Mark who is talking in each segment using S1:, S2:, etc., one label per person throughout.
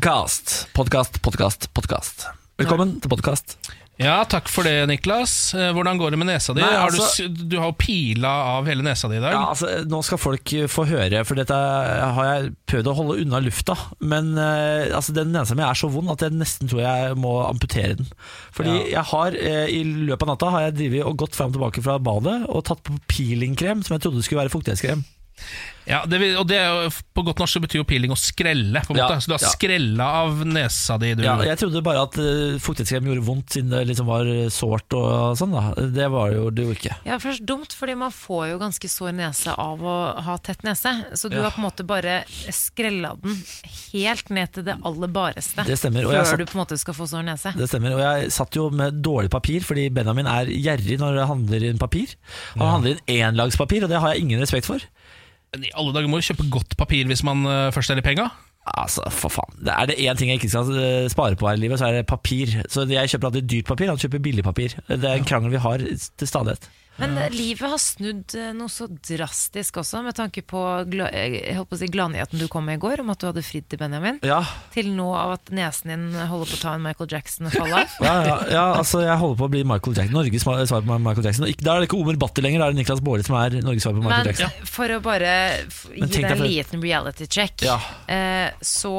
S1: Podkast, podkast, podkast, podkast. Velkommen til podkast.
S2: Ja, takk for det, Niklas. Eh, Hvordan går det med nesa di?
S1: Nei,
S2: Har du,
S1: altså-
S2: s- du har jo pila av hele nesa di i dag.
S1: Ja, altså, nå skal folk eh, få høre, for dette eh, har jeg prøvd å holde unna lufta. Men eh, altså, den nesa mi er så vond at jeg nesten tror jeg må amputere den. Fordi jeg har, eh, i løpet av natta har jeg drivet og gått fram og tilbake fra badet og tatt på peelingkrem, som jeg trodde skulle være fuktighetskrem.
S2: Ja, det, vil- og det er jo, på godt norsk så betyr jo peeling å skrelle. På en
S1: Ja,
S2: måte. Så du har
S1: ja.
S2: skrella av nesa di, du.
S1: Ja, jeg trodde bare at eh, fuktighetskrem gjorde vondt siden det liksom var eh, sårt og sånn, da. Det var jo det jo ikke.
S3: Ja, først dumt, fordi man får jo ganske sår nese av å ha tett nese. Så du
S1: Ja.
S3: har på en måte bare skrella den helt ned til det aller bareste.
S1: Det stemmer, og
S3: Før
S1: jeg satt-
S3: du på en måte skal få sår nese.
S1: Det stemmer, og jeg satt jo med dårlig papir Fordi Benjamin er gjerrig når han handler inn papir Han handler inn enlagspapir Og det har jeg ingen respekt for
S2: Men I alle dager må du kjøpe godt papir hvis man eh, først er i penga.
S1: Altså, for faen Det Er det en ting jeg ikke skal eh, spare på her i livet Så er det papir Så jeg kjøper alltid dyrt papir, han kjøper billig papir Det er en krangel vi har til stadighet
S3: Men livet har snudd eh, noe så drastisk også, med tanke på, gla eh, jeg holdt på å si, gladnyheten du kom med i går om at du hadde fridd til Benjamin.
S1: Ja,
S3: Til nå av at nesen din holder på å ta en Michael Jackson-fall-av.
S1: ja, ja, ja altså jeg holder på å bli Michael Jackson Norges ma- svar på Michael Jackson Og ikke- Da er det ikke Omer Batti lenger, da er det Niklas Bård som er Norges svar på Michael
S3: Men
S1: Jackson
S3: for å bare f- gi
S1: Men tenk
S3: deg en
S1: deg
S3: liten reality check,
S1: Ja.
S3: eh, så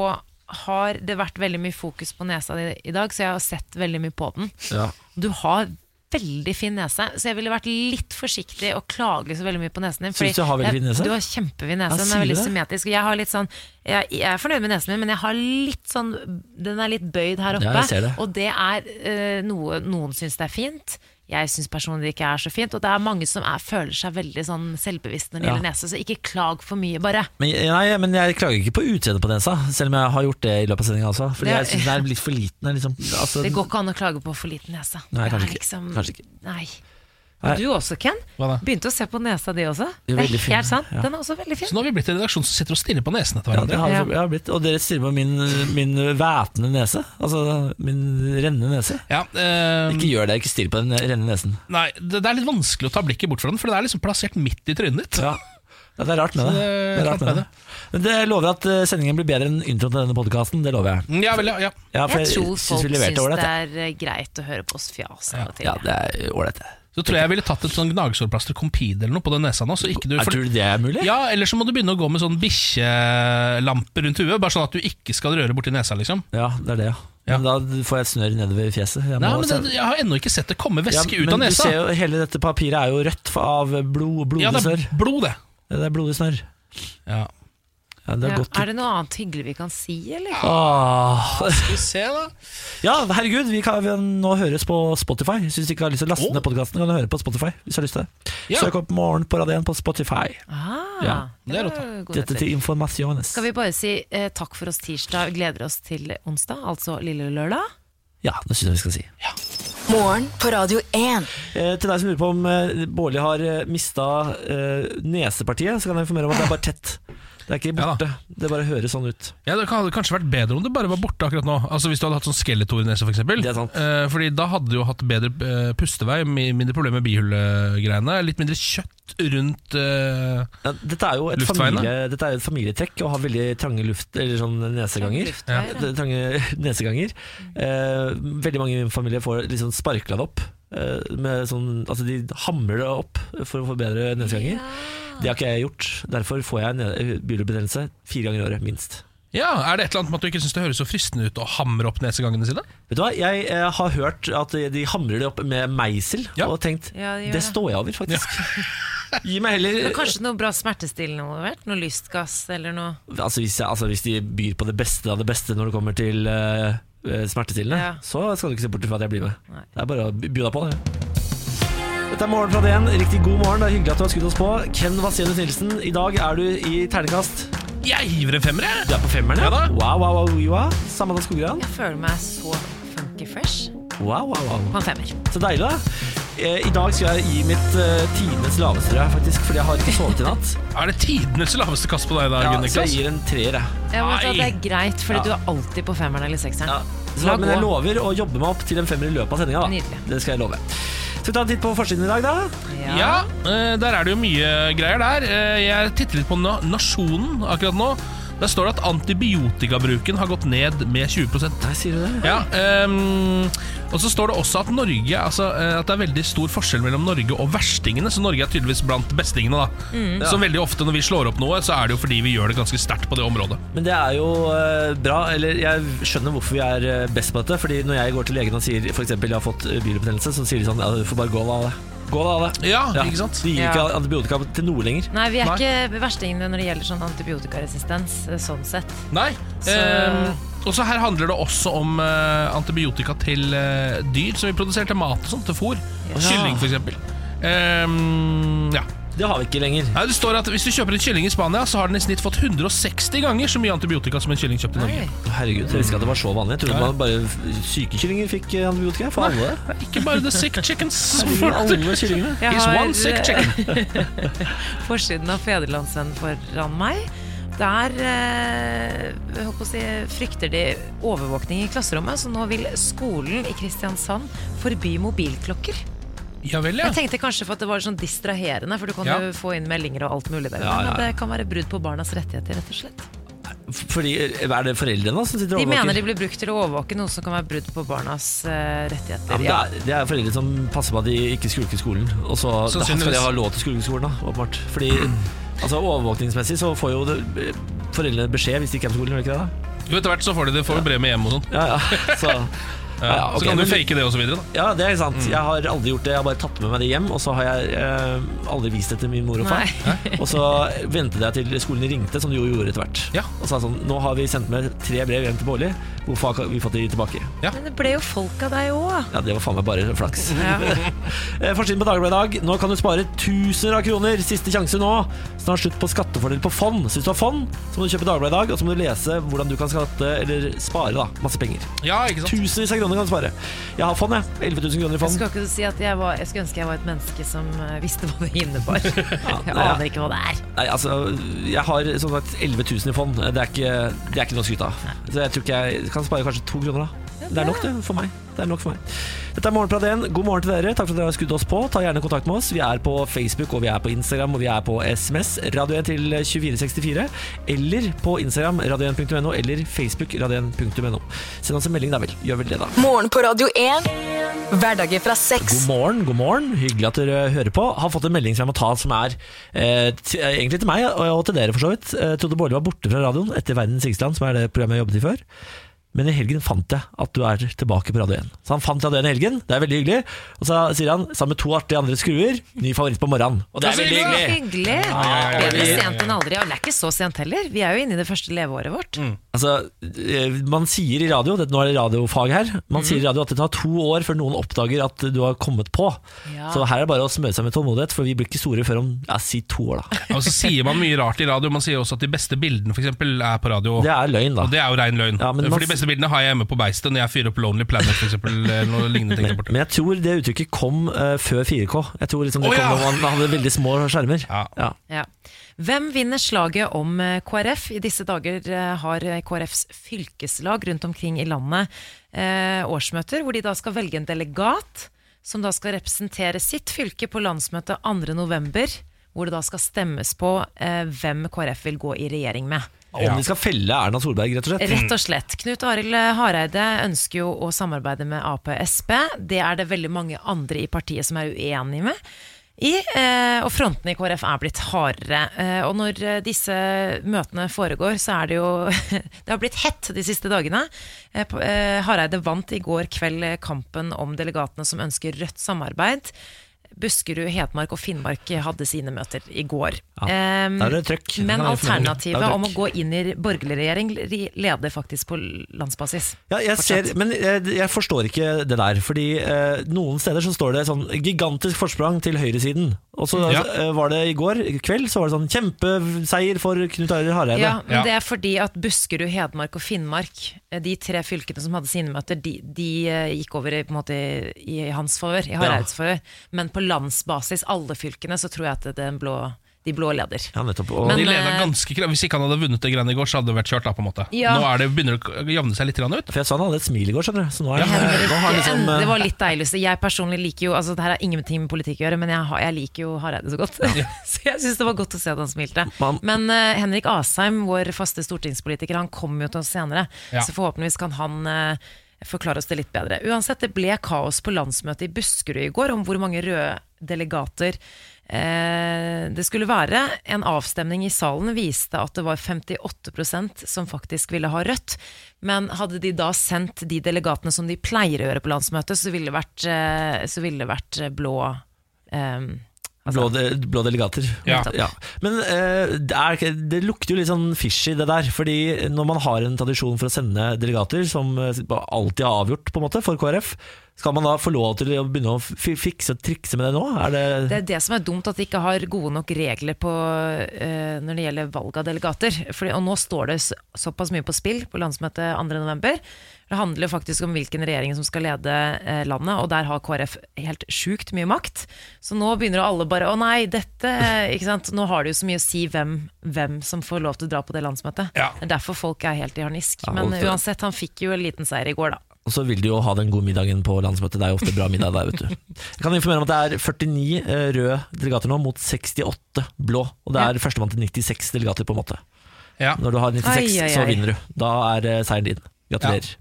S3: har det vært veldig mye fokus på nesa di i dag, så jeg har sett veldig mye på den.
S1: ja.
S3: Du har veldig fin nese, så jeg ville vært litt forsiktig og klage så veldig mye på nesen din.
S1: Syns
S3: fordi
S1: du jeg har veldig
S3: jeg-
S1: fin nese?
S3: Du har kjempefin nese,
S1: Ja,
S3: den er
S1: sier
S3: veldig
S1: du
S3: symmetrisk. og Jeg, har litt sånn, jeg, jeg er fornøyd med nesen min, men jeg har litt sånn, den er litt bøyd her oppe.
S1: Ja, jeg ser det.
S3: Og det er eh, noe noen syns det er fint. Jeg syns personlig det ikke er så fint, og det er mange som er, føler seg veldig sånn selvbevisst når det
S1: Ja.
S3: gjelder nese, så ikke klag for mye, bare.
S1: Men, nei, men jeg klager ikke på utseendet på nesa, selv om jeg har gjort det i løpet av sendinga også. Fordi
S3: Det-
S1: jeg syns den er litt for liten. den er Liksom, altså,
S3: Det går ikke an å klage på for liten nese.
S1: Nei,
S3: Det er
S1: kanskje ikke.
S3: liksom-
S1: Kanskje ikke.
S3: Nei.
S1: Nei.
S3: Og du også, Ken.
S2: Hva da?
S3: Begynte å se på nesa di
S1: Det
S3: også.
S1: er
S3: Det er
S1: veldig fin,
S3: helt sant.
S1: ja.
S3: Den er også veldig fin.
S2: Så nå har vi blitt en redaksjon som sitter og stirrer på nesen etter
S1: ja, det
S2: hverandre.
S1: har,
S3: Ja.
S1: jeg har blitt. Og dere stirrer på min, min væpnende nese. Altså min rennende nese.
S2: Ja, eh,
S1: Ikke gjør det, ikke stirr på den rennende nesen.
S2: nei, det, det er litt vanskelig å ta blikket bort fra den, for det er liksom plassert midt i trynet ditt.
S1: Ja. Ja, det er rart med
S2: Så
S1: det.
S2: det er
S1: det, er rart med det. Men det lover jeg at eh, sendingen blir bedre enn introen til denne podkasten. Det lover jeg.
S2: Mm, Ja, vel, ja, ja.
S1: Ja, for
S3: Jeg tror
S1: synes
S3: folk
S1: vi
S3: syns
S1: leverte ålreit, jeg.
S3: det er eh, greit å høre på oss fjas av og til.
S1: Ja, det er ålreit. det.
S2: Så tror jeg jeg ville tatt et sånn gnagsårplaster Compede eller noe på den nesa nå. Så ikke du,
S1: Er-
S2: for,
S1: Tror du det er mulig?
S2: ja, Eller så må du begynne å gå med sånn bikkjelampe rundt huet, bare sånn at du ikke skal røre borti nesa, liksom.
S1: Ja, det er det, ja.
S2: Ja.
S1: Men da får jeg et snørr nedover fjeset. Jeg
S2: Nei,
S1: må
S2: men
S1: se-
S2: det, Jeg har ennå ikke sett det komme væske
S1: Ja,
S2: ut av
S1: Men du
S2: nesa.
S1: ser jo, hele dette papiret er jo rødt for- av blod, blodig
S2: Ja, det er
S1: snørr.
S2: blod, det.
S1: Ja, Det er blodig snørr.
S2: Ja.
S1: Ja, det er
S3: Ja,
S1: godt.
S3: er det noe annet hyggelig vi kan si, eller?
S1: Åh.
S2: Skal vi se, da.
S1: Ja, herregud, vi kan nå høres på Spotify. Hvis du ikke har lyst til å laste
S2: Åh.
S1: ned podkasten, kan du høre på Spotify. Hvis du har lyst til det
S2: Ja.
S1: Søk opp 'Morgen på radioen' på Spotify.
S3: Ah,
S1: Ja,
S2: det er
S3: var
S2: rått,
S3: god
S1: Dette
S3: etter.
S1: til informasjones.
S3: Skal vi bare si eh, takk for oss tirsdag, gleder oss til onsdag, altså lille lørdag?
S1: Ja, det syns jeg vi skal si.
S4: Morgen på Radio 1.
S1: Eh, til deg som lurer på om eh, Bårli har eh, mista eh, nesepartiet, så kan jeg informere om at det er bare tett. Det er ikke
S2: Ja da.
S1: borte. det bare høres sånn ut.
S2: Ja, Det hadde kanskje vært bedre om det bare var borte akkurat nå. Altså Hvis du hadde hatt sånn skeletornese, f.eks.
S1: Det er sant.
S2: Eh, fordi da hadde du jo hatt bedre eh, pustevei, mi- mindre problemer med bihulegreiene. Litt mindre kjøtt rundt eh,
S1: Ja, dette, er jo et
S2: Luftveiene?
S1: familie, dette er jo et familietrekk å ha veldig trange luft, eller sånn neseganger.
S3: Luftveier,
S1: Ja,
S3: ja.
S1: det- Trange neseganger. Eh, veldig mange i min familie får liksom sparkla det opp. Eh, med sånn, altså de hamrer det opp for å få bedre neseganger. Det har ikke jeg gjort. Derfor får jeg ne- bihulebetennelse fire ganger i året, minst.
S2: Ja, Er det et eller annet med at du ikke syns det høres så fristende ut å hamre opp nesegangene sine?
S1: Vet du hva, Jeg eh, har hørt at de hamrer det opp med meisel,
S2: Ja.
S1: og tenkt
S3: Ja, de
S1: det,
S3: gjør det."
S1: står jeg over, faktisk. Gi meg heller
S3: Men kanskje noe bra smertestillende involvert? Noe lystgass eller noe?
S1: Altså hvis, jeg, altså hvis de byr på det beste av det beste når det kommer til eh, eh, smertestillende,
S3: Ja.
S1: så skal du ikke se bort fra at jeg blir med.
S3: Nei.
S1: Det er bare å by by deg på det. Dette er Morgen fra DN. Riktig god morgen. Det er Hyggelig at du har skutt oss på. Ken Vasenus Nilsen, i dag er du i ternekast.
S2: Jeg hiver en femmer, jeg!
S1: Du er på femmeren,
S2: Ja da.
S1: Wow, wow, wow, wow. Samantha Skogran.
S3: Jeg føler meg så funky fresh
S1: Wow, wow, wow.
S3: på en femmer.
S1: Så deilig, da. Eh, I dag skal jeg gi mitt uh, tidenes laveste, tror jeg, faktisk, fordi jeg har ikke sovet i natt.
S2: Er det tidenes laveste kast på deg i dag,
S1: Ja, så jeg
S2: Niklas?
S1: gir en treer, jeg.
S3: Jeg må si at det
S2: Nei.
S3: er greit, fordi du er alltid på femmeren eller sekseren.
S1: Ja. Så,
S3: La
S1: men jeg
S3: gå.
S1: lover å jobbe meg opp til en femmer i løpet av sendinga.
S3: Nydelig.
S1: Det skal jeg love. Skal vi ta en titt på forsiden i dag, da?
S2: Ja, eh, der er det jo mye greier der. Eh, Jeg titter litt på Na Nasjonen akkurat nå. Der står det at antibiotikabruken har gått ned med 20
S1: Nei, sier du det?
S2: ja, ehm, og så står det også at Norge altså, eh, At det er veldig stor forskjell mellom Norge og verstingene. Så Norge er tydeligvis blant bestingene. da Så veldig ofte når vi slår opp noe, så er det jo fordi vi gjør det ganske sterkt på det området.
S1: Men det er jo eh, bra, eller jeg skjønner hvorfor vi er eh, best på dette. Fordi når jeg går til legen og sier for eksempel, jeg har fått eh, bilbetennelse, så sier de sånn ja, du får bare gå av det. Gå av det.
S2: Ja, ikke sant?
S1: De gir ikke
S3: Ja.
S1: antibiotika til noe lenger.
S3: Nei, vi er
S2: Nei.
S3: ikke verstingene når det gjelder sånn antibiotikaresistens, eh, sånn sett.
S2: Nei.
S3: Så-
S2: ehm, og så her handler det også om eh, antibiotika til eh, dyr som vi produserer til mat og sånt, til fôr.
S1: Ja.
S2: Kylling, f.eks. Um, ja.
S1: Det har vi ikke lenger.
S2: Nei, det står at Hvis du kjøper en kylling i Spania, så har den i snitt fått 160 ganger så mye antibiotika som en kylling kjøpt i Norge.
S3: Oi.
S1: Herregud, jeg visste ikke at det var så vanlig. Jeg trodde
S2: Ja.
S1: man bare f- syke kyllinger fikk eh, antibiotika. For alle.
S2: Ikke bare the sick chickens.
S1: For alle kyllingene.
S3: Jeg
S2: Is
S3: har,
S2: one sick
S3: eh,
S2: chicken.
S3: forsiden av Federlandsvennen foran meg. Der eh, jeg håper å si, frykter de overvåkning i klasserommet, så nå vil skolen i Kristiansand forby mobilklokker.
S2: Ja vel, ja.
S3: Jeg tenkte kanskje for at det var sånn distraherende, for du kan
S2: Ja.
S3: jo få inn meldinger og alt mulig der.
S1: Ja, ja, ja.
S3: Men det kan være brudd på barnas rettigheter, rett og slett.
S1: Fordi, eh, Er det foreldrene som sitter
S3: De
S1: og
S3: mener
S1: overvåker?
S3: de blir brukt til å overvåke noe som kan være brudd på barnas eh,
S1: Ja,
S3: rettigheter.
S1: men det, er, det er foreldre som passer på at de ikke skulker skolen. Og så da skal
S2: Sannsynligvis.
S1: de ha lov til å skulke skolen, da, åpenbart. Fordi altså, overvåkningsmessig så får jo det, foreldrene beskjed hvis de ikke er på skolen. Gjør de ikke det, da?
S2: Jo, etter hvert så får de det, får jo brev med hjem og sånn.
S1: Ja, ja. Så,
S2: Ja,
S1: ja, ok,
S2: så kan du
S1: men-
S2: fake Mm. det og så videre, da.
S1: ja, det er sant. Jeg har aldri gjort det. Jeg har bare tatt med meg det hjem, og så har jeg eh, aldri vist det til min mor og far. Og så ventet jeg til skolen ringte, som de jo gjorde etter hvert.
S2: Ja.
S1: Og sa sånn Nå har vi sendt med tre brev hjem til Bårli. Hvorfor har vi fått de tilbake?
S3: Men det ble jo folk av deg òg.
S1: Ja, det var faen meg bare flaks.
S3: Ja.
S1: Eh, Forsiden på Dagbladet i dag. Nå kan du spare tusener av kroner. Siste sjanse nå. Snart slutt på skattefordel på fond. Hvis du har fond, så må du kjøpe Dagbladet i dag, og så må du lese hvordan du kan skatte, eller spare, da. Masse penger.
S2: Ja, ikke sant?
S1: Tusenvis av kroner kan du spare. Jeg har fond, jeg. 11 000 kroner i
S3: Jeg
S1: fond.
S3: skal ikke si at jeg, var, jeg skulle ønske jeg var et menneske som eh, visste hva det innebar. Jeg
S1: nei, ja.
S3: aner ikke hva det er.
S1: Nei, altså, jeg har som sagt 11 000 i fond. Det er ikke, det er ikke noe å skryte av. Så jeg tror ikke jeg kan spare kanskje to kroner, da. Det er nok det for meg. Det er nok for meg. Dette er Morgenprat 1. God morgen til dere. Takk for at dere har skudd oss på. Ta gjerne kontakt med oss. Vi er på Facebook, og vi er på Instagram, og vi er på SMS. Radio 1 til 2464. Eller på Instagram, radio1.no, eller Facebook, radio1.no. Send oss en melding, da vel. Gjør vel det, da.
S4: Morgen på Radio 1. Hverdager fra
S1: God
S4: seks.
S1: morgen, god morgen. Hyggelig at dere hører på. Har fått en melding som jeg må ta, som er eh, t eh, egentlig til meg og, og til dere, for så vidt. Eh, trodde Bårdli var borte fra radioen etter Verdens rikeste land, som er det programmet jeg jobbet i før. Men i helgen fant jeg at du er tilbake på Radio 1. Så han fant Radio 1 i helgen, det er veldig hyggelig. Og så sier han, sammen med to artige andre skruer, ny favoritt på morgenen. Og det er veldig
S3: Så
S1: hyggelig.
S3: hyggelig.
S2: ja, ja, ja,
S3: Bedre
S2: ja, ja.
S3: sent enn aldri. Og det er ikke så sent heller. Vi er jo inne i det første leveåret vårt.
S1: Altså, eh, man sier i radio, det, nå er det radiofag her, man sier i radio at det tar to år før noen oppdager at du har kommet på.
S3: Ja.
S1: Så her er det bare å smøre seg med tålmodighet, for vi blir ikke store før om, ja, si to år da.
S2: Ja, Og så sier man mye rart i radio. Man sier også at de beste bildene for eksempel, er på radio.
S1: Det er løgn, da.
S2: Og det er jo rein løgn.
S1: Ja, men man-
S2: for de beste bildene har jeg hjemme på beistet når jeg fyrer opp Lonely Planet for eksempel, eller noe lignende. ting der borte.
S1: Men jeg tror det uttrykket kom eh, før 4K. Jeg tror liksom det
S2: Å, ja.
S1: kom når man hadde veldig små skjermer.
S2: Ja.
S1: Ja.
S3: Ja. Hvem vinner slaget om eh, KrF? I disse dager eh, har eh, KrFs fylkeslag rundt omkring i landet eh, årsmøter, hvor de da skal velge en delegat som da skal representere sitt fylke på landsmøtet 2.11., hvor det da skal stemmes på eh, hvem KrF vil gå i regjering med.
S1: Om de skal felle Erna Solberg, rett og slett.
S3: Rett og slett. Knut Arild Hareide ønsker jo å samarbeide med Ap og Sp. Det er det veldig mange andre i partiet som er uenige med. I, eh, og frontene i KrF er blitt hardere. Eh, og når eh, disse møtene foregår, så er det jo Det har blitt hett de siste dagene. Eh, på- eh, Hareide vant i går kveld eh, kampen om delegatene som ønsker rødt samarbeid. Buskerud, Hedmark og Finnmark hadde sine møter i går. Eh,
S1: der er det trøkk.
S3: Men
S1: Der er det fornøyelig.
S3: alternativet
S1: Der er det
S3: om å
S1: trøkk.
S3: gå inn i borgerlig regjering ri- leder faktisk på landsbasis.
S1: Ja, jeg ser, men jeg, jeg forstår ikke det der. Fordi eh, noen steder så står det sånn gigantisk forsprang til høyresiden. Og så
S2: Ja.
S1: eh, var det i går kveld så var det sånn kjempeseier for Knut Arild Hareide.
S3: Ja, men
S2: Ja.
S3: Det er fordi at Buskerud, Hedmark og Finnmark, eh, de tre fylkene som hadde sine møter, de, de eh, gikk over i, på en måte, i, i hans favør, i Hareids favør. Men på landsbasis, alle fylkene, så tror jeg at den blå de blå leder.
S1: Ja, nettopp. Og,
S3: Men-
S2: De leda
S3: eh,
S2: ganske kraftig. Hvis ikke han hadde vunnet det greiene i går, så hadde det vært kjørt. da på en måte
S3: Ja.
S2: Nå er det, begynner det å jevne seg litt grann ut.
S1: for jeg sa han hadde et smil i går, skjønner du. Så nå er han, nå har han liksom
S3: Det
S1: eh,
S3: var litt deilig. Så jeg personlig liker jo altså Det her har ingenting med politikk å gjøre, men jeg, har, jeg liker jo Hareide så godt. så jeg syns det var godt å se at han smilte.
S1: Man-
S3: Men eh, Henrik Asheim, vår faste stortingspolitiker, han kommer jo til oss senere.
S2: Ja.
S3: Så forhåpentligvis kan han eh, forklare oss det litt bedre. Uansett, det ble kaos på landsmøtet i Buskerud i går om hvor mange røde delegater eh, det skulle være. En avstemning i salen viste at det var 58 som faktisk ville ha rødt. Men hadde de da sendt de delegatene som de pleier å gjøre på landsmøtet, så ville det vært, eh, så ville det vært eh, blå eh, altså-
S1: Blå, de, blå delegater.
S2: Ja.
S1: Men eh, det, er, det lukter jo litt sånn fishy, det der. Fordi når man har en tradisjon for å sende delegater, som eh, alltid er avgjort på en måte for KrF, skal man da få lov til å begynne å fi- fikse og trikse med det nå? Er det,
S3: Det er det som er dumt, at de ikke har gode nok regler på, eh, når det gjelder valg av delegater. Fordi, og nå står det så- såpass mye på spill på landsmøtet 2.11. Det handler jo faktisk om hvilken regjering som skal lede eh, landet, og der har KrF helt sjukt mye makt. Så nå begynner jo alle bare Å nei, dette ikke sant? Nå har det jo så mye å si hvem, hvem som får lov til å dra på det landsmøtet.
S2: Ja.
S3: Det er derfor folk er helt i harnisk.
S1: Ja,
S3: Men
S1: og det-
S3: uansett, han fikk jo en liten seier i går, da.
S1: Og så vil de jo ha den gode middagen på landsmøtet. Det er jo ofte bra middag der, vet du. Jeg kan informere om at det er 49 eh, røde delegater nå, mot 68 blå. Og det er førstemann til 96 delegater, på en måte.
S2: Ja.
S1: Når du har 96,
S3: Ai, ai,
S1: så
S3: ai.
S1: vinner du. Da er eh, seieren din. Gratulerer.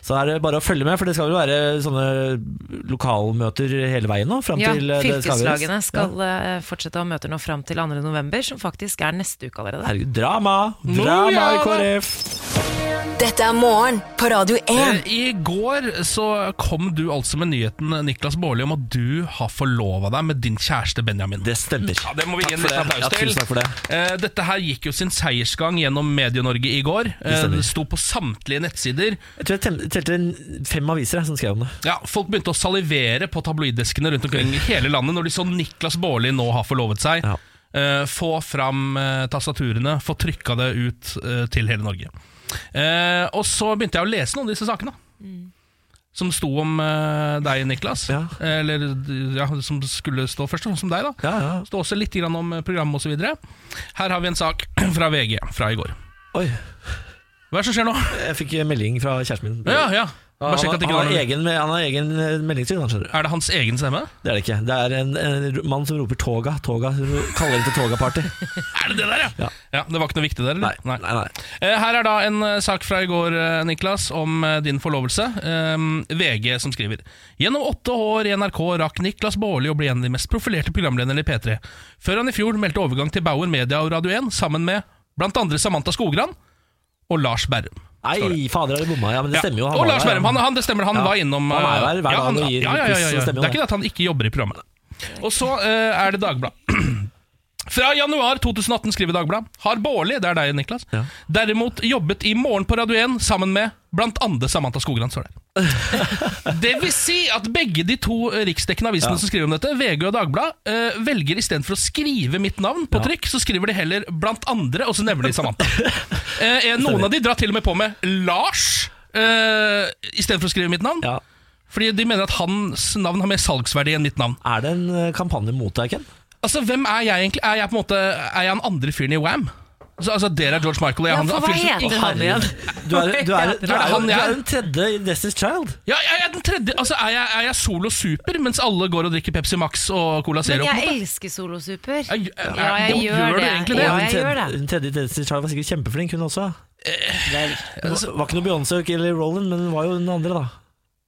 S1: Så er det bare å følge med, for det skal jo være sånne lokalmøter hele veien nå. Frem
S3: Ja,
S1: til eh, det skal avgjøres.
S3: fylkeslagene skal eh, fortsette å ha møter nå fram til 2. november, som faktisk er neste uke allerede.
S1: Herregud, drama! Drama i
S2: ja, da.
S1: KrF!
S4: Dette er morgen på Radio 1.
S2: Eh, I går så kom du altså med nyheten Niklas Baarli om at du har forlova deg med din kjæreste Benjamin.
S1: Det stemmer.
S2: Ja, det må vi gi en
S1: Takk for
S2: liten
S1: det.
S2: applaus
S1: Ja,
S2: til.
S1: tusen takk for det.
S2: Eh, Dette her gikk jo sin seiersgang gjennom Medie-Norge i går. Eh,
S1: stemmer.
S2: Det sto på samtlige nettsider.
S1: Jeg tror jeg tel- telte en- fem aviser jeg, som skrev om det.
S2: Ja, Folk begynte å salivere på tabloiddeskene rundt omkring i hele landet når de så Niklas Baarli nå har forlovet seg.
S1: Ja.
S2: Eh, Få fram eh, tastaturene, få trykka det ut eh, til hele Norge. Eh, Og så begynte jeg å lese noen av disse sakene. Som sto om eh, deg, Niklas.
S1: Ja.
S2: Eller ja, som skulle stå først, sånn som deg, da.
S1: Ja, ja.
S2: Det står også litt grann om eh, programmet osv. Her har vi en sak fra VG fra i går.
S1: Oi,
S2: Hva er det som skjer nå?
S1: jeg fikk melding fra kjæresten min.
S2: Ja, ja.
S1: Han,
S2: Bare sjekk
S1: har-
S2: at det ikke
S1: han,
S2: var
S1: har
S2: noe.
S1: egen, han har egen eh, meldingstid, han skjønner du.
S2: Er det hans egen stemme?
S1: Det er det ikke. Det er en, en ro- mann som roper 'toga', 'toga', ro- kaller det til 'toga-party'.
S2: Er det det der, ja?
S1: Ja.
S2: Det var ikke noe viktig der?
S1: Nei,
S2: eller?
S1: nei, nei.
S2: Eh, Her er da en eh, sak fra i går, eh, Niklas, om eh, din forlovelse. Eh, VG som skriver Gjennom åtte år i NRK rakk Niklas Baarli å bli en av de mest profilerte programlederne i P3, før han i fjor meldte overgang til Bauer Media og Radio 1 sammen med bl.a. Samantha Skogran og Lars Berrum.
S1: Nei, fader, har de bomma? Ja, men det stemmer jo.
S2: Ja.
S1: han var
S2: Og Lars
S1: der,
S2: Berrum, han, han, det stemmer, han
S1: Ja.
S2: var innom
S1: Han er jo her hver
S2: ja,
S1: dag
S2: han-
S1: og gir
S2: ja, ja, ja,
S1: pluss,
S2: ja,
S1: så
S2: ja.
S1: stemmer
S2: Det er
S1: det.
S2: ikke det at han ikke jobber i programmet. Og så eh, er det Dagbladet. Fra januar 2018 skriver Dagbladet har Baarli, det er deg, Niklas,
S1: Ja.
S2: derimot jobbet i Morgen på Radio 1 sammen med blant andre Samantha Skogran. står det. Det vil si at begge de to eh, riksdekkende avisene som skriver om dette, VG og Dagbladet, eh, velger istedenfor å skrive mitt navn på trykk, så skriver de heller blant andre, og så nevner de Samantha. Eh, eh, noen av de drar til og med på med Lars eh, istedenfor å skrive mitt navn.
S1: Ja.
S2: Fordi de mener at hans navn har mer salgsverdi enn mitt navn.
S1: Er det en eh, kampanje mot deg, Ken?
S2: Altså, Hvem er jeg egentlig? Er jeg på en måte Er jeg han andre fyren i Wham? Så, altså, Dere er George Michael. og Jeg, er
S3: Ja,
S2: han-
S3: for hva
S2: fyren som-
S3: heter han igjen?
S1: Du er, du er, du er, jo-
S2: han
S1: du
S2: jeg er?
S1: er den tredje i Destiny's Child.
S2: Ja, jeg er den tredje. Altså, er jeg, er jeg solo super, mens alle går og drikker Pepsi Max og Cola Zero?
S3: Men
S2: på en
S3: jeg
S2: måte?
S3: elsker solosuper.
S2: Ja,
S3: Ja,
S2: gjør-
S3: jeg
S2: gjør-
S3: gjør
S2: gjør du
S3: det.
S2: egentlig det?
S3: Ja,
S1: Og den
S3: jeg gjør
S1: tredje-
S3: det.
S1: Den tredje i Destiny's Child var sikkert kjempeflink, hun også. Det var var ikke noe Beyoncé eller Roland, men hun var jo den andre, da.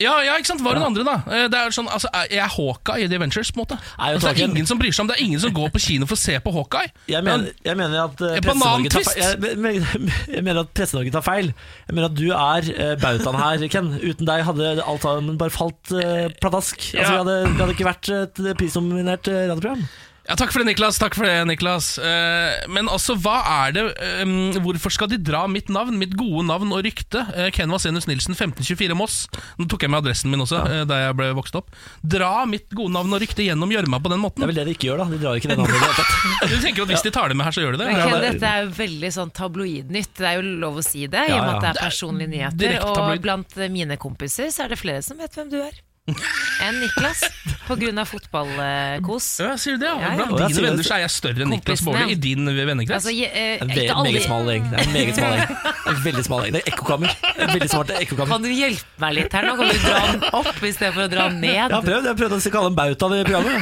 S2: Ja, ja, ikke sant? Hva er den andre, da? Eh, Det er sånn, altså, er- Jeg er Hawkeye i The Adventures. på en måte
S1: Nei, jeg
S2: altså, Det er
S1: tar ikke-
S2: ingen som bryr seg om det. er Ingen som går på kino for å se på Hawkeye.
S1: Jeg mener, jeg mener at eh,
S2: En
S1: Presse-Norge tar,
S2: banantvist?
S1: feil- jeg, men- jeg mener at Presse-Norge tar feil. Jeg mener at du er eh, bautaen her, Ken. Uten deg hadde alt sammen bare falt eh, pladask. Altså, vi,
S2: Ja.
S1: hadde, vi hadde ikke vært et prisnominert eh, radioprogram.
S2: Ja, takk for det, Niklas. takk for det, Niklas Eh, Men altså, hva er det ehm, Hvorfor skal de dra mitt navn, mitt gode navn og rykte? Eh, Ken Vasenus Nilsen, 1524 Moss. Nå tok jeg med adressen min også, eh, der jeg ble vokst opp. Dra mitt gode navn og rykte gjennom gjørma på
S1: Det
S2: den måten.
S1: er vel det de ikke gjør, da. De drar ikke den andre. i det hele tatt.
S2: Du tenker jo at Hvis de tar det med her, så gjør de det.
S3: Men
S1: Ja,
S3: Ken,
S1: det-
S3: dette er jo veldig sånn tabloidnytt. Det er jo lov å si det, i og
S1: Ja,
S3: med at
S1: ja.
S3: det er personlige
S2: direkte
S3: nyheter.
S2: tabloid.
S3: Og blant mine kompiser så er det flere som vet hvem du er. Enn Niklas. pga. fotballkos.
S2: Ja, sier du det?
S3: Ja,
S2: Ja,
S3: ja.
S2: Blant
S1: Og jeg
S2: dine
S1: sier det-
S2: venner så er jeg større enn Niklas
S3: Kompisene,
S2: Baarli
S3: ja.
S2: i din vennekrets.
S3: Altså, je- eh,
S1: En ve
S3: ikke alle-
S1: meget smal gjeng. Det er en meget smal gjeng. En veldig smal gjeng. Det er ekkokammer. En veldig smart ekkokammer.
S3: Kan du hjelpe meg litt her nå? Kan du dra den opp istedenfor å dra den ned?
S1: Jeg har prøvd, jeg har prøvd å kalle en bauta i programmet.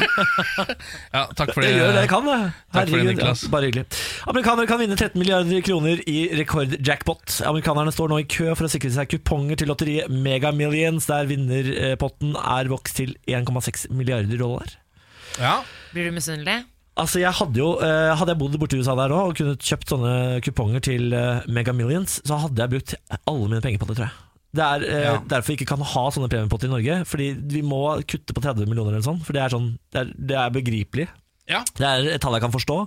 S2: ja, takk for det.
S1: Jeg gjør det jeg kan. det.
S2: Takk for det,
S1: Herregud,
S2: Niklas.
S1: ja, bare hyggelig. Amerikanere kan vinne 13 milliarder kroner i rekordjackpot. Amerikanerne står nå i kø for å sikre seg kuponger til lotteriet Mega Millions, der vinnerpotten er vokst til 1,6 milliarder dollar.
S2: Ja.
S3: Blir du misunnelig?
S1: Altså jeg Hadde jo eh, Hadde jeg bodd borti USA der nå og kunne kjøpt sånne kuponger til eh, Mega Millions, så hadde jeg brukt alle mine penger på det, tror jeg. Det er eh,
S2: Ja.
S1: derfor vi ikke kan ha sånne premiepotter i Norge. Fordi vi må kutte på 30 millioner eller sånn. For det er, sånn, det er, det er begripelig.
S2: Ja.
S1: Det er et tall jeg kan forstå.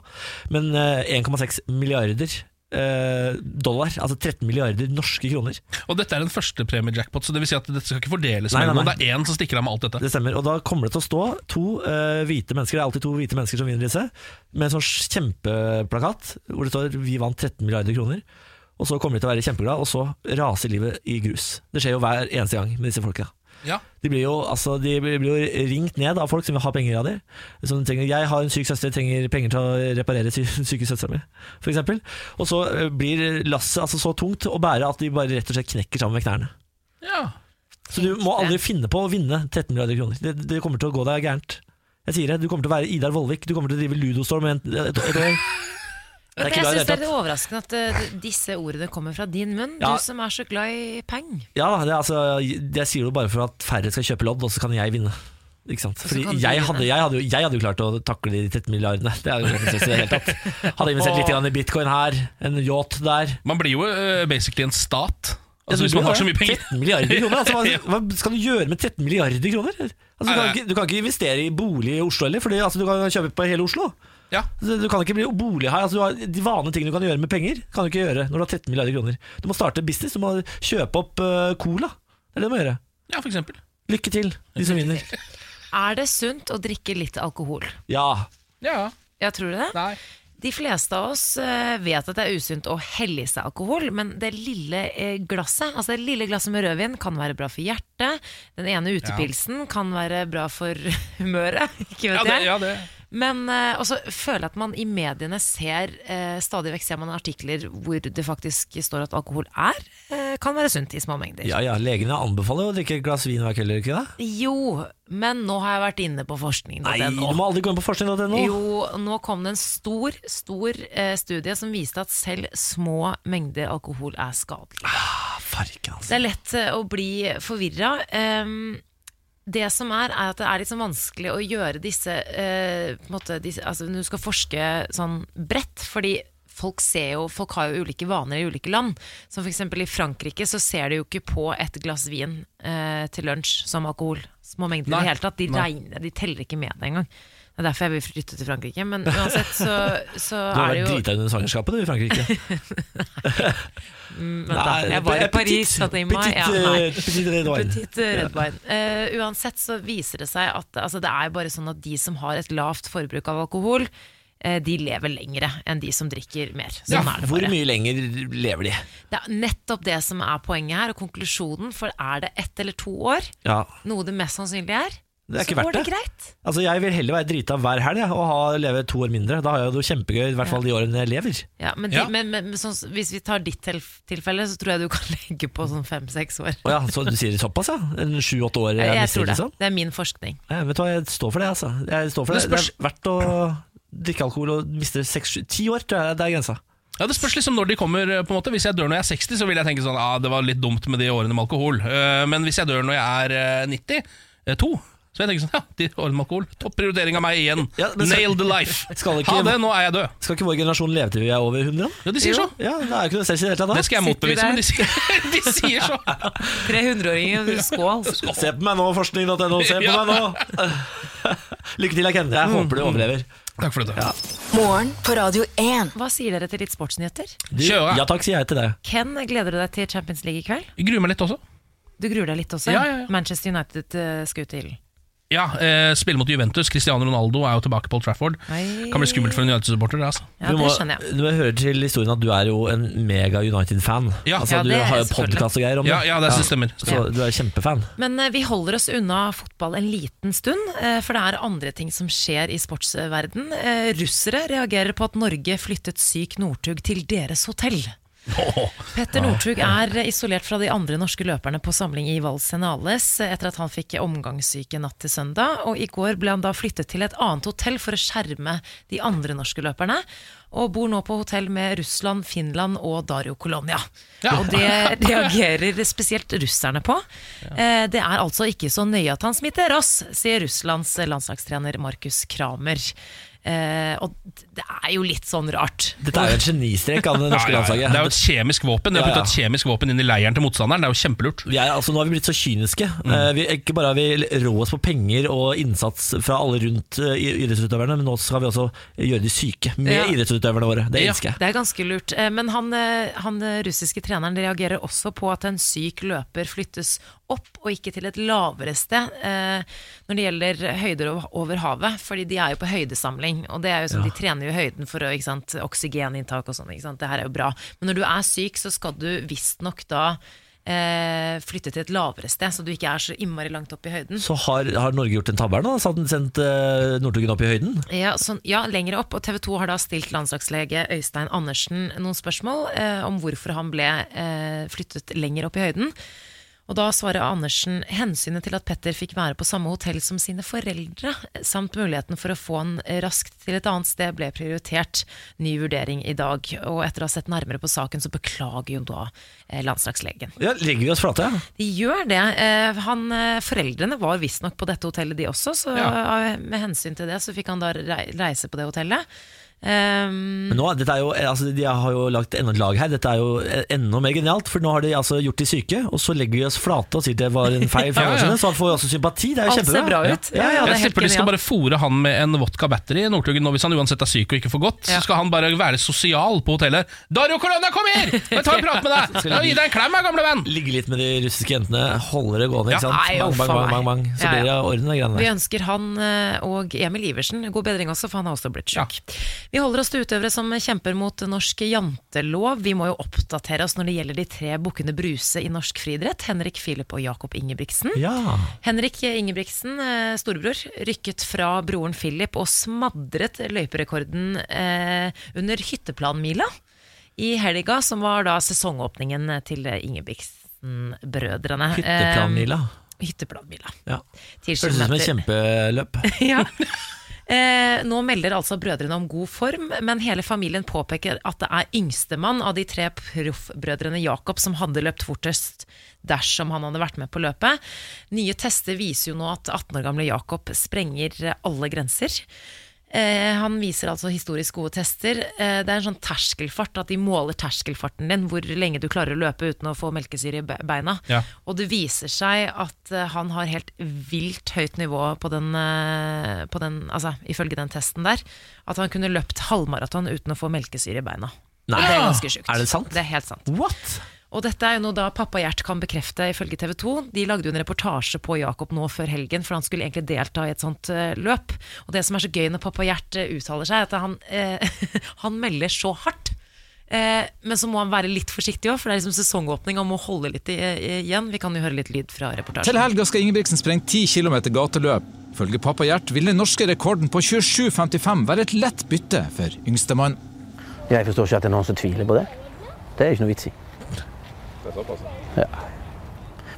S1: Men eh, 1,6 milliarder eh, dollar, altså 13 milliarder norske kroner,
S2: Og dette er en førstepremie-jackpot, så det vil si at dette skal ikke fordeles
S1: Nei, nei,
S2: mellom noen.
S1: nei.
S2: Det er én som stikker av med alt dette.
S1: det stemmer. Og da kommer det til å stå to eh, hvite mennesker, det er alltid to hvite mennesker som vinner disse, med en sånn kjempeplakat hvor det står 'Vi vant 13 milliarder kroner'. Og så kommer de til å være kjempeglade, og så raser livet i grus. Det skjer jo hver eneste gang med disse folka.
S2: Ja.
S1: De blir, jo, altså, de blir jo ringt ned av folk som vil ha penger av dem. Som trenger, jeg har en syk søster, jeg trenger penger til å reparere sy- syke søstera mi, f.eks. Og så eh, blir lasset altså, så tungt å bære at de bare rett og slett knekker sammen med knærne.
S2: ja.
S1: Så du må aldri finne på å vinne 13 milliarder kroner. Det, det kommer til å gå deg gærent. Jeg sier det, Du kommer til å være Idar Vollvik, du kommer til å drive Ludostorm i en- et, et, et år. Det
S3: Men
S1: er
S3: jeg
S1: ikke bra i det hele
S3: synes det er litt
S1: tatt.
S3: overraskende at eh, disse ordene kommer fra din munn,
S1: Ja.
S3: du som er så glad i peng.
S1: Ja, da, det, er altså, jeg sier det jo bare for at færre skal kjøpe lodd, og så kan jeg vinne. Ikke sant?
S3: så
S1: Fordi
S3: kan du
S1: jeg
S3: vinne.
S1: hadde, jeg, hadde jo, jeg hadde jo klart å takle de 13 milliardene. Det er jo ikke så det hele tatt. Hadde investert litt grann i bitcoin her, en yacht der.
S2: Man blir jo eh, basically en stat.
S1: Ja,
S2: Altså,
S1: du
S2: hvis man
S1: blir
S2: har
S1: det.
S2: så mye penger.
S1: 13 milliarder kroner, altså, hva, hva skal du gjøre med 13 milliarder kroner? Altså, du,
S2: Nei,
S1: kan
S2: nei.
S1: ikke, du kan ikke investere i bolig i Oslo heller, for altså, du kan kjøpe på hele Oslo.
S2: Ja.
S1: Du du kan ikke bli bolig her. Altså, du har de vanlige tingene du kan gjøre med penger, kan du ikke gjøre når du har 13 milliarder kroner. Du må starte business, du må kjøpe opp eh, cola. Det er det du må gjøre.
S2: ja, for eksempel.
S1: Lykke til, de som vinner.
S3: Er det sunt å drikke litt alkohol?
S1: Ja.
S2: Ja.
S3: Ja, tror du det?
S2: Nei.
S3: De fleste av oss eh, vet at det er usunt å helle i seg alkohol, men det lille eh, glasset altså det lille glasset med rødvin kan være bra for hjertet. Den ene utepilsen kan være bra for humøret. Ikke vet
S2: Ja, det,
S3: jeg.
S2: ja, det.
S3: Men eh, også føler jeg at man i mediene ser eh, stadig vekk ser man artikler hvor det faktisk står at alkohol er, eh, kan være sunt i små mengder.
S1: ja, ja, legene anbefaler jo å drikke et glass vin hver kveld, gjør de ikke det?
S3: Jo, men nå har jeg vært inne på forskningen.
S1: Nei, du må aldri gå inn på forskning.no.
S3: Jo, nå kom det en stor, stor eh, studie som viste at selv små mengder alkohol er skadelig.
S1: Farken, altså.
S3: Det er lett eh, å bli forvirra. Ehm, det som er, er at det er litt sånn vanskelig å gjøre disse, eh, på en måte, disse altså, Når du skal forske sånn bredt, fordi folk, ser jo, folk har jo ulike vaner i ulike land. Som f.eks. i Frankrike så ser de jo ikke på et glass vin eh, til lunsj som alkohol. Små mengder i
S2: Nei.
S3: det hele tatt. De
S2: Nei.
S3: regner, de teller ikke med det engang. Det er derfor jeg vil flytte til Frankrike. Men uansett så, så
S1: Du har
S3: er
S1: vært
S3: det jo
S1: drita under svangerskapet du, i Frankrike.
S3: Vent da,
S1: Nei,
S3: jeg var i
S1: petit-
S3: Paris 17. mai.
S1: Petit,
S3: Ja,
S1: eh,
S3: nei.
S1: petit red wine.
S3: Petit eh, red wine. Eh, uansett så viser det seg at altså, det er bare sånn at de som har et lavt forbruk av alkohol, eh, de lever lengre enn de som drikker mer. Sånn er det
S1: Hvor
S3: bare.
S1: mye lenger lever de?
S3: Det er nettopp det som er poenget her, og konklusjonen. For er det ett eller to år,
S1: Ja,
S3: noe det mest sannsynlig er,
S1: Det er ikke
S3: så
S1: verdt
S3: går det
S1: det.
S3: greit.
S1: altså Jeg vil heller være drita hver helg jeg, og ha, leve to år mindre. Da har jeg det jo kjempegøy, i hvert fall de årene jeg lever.
S3: Ja, men, de,
S2: Ja.
S3: men, men, men sånn, hvis vi tar ditt tilf- tilfelle, så tror jeg du kan legge på sånn fem-seks år.
S1: Å ja, så du sier det såpass, ja? En Sju-åtte år
S3: Jeg,
S1: jeg
S3: tror
S1: mister,
S3: det.
S1: liksom?
S3: Det er min forskning.
S1: Ja, vet du hva, jeg står for det, altså. Jeg står for det.
S2: Det
S1: Det
S2: spørs-
S1: er verdt å drikke alkohol og miste seks, sju, ti år, tror jeg det er grensa.
S2: Ja, Det spørs liksom når de kommer. eh, på en måte Hvis jeg dør når jeg er 60, så vil jeg tenke sånn ah, det var litt dumt med de årene med alkohol. Eh, Men hvis jeg dør når jeg er eh, 92, så vil jeg tenke sånn ja, de årene med alkohol. Topp prioritering av meg igjen.
S1: Ja, men så-
S2: Nail the life.
S1: Skal det ikke-
S2: Ha det, nå er jeg død.
S1: Skal ikke vår generasjon leve til vi er over 100? da?
S2: Ja, de sier så.
S1: Ja, det er jo ikke noe stress i det hele tatt.
S2: Det
S1: da.
S2: skal jeg
S3: Sitter du
S2: motbevise, men de sier, de sier så.
S3: 300-åringen, skål.
S1: Se på meg nå, forskning.no, se på
S2: Ja. Mm.
S1: meg nå! Lykke til, Ken. Jeg håper du overlever.
S2: Takk for dette.
S4: Morgen på Radio 1.
S3: Hva sier dere til litt sportsnyheter?
S1: Du,
S2: Kjøre.
S1: ja takk, sier jeg til deg.
S3: Ken, gleder du deg til Champions League i kveld?
S2: Jeg gruer meg litt også.
S3: Du gruer deg litt også?
S2: Ja, ja, ja.
S3: Manchester United eh, skal ut til
S2: Ja, eh, spille mot Juventus. Cristiano Ronaldo er jo tilbake på Old Trafford.
S3: Oi.
S2: Kan bli skummelt for en United-supporter. det, Altså.
S3: Ja,
S1: du må,
S3: det skjønner jeg.
S1: Du må høre til historien at du er jo en mega United-fan.
S2: Ja.
S1: altså,
S3: Ja,
S1: du
S3: det er
S1: har jo
S3: jeg selvfølgelig.
S1: podkast og greier om
S2: Ja, ja, det stemmer.
S1: Så du er kjempefan.
S3: Men eh, vi holder oss unna fotball en liten stund, eh, for det er andre ting som skjer i sportsverden. Eh, Russere reagerer på at Norge flyttet syk Northug til deres hotell.
S2: Åh,
S3: Petter Northug er isolert fra de andre norske løperne på samling i Val Senales etter at han fikk omgangssyke natt til søndag. Og I går ble han da flyttet til et annet hotell for å skjerme de andre norske løperne. Og bor nå på hotell med Russland, Finland og Dario Colonia.
S2: Ja.
S3: Og det reagerer spesielt russerne på. Eh, Det er altså ikke så nøye at han smitter oss, sier Russlands landslagstrener Markus Kramer. Eh, og det er jo litt sånn rart.
S1: Dette er jo en genistrek av det norske
S2: ja, ja, ja. Det er jo
S1: landslaget.
S2: et kjemisk våpen. De har
S1: Ja, ja.
S2: puttet et kjemisk våpen inn i leiren til motstanderen. Det er jo kjempelurt.
S1: Vi er, altså, nå har vi blitt så kyniske.
S2: Mm.
S1: Eh, vi, ikke bare har vi rå oss på penger og innsats fra alle rundt eh, i- idrettsutøverne, men nå skal vi også gjøre de syke med
S3: Ja.
S1: idrettsutøverne våre. Det
S2: Ja.
S1: elsker jeg.
S3: Det er ganske lurt. Eh, Men han, eh, han eh, russiske treneren reagerer også på at en syk løper flyttes opp og ikke til et lavere sted eh, når det gjelder høyder ov- over havet. Fordi de er jo på høydesamling, og det er jo sånn, de trener jo høyden for å, ikke sant, oksygeninntak og sånn. ikke sant? Det her er jo bra. Men når du er syk, så skal du visstnok da eh, flytte til et lavere sted, så du ikke er så innmari langt opp i høyden.
S1: Så har, har Norge gjort en tabbe her nå? Sendt, sendt eh, Northugen opp i høyden?
S3: Ja, sånn, ja, lenger opp. Og TV 2 har da stilt landslagslege Øystein Andersen noen spørsmål eh, om hvorfor han ble eh, flyttet lenger opp i høyden. Og da svarer Andersen hensynet til at Petter fikk være på samme hotell som sine foreldre, samt muligheten for å få han eh, raskt til et annet sted, ble prioritert. Ny vurdering i dag. Og etter å ha sett nærmere på saken, så beklager jo da eh, landslagslegen.
S1: Ja, legger vi oss flate?
S3: De gjør det. Eh, Han, eh, foreldrene var visstnok på dette hotellet, de også. Så eh, med hensyn til det, så fikk han da rei- reise på det hotellet. Ehm,
S1: Men nå, dette er jo, altså, De har jo lagt enda et lag her. Dette er jo eh, enda mer genialt. For nå har de altså gjort de syke, og så legger de oss flate og sier det var en feil. fra
S2: Ja,
S1: våre
S2: ja.
S1: sine, Så han får jo også sympati. Det er jo
S3: Alt ser
S1: kjempebra.
S3: bra ut.
S1: Ja, ja,
S3: det er
S2: Jeg
S3: helt
S2: tipper de skal
S3: genialt.
S2: bare fòre han med en vodka battery i Nordtuggen nå hvis han uansett er syk og ikke får gått.
S3: Ja.
S2: Så skal han bare være sosial på hotellet. 'Dario Colonna, kom her! Jeg tar en prat med deg! Jeg vil gi deg en klem, her, gamle venn!'
S1: Ligge litt med de russiske jentene, holde det gående.
S2: Ja,
S1: ikke sant?
S3: nei,
S1: bang,
S3: uff
S1: bang,
S3: a
S1: bang,
S3: meg.
S1: bang, bang. Så
S3: Ja, ja.
S1: blir det orden i de greiene
S3: vi
S1: der.
S3: ønsker han eh, og Emil Iversen god bedring også, for han har også blitt syk. Vi holder oss til utøvere som kjemper mot norsk jantelov. Vi må jo oppdatere oss når det gjelder de tre bukkene Bruse i norsk friidrett. Henrik Filip og Jakob Ingebrigtsen.
S1: Ja.
S3: Henrik Ingebrigtsen, eh, storebror, rykket fra broren Philip og smadret løyperekorden eh, under hytteplanmila i helga, som var da sesongåpningen til Ingebrigtsen-brødrene.
S1: Hytteplanmila.
S3: Eh, hytteplanmila.
S1: Ja.
S3: 10
S1: Høres ut som et
S3: kilometer.
S1: kjempeløp.
S3: Ja. Eh, nå melder altså brødrene om god form, men hele familien påpeker at det er yngstemann av de tre proffbrødrene Jakob som hadde løpt fortest dersom han hadde vært med på løpet. Nye tester viser jo nå at 18 år gamle Jakob sprenger alle grenser. Eh, han viser altså historisk gode tester. Eh, det er en sånn terskelfart, at de måler terskelfarten din, hvor lenge du klarer å løpe uten å få melkesyre i be- beina.
S2: Ja.
S3: Og det viser seg at eh, han har helt vilt høyt nivå på den, eh, på den altså, ifølge den testen der. At han kunne løpt halvmaraton uten å få melkesyre i beina.
S1: Nei.
S3: Og det er ganske sjukt.
S1: Er det sant?
S3: Det er helt sant.
S1: What?
S3: Og dette er jo noe da pappa Gjert kan bekrefte ifølge TV 2. De lagde jo en reportasje på Jakob nå før helgen, for han skulle egentlig delta i et sånt eh, løp. Og det som er så gøy når pappa Gjert eh, uttaler seg, er at han, eh, han melder så hardt. Eh, men så må han være litt forsiktig òg, for det er liksom sesongåpning og må holde litt i, i- igjen. Vi kan jo høre litt lyd fra reportasjen.
S5: Til helga skal Ingebrigtsen sprenge 10 km gateløp. Ifølge pappa Gjert vil den norske rekorden på 27,55 være et lett bytte for yngstemann.
S6: Jeg forstår ikke at det er noen som tviler på det. Det er ikke noe vits i. Ja.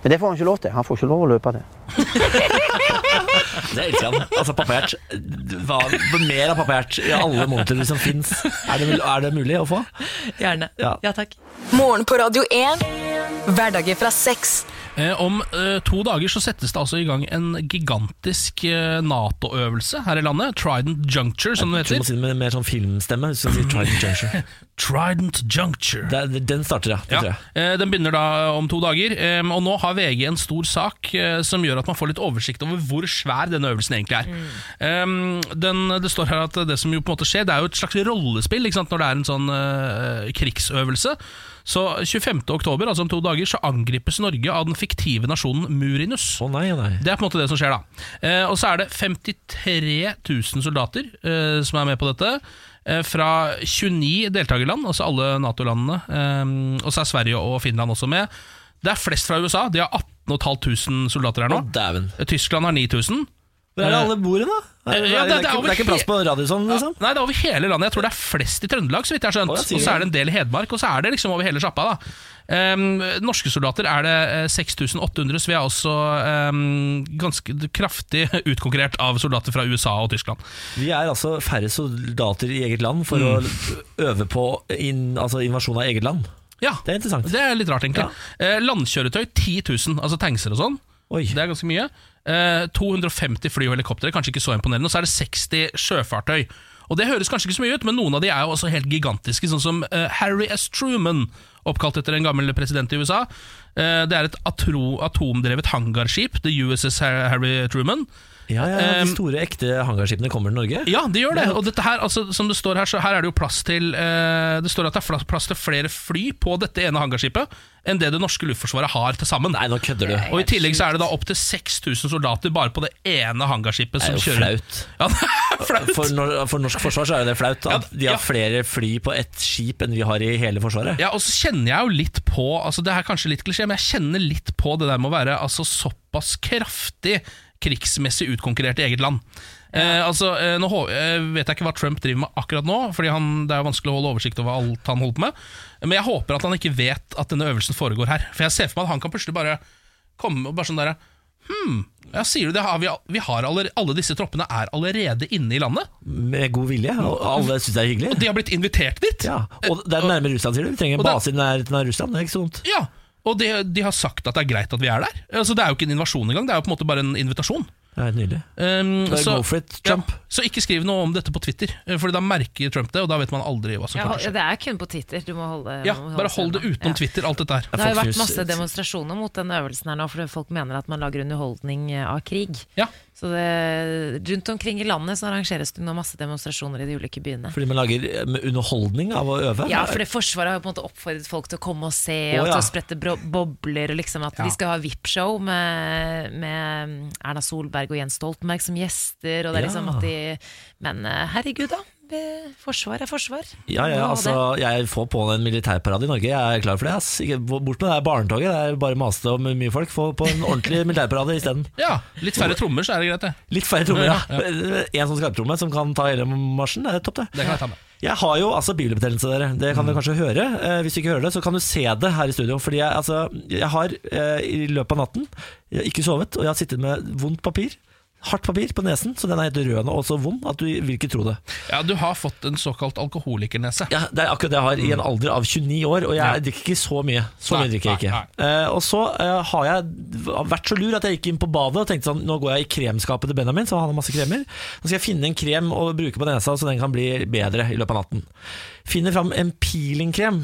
S6: Men det får han ikke lov til. Han får ikke lov å løpe det.
S1: Det elsker han. Altså, Pappahjert Hva mer av Pappahjert i alle monitorer som fins? Er, det- er det mulig å få?
S3: Gjerne.
S1: Ja.
S3: ja takk.
S4: Morgen på Radio 1. Hverdager fra seks.
S2: Eh, om eh, to dager så settes det altså i gang en gigantisk eh, Nato-øvelse her i landet. Trident Juncture, som den
S1: Du må
S2: heter.
S1: si det med mer sånn filmstemme. Som sier Trident Juncture.
S2: Trident Juncture.
S1: Det er- Den starter, ja. Det
S2: Ja,
S1: tror jeg.
S2: eh, Den begynner da om to dager, eh, og nå har VG en stor sak eh, som gjør at man får litt oversikt over hvor svær denne øvelsen egentlig er.
S1: Mm.
S2: Eh, Den, det står her at det som jo på en måte skjer, det er jo et slags rollespill ikke sant? når det er en sånn eh, krigsøvelse. Så 25. oktober, altså om to dager, så angripes Norge av den fiktive nasjonen Murinus.
S1: Å nei, nei.
S2: Det er på en måte det som skjer, da. Eh, og så er det 53 000 soldater eh, som er med på dette. Eh, fra 29 deltakerland, altså alle Nato-landene. Eh, og så er Sverige og Finland også med. Det er flest fra USA. De har 18 500 soldater her nå.
S1: Å, dæven.
S2: Eh, Tyskland har 9000.
S1: Hvor er det alle bor hen, da?
S2: Ja,
S1: Er,
S2: det-
S1: er,
S2: det er
S1: ikke-
S2: over
S1: det er ikke plass
S2: he-
S1: på Radisson,
S2: Ja,
S1: liksom?
S2: Nei, det er over hele landet. Jeg tror det er flest i Trøndelag, så vidt jeg har skjønt.
S1: Å, ja, sier
S2: og så
S1: du.
S2: er det en del i Hedmark, og så er det liksom over hele sjappa, da. Ehm, norske soldater er det eh, 6800, så vi er også ehm, ganske kraftig utkonkurrert av soldater fra USA og Tyskland.
S1: Vi er altså færre soldater i eget land for
S2: Mm.
S1: å øve på inn, altså invasjon av eget land.
S2: Ja,
S1: Det er interessant.
S2: det er litt rart, egentlig. Eh, landkjøretøy 10 000, altså tankser og sånn.
S1: Oi.
S2: Det er ganske mye. Eh, 250 fly og helikoptre, kanskje ikke så imponerende. Og så er det 60 sjøfartøy. Og Det høres kanskje ikke så mye ut, men noen av de er jo også helt gigantiske, sånn som eh, Harry S. Truman, oppkalt etter en gammel president i USA. Eh, det er et atro, atomdrevet hangarskip, The USS Har- Harry Truman.
S1: Ja, ja, ja,
S2: Ehm,
S1: De store, ekte hangarskipene kommer til Norge.
S2: Ja, det gjør det. Og dette her, altså, som det står her, så her er det jo plass til eh, Det står at det er fla- plass til flere fly på dette ene hangarskipet enn det det norske luftforsvaret har til sammen.
S1: Nei, nå kødder du.
S2: Og I tillegg så er det da opptil 6000 soldater bare på det ene hangarskipet som
S1: Det er jo
S2: kjører
S1: flaut.
S2: Ja, det er flaut.
S1: For, nor for norsk forsvar så er det flaut at
S2: Ja,
S1: de har
S2: ja.
S1: flere fly på ett skip enn vi har i hele Forsvaret.
S2: Ja, og så kjenner jeg jo litt på Altså Det er kanskje litt klisjé, men jeg kjenner litt på det der med å være altså, såpass kraftig krigsmessig utkonkurrert i eget land. Eh, altså, eh, nå hå- eh, vet jeg ikke hva Trump driver med akkurat nå, Fordi han, det er jo vanskelig å holde oversikt over alt han holder på med. Men jeg håper at han ikke vet at denne øvelsen foregår her. For jeg ser for meg at han kan plutselig bare komme og bare sånn derre Hm, ja, sier du det? Har vi, vi har aller, alle disse troppene er allerede inne i landet.
S1: Med god vilje. Og alle syns det er hyggelig.
S2: De har blitt invitert dit.
S1: Ja, og det er nærmere Russland, sier du. Vi trenger en
S2: og det-
S1: base i nærheten av Russland. Det er ikke så vondt.
S2: Ja, og de, de har sagt at det er greit at vi er der. Altså, det er jo ikke en invasjon engang, det er jo på en måte bare en invitasjon.
S1: Det er helt nydelig.
S2: Um,
S1: Da go for it, Trump.
S2: Ja, så ikke skriv noe om dette på Twitter, eh, Fordi da merker Trump det, og da vet man aldri hva som
S3: Ja,
S2: kommer til å skje.
S3: det er kun på Twitter. Du må holde
S2: Ja,
S3: må holde
S2: bare
S3: seg
S2: hold det
S3: unna.
S2: utenom
S3: Ja.
S2: Twitter, alt dette her.
S3: Det har jo
S1: Fox
S3: vært
S1: News-
S3: masse demonstrasjoner mot denne øvelsen her nå, for folk mener at man lager underholdning eh, av krig.
S2: Ja,
S3: Så det, rundt omkring i landet så arrangeres det nå masse demonstrasjoner i de ulike byene.
S1: Fordi man lager eh, med underholdning av å øve?
S3: Ja, for det Forsvaret har jo på en måte oppfordret folk til å komme og se,
S1: Å,
S3: og
S1: ja.
S3: til å sprette bro bobler. Og liksom at Vi skal ha VIP-show med, med mm, Erna Solberg og Jens Stoltenberg som gjester. Og det
S1: Ja.
S3: er liksom at de, men eh, herregud, da. det- Forsvar er forsvar.
S1: ja, ja,
S3: Må ha
S1: altså,
S3: det.
S1: jeg får på en militærparade i Norge. Jeg er klar for det. Ass. Ikke, bort med det her barnetoget. Det er bare masete om mye folk. Få på en ordentlig militærparade isteden.
S2: ja Litt færre trommer, så er det greit, det.
S1: Litt færre trommer, ja. En sånn skarptromme som kan ta hele marsjen. Det er topp,
S2: Det
S1: det.
S2: kan jeg ta med.
S1: Jeg har jo altså bibelbetennelse, dere. Det kan dere kanskje høre. Eh, hvis du ikke hører det, så kan du se det her i studio. Fordi jeg, altså, jeg har eh, i løpet av natten jeg har ikke sovet, og jeg har sittet med vondt papir. Hardt papir på nesen, så den er helt rød nå, og så vond at du vil ikke tro det.
S2: Ja, Du har fått en såkalt alkoholikernese.
S1: Ja, det er akkurat det jeg har i en alder av 29 år, og jeg drikker ikke så mye. Så
S2: Mm. Nei,
S1: mye drikker jeg
S2: nei,
S1: ikke. Eh, og så eh, har jeg vært så lur at jeg gikk inn på badet og tenkte sånn, nå går jeg i kremskapet til Benjamin, så han har masse kremer. Nå skal jeg finne en krem å bruke på nesa, så den kan bli bedre i løpet av natten. Finner fram en peelingkrem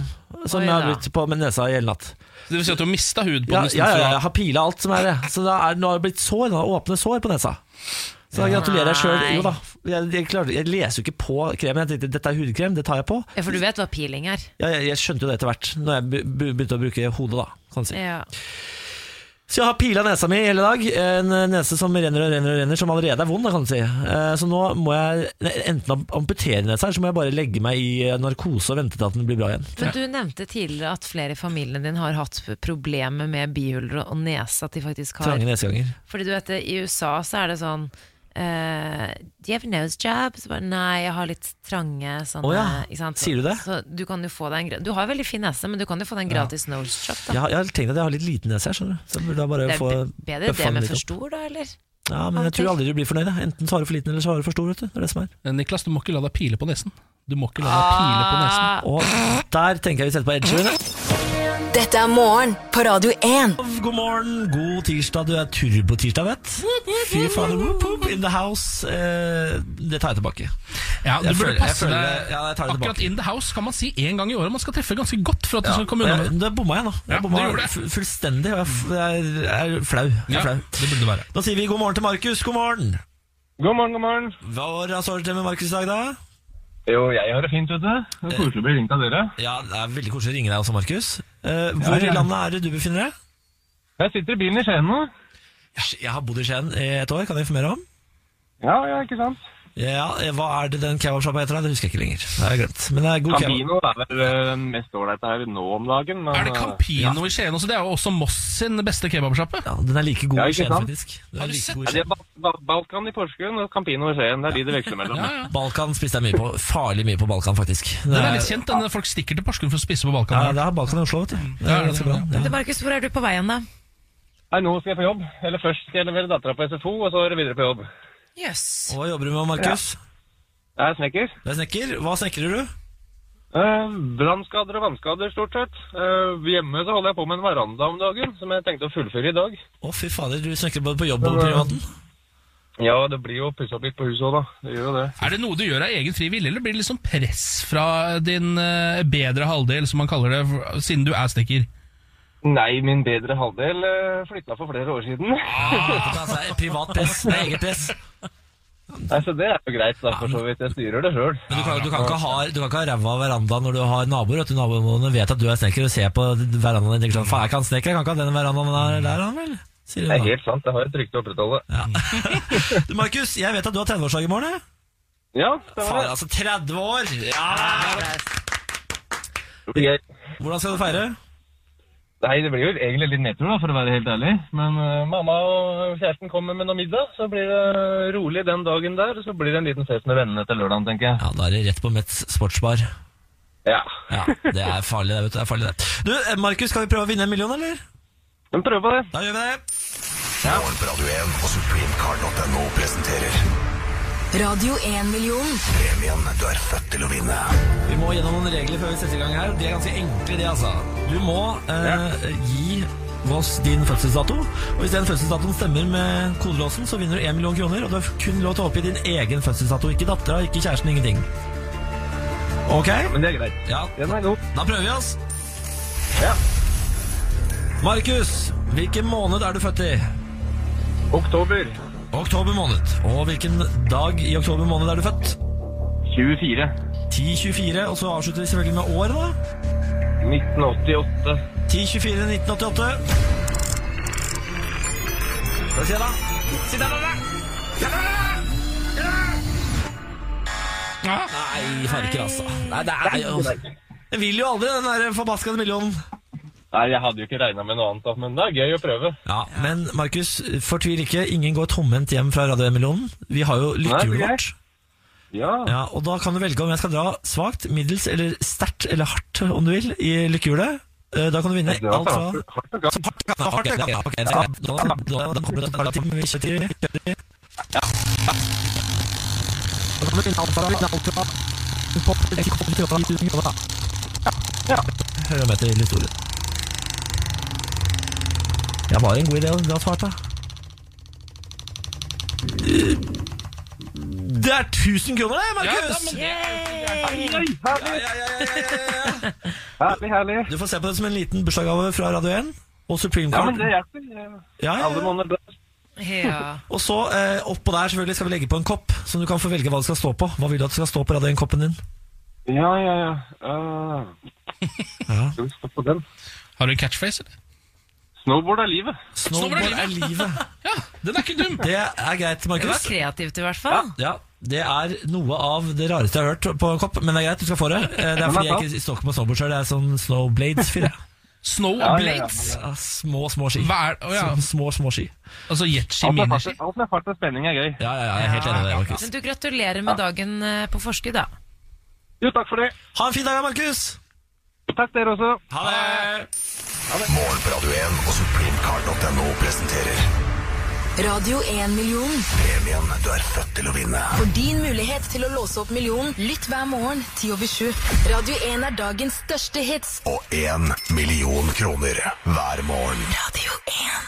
S1: som
S3: Oi
S1: jeg har
S3: da.
S1: brukt på med nesa i hele natt.
S2: Det vil si at du har mista hud på
S1: Ja,
S2: den.
S1: ja, ja,
S2: Ja,
S1: jeg har pila alt som er det. Så da er, nå har det blitt sår, nå har det åpne sår på nesa. Så da gratulerer jeg sjøl.
S3: Nei.
S1: Jo da. Jeg, jeg, klarte- jeg leser jo ikke på kremen. Jeg tenkte dette er hudkrem, det tar jeg på.
S3: Ja, For du vet hva peeling er?
S1: Ja, jeg, jeg skjønte jo det etter hvert, når jeg be- be- begynte å bruke hodet. da kan du si.
S3: Ja.
S1: Så jeg har pila nesa mi hele dag. En nese som renner og renner, og renner som allerede er vond. da kan du si. Eh, Så nå må jeg enten amputere nesa, eller så må jeg bare legge meg i eh, narkose og vente til at den blir bra igjen.
S3: Men du nevnte tidligere at flere i familien din har hatt problemer med bihuler og nese. At de faktisk har
S1: Trange neseganger.
S3: Fordi du vet, det, i USA så er det sånn eh, Do you have a nose job? Så bare, Nei, jeg har litt trange sånne
S1: Å ja,
S3: ikke sant?
S1: sier du det?
S3: Så du kan jo få deg en gra- Du har veldig fin nese, men du kan jo få deg en gratis nose job. Da.
S1: Jeg har, jeg har tenkt at jeg har litt liten nese her, skjønner du. Så jeg burde da bare
S3: det er
S1: få
S3: be- bedre
S1: bøffa
S3: det
S1: den
S3: med
S1: litt
S3: for
S1: opp.
S3: stor, da, eller?
S1: Ja, men jeg tror aldri du blir fornøyd. da. Enten så har du for liten, eller så har du for stor. vet du. Det er det som er.
S2: Niklas, du må ikke la deg pile på nesen. Du må ikke la deg pile på nesen.
S3: Ah.
S1: Og der tenker jeg vi setter på edgen.
S4: Dette er morgen på Radio 1.
S1: God morgen, god tirsdag. Du er turbotirsdag, vet Fy fader, whoop, whoop, in the house. Eh, det tar jeg tilbake.
S2: Ja, du
S1: Jeg
S2: burde
S1: føler- jeg
S2: passe
S1: føler-
S2: deg
S1: ja, jeg tar det
S2: Akkurat
S1: tilbake.
S2: in the house kan man si én gang i året. Man skal treffe ganske godt for at du skal komme unna med det.
S1: Det bomma jeg nå.
S2: Ja,
S1: Jeg bomma
S2: det gjorde jeg.
S1: fu- fullstendig. og Jeg f- jeg er, jeg er flau. Jeg
S2: Ja,
S1: er flau.
S2: det burde det være.
S1: Da sier vi god morgen til Markus. God morgen.
S7: God morgen, god morgen.
S1: Hva har det med Markus i dag, da?
S7: Jo, jeg har det fint, vet du.
S2: Eh.
S7: Det er Koselig å bli ringt av dere.
S1: Ja, Det er veldig koselig å ringe deg også, Markus. Eh, hvor i landet er det du befinner deg?
S7: Jeg sitter i bilen i Skien nå.
S1: Jeg har bodd i Skien i et år, kan jeg informere om?
S7: Ja, ja, ikke sant?
S1: Ja, eh, Hva er det den kebabsjappa heter? da? Det husker jeg ikke lenger. Det har jeg glemt. Men det er god kebab.
S7: Campino er vel eh, den mest ålreite her nå om dagen. Men,
S2: Er det Campino i Skien også? Det er jo også Moss sin beste kebabsjappe.
S1: Ja, den er like god
S7: Ja,
S1: i
S7: ikke
S1: Skien,
S7: sant?
S1: faktisk. Den er
S2: Har du
S1: like
S2: sett
S1: god i
S7: eh,
S1: Skien.
S7: det er ba ba Balkan i Porsgrunn og Campino i Skien. Det er de det veksler mellom.
S2: Ja, ja.
S1: Balkan spiste jeg mye på. Farlig mye på Balkan, faktisk. Det
S2: Den er litt kjent, den folk stikker til Porsgrunn for å spise på
S1: ja,
S2: Balkan.
S1: det er Balkan i Oslo, vet du. Det
S2: Ja,
S1: er ganske bra. Ja.
S3: Du, Markus, hvor er du på vei hen, da?
S7: Nei, nå skal jeg på jobb. Eller først skal jeg levere dattera på SFO, og så er det videre på jobb.
S3: Jøss.
S1: Hva jobber du med, Markus?
S7: Jeg er snekker.
S1: Du er snekker. Hva snekrer du?
S7: Eh, Brannskader og vannskader, stort sett. Eh, hjemme så holder jeg på med en veranda om dagen, som jeg tenkte å fullføre i dag.
S1: Å, fy fader, du snekrer både på jobb og på privaten.
S7: Ja, det blir jo pussa opp litt på huset òg, da. Det gjør jo det.
S2: Er det noe du gjør av egen fri vilje, eller blir det liksom press fra din eh, bedre halvdel, som man kaller det, for- siden du er snekker?
S7: Nei, min bedre halvdel eh, flytta for flere år siden.
S1: Altså, privat press. Det er eget press.
S7: Nei, så det er jo greit, da, for så vidt. Jeg styrer det sjøl.
S1: Men du kan, du kan ikke ha du kan ikke ha ræva av verandaen når du har naboer. At naboene vet at du er snekker og ser på verandaen din og tenker sånn Faen, jeg kan snekker, jeg kan ikke ha den verandaen der, der han vel? Sier
S7: Det er
S1: hun da.
S7: helt sant. Jeg har et rykte å opprettholde.
S1: Du, Markus, jeg vet at du har 30-årsdag i morgen. jeg.
S7: Ja,
S1: Faen,
S7: stemmer det.
S1: altså 30 år! Ja!
S7: Det blir gøy.
S1: Hvordan skal du feire?
S7: Nei, det blir jo egentlig litt nedtur, da, for å være helt ærlig. Men eh, mamma og kjæresten kommer med noe middag, så blir det rolig den dagen der. Så blir det en liten fest med vennene til lørdagen, tenker jeg.
S1: Ja, Da er det rett på Metz sportsbar.
S7: Ja.
S1: Ja, Det er farlig, det. vet du, det er farlig det. Du, eh, Markus, skal vi prøve å vinne en million, eller?
S7: Men prøv på det.
S1: Da gjør vi det.
S8: Morgen på Radio 1 og supremecard.no presenterer
S4: Radio 1-million.
S8: premien du er født til å vinne.
S1: Vi må gjennom noen regler før vi setter i gang her. De er ganske enkle, de, altså. Du må eh, gi oss din fødselsdato. Og hvis den fødselsdatoen stemmer med kodelåsen, så vinner du 1 million kroner. Og du har kun lov til å oppgi din egen fødselsdato. Ikke dattera, ikke kjæresten, ingenting. Ok?
S7: Men det er greit.
S1: Ja,
S7: Den er god.
S1: da prøver vi oss.
S7: Ja.
S1: Markus, hvilken måned er du født i?
S7: Oktober
S1: Oktober måned. Og hvilken dag i oktober måned er du født?
S7: 24.
S1: 1024, og så avslutter vi selvfølgelig med året, da.
S7: 1988.
S1: 1024 1988. Skal vi se, da. Sitt der, da, da!
S2: Ja.
S1: Nei, farker, altså. Nei, det er jo Jeg vil jo aldri den der forbaskede millionen.
S7: Nei, jeg hadde jo ikke regna med noe annet, da, men det er gøy å prøve.
S1: Ja, Men Markus, fortvil ikke. Ingen går tomhendt hjem fra Radio 1-millionen. Vi har jo lyttehjulet
S7: Nei, det er
S1: vårt.
S7: Ja.
S1: Ja, og da kan du velge om jeg skal dra svakt, middels eller sterkt eller hardt, om du vil, i lykkehjulet. Eh, Da kan du vinne
S7: Det var
S1: alt fra
S7: hardt- hardt og galt.
S1: Hardt, ja, ok, ok. Da- da- da- da kommer det til å ta litt tid, men vi kjører- kjører. Ja. Da kan du vinne alt fra- vinne alt fra- på- til- til- til- til- til- til- til- da. Ja. Hører med til historien. Ja, var det en god idé å dra svart, da? Det er 1000 kroner, det, Markus! Ja, ja, ja, ja, ja, ja.
S7: Herlig, herlig.
S1: Du får se på det som en liten bursdagsgave fra Radio 1 og Supreme
S7: Ja,
S1: Court.
S7: men det hjelper.
S1: Ja, ja,
S7: Alle
S1: ja.
S7: måneder bra.
S3: Ja.
S1: Og så eh, oppå der selvfølgelig skal vi legge på en kopp, så du kan få velge hva det skal stå på. Hva vil du at det skal stå på Radio 1-koppen din?
S7: Ja, ja, ja. Eh, Skal vi stå på den?
S2: Har du en catchphrase, eller?
S7: Snowboard er livet.
S1: Snowboard er livet.
S2: Ja, den er ikke dum!
S1: Det er greit,
S3: Det var
S1: Markus.
S3: kreativt, i hvert fall.
S1: Ja, det er noe av det rareste jeg har hørt på en kopp, men det er greit, du skal få det. Eh, Det er fordi jeg ikke står ikke på snowboard sjøl, det er sånn snowblades-fyr. jeg.
S2: Snowblades.
S1: Ja, små, små ski.
S2: Hva er, å ja.
S1: Sånn Små, små ski.
S2: Altså jetski,
S7: Alt er
S2: miniski.
S7: fart- alt med fart og spenning er gøy.
S1: Ja, ja, ja, jeg er helt enig med deg, Markus.
S3: Men du, gratulerer med dagen eh, på forskudd, da.
S7: Jo, takk for det.
S1: Ha en fin dag, da, Markus!
S7: Takk dere også.
S1: Ha det!
S8: Morgen på Radio 1 og supremecard.no presenterer
S4: Radio 1-million.
S8: premien du er født til å vinne.
S4: For din mulighet til å låse opp millionen, lytt hver morgen 10 over 7. Radio 1 er dagens største hits.
S8: Og én million kroner hver morgen.
S4: Radio 1.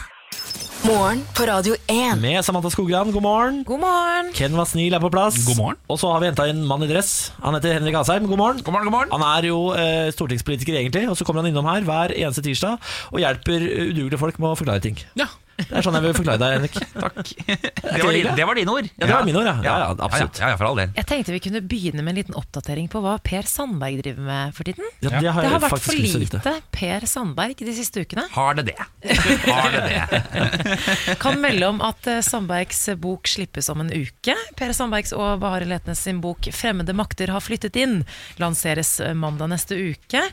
S4: Morgen på Radio 1.
S1: Med Samantha Skogran, god morgen.
S3: God morgen!
S1: Ken Vasnil er på plass.
S2: God morgen.
S1: Og så har vi henta en mann i dress. Han heter Henrik Asheim. God morgen.
S2: God morgen, god morgen.
S1: Han er jo eh, stortingspolitiker egentlig, og så kommer han innom her hver eneste tirsdag og hjelper eh, udugelige folk med å forklare ting.
S2: Ja,
S1: Det er sånn jeg vil forklare deg, Henrik.
S7: Takk.
S1: ikke
S7: Det var, din,
S1: hyggelig?
S7: det var dine ord.
S1: Ja, det var mine ord, ja. Ja, ja, absolutt.
S7: Ja, ja, ja, for all del.
S3: Jeg tenkte vi kunne begynne med en liten oppdatering på hva Per Sandberg driver med for tiden.
S1: Ja, det har
S3: Det
S1: jeg
S3: har vært
S1: faktisk
S3: for
S1: lyst til å vite.
S3: lite Per Sandberg de siste ukene.
S7: Har det det? Har det det?
S3: Kan melde om at eh, Sandbergs bok slippes om en uke. Per Sandbergs og Bahare Letnes sin bok 'Fremmede makter har flyttet inn' lanseres eh, mandag neste uke.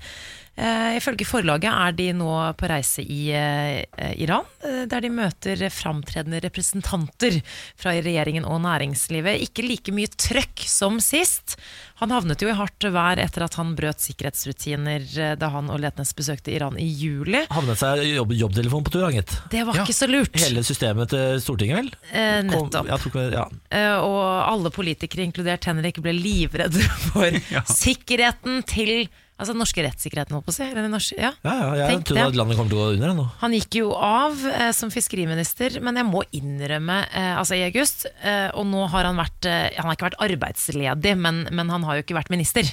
S3: Eh, ifølge forlaget er de nå på reise i eh, eh, Iran, eh, der de møter framtredende representanter fra regjeringen og næringslivet. Ikke like mye trøkk som sist. Han havnet jo i hardt vær etter at han brøt sikkerhetsrutiner eh, da han og Letnes besøkte Iran i juli.
S1: Havnet seg jobb, jobbtelefon på tur, han, gitt.
S3: Det var ikke så lurt.
S1: Hele systemet til Stortinget, vel?
S3: Eh, nettopp.
S1: Kom, ja, tok, ja.
S3: Eh, og alle politikere, inkludert Henrik, ble livredde for sikkerheten til Altså den norske rettssikkerheten, holdt på å si. Eller den norske, ja.
S1: Ja, ja, jeg
S3: Tenk
S1: trodde
S3: det.
S1: at landet kom til å gå under jeg, nå.
S3: Han gikk jo av eh, som fiskeriminister, men jeg må innrømme eh, Altså i august, eh, og nå har han vært eh, Han har ikke vært arbeidsledig, men, men han har jo ikke vært minister.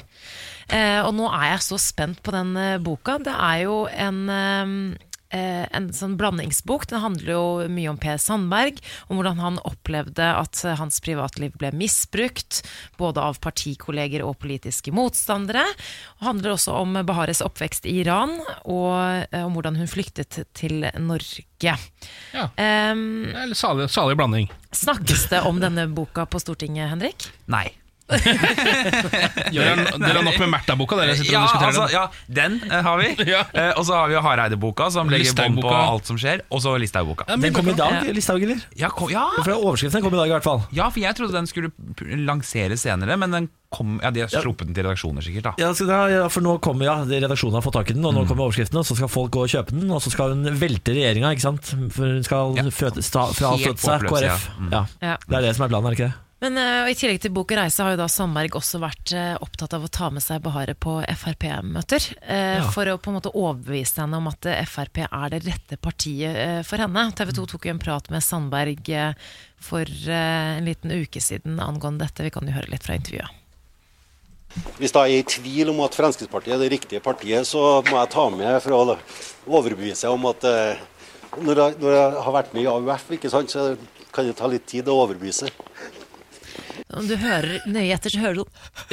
S3: Eh, og nå er jeg så spent på den eh, boka. Det er jo en eh, eh, en sånn blandingsbok. Den handler jo mye om Per Sandberg, om hvordan han opplevde at eh, hans privatliv ble misbrukt, både av partikolleger og politiske motstandere. Og handler også om Bahares oppvekst i Iran, og eh, om hvordan hun flyktet til Norge.
S2: Ja.
S3: Ehm,
S2: Det er litt salig, salig blanding.
S3: snakkes det om denne boka på Stortinget, Henrik?
S7: Nei.
S2: Dere har- dere har nok med Märtha-boka, dere sitter
S7: Ja,
S2: og diskuterer
S7: altså,
S2: den.
S7: ja, den eh, har vi.
S2: Ja.
S7: Eh, og så har vi jo Hareide-boka, som legger bånd på
S2: Listhaug-boka.
S7: alt som skjer. Og så Listhaug-boka.
S2: Ja, men-
S1: Den kom i dag, Listhaug, eller?
S7: Ja, kom- ja.
S1: For overskriften kom i dag, i hvert fall.
S7: ja, for jeg trodde den skulle p- lanseres senere, men den kom, ja, de har sluppet den til redaksjoner, sikkert. da
S1: Ja, så da, ja, for nå kommer ja, redaksjonen har fått tak i den, og
S7: Mm.
S1: nå kommer overskriften, og så skal folk gå og kjøpe den, og så skal hun velte regjeringa, ikke sant? For hun skal
S7: Ja.
S1: føte, sta,
S7: Helt
S1: fraføte seg
S7: håpløs, ja.
S1: KrF.
S7: Mm.
S1: Ja.
S3: Ja.
S1: Det er det som er planen, er det ikke det?
S3: Men eh, og I tillegg til Bok og reise har jo da Sandberg også vært eh, opptatt av å ta med seg Bahareh på Frp-møter. eh,
S1: Ja.
S3: For å på en måte overbevise henne om at eh, Frp er det rette partiet eh, for henne. TV 2 tok jo en prat med Sandberg eh, for eh, en liten uke siden angående dette. Vi kan jo høre litt fra intervjuet.
S9: Hvis da jeg er i tvil om at Fremskrittspartiet er det riktige partiet, så må jeg ta med for å overbevise om at eh, når jeg, når jeg har vært med i AUF, ikke sant, så kan det ta litt tid å overbevise.
S3: Om du hører nøye etter, så hører du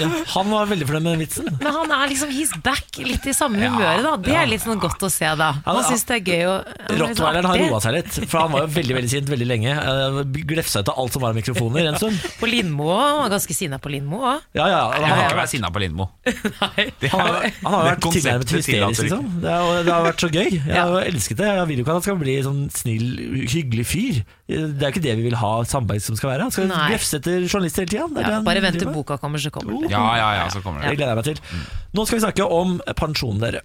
S1: Ja, han var veldig fornøyd med den vitsen.
S3: Men han er liksom he's back, litt i samme humøret, da. Det er litt sånn godt å se, da. Han
S1: ja.
S3: syns det er gøy å han er litt sånn
S1: Rottweileren har
S3: artig.
S1: roa seg litt, for han var jo veldig veldig sint veldig lenge. Eh, Glefsa ut av alt som var av mikrofoner en stund.
S3: På Lindmo òg. Han var ganske sinna på Lindmo òg.
S1: Ja, ja,
S7: Jeg
S1: han
S7: kan
S1: har
S7: ikke være sinna på Lindmo. Det
S1: Han har,
S7: er-
S1: han har
S7: det
S1: vært
S7: konseptet
S1: tilnærmet hysterisk,
S7: tillater ikke.
S1: liksom. Det, er, jo- det har vært så gøy. Jeg har jo elsket det. Jeg vil jo ikke at han skal bli sånn snill, hyggelig fyr. Det er jo ikke det vi vil ha Sandberg som skal være. Han skal
S3: Nei.
S1: glefse etter journalister hele tida.
S3: Ja, bare vent til boka kommer, så kommer det.
S7: Ja, ja, ja, så kommer
S1: Det
S7: det.
S1: gleder jeg meg til. Nå skal vi snakke om pensjonen dere.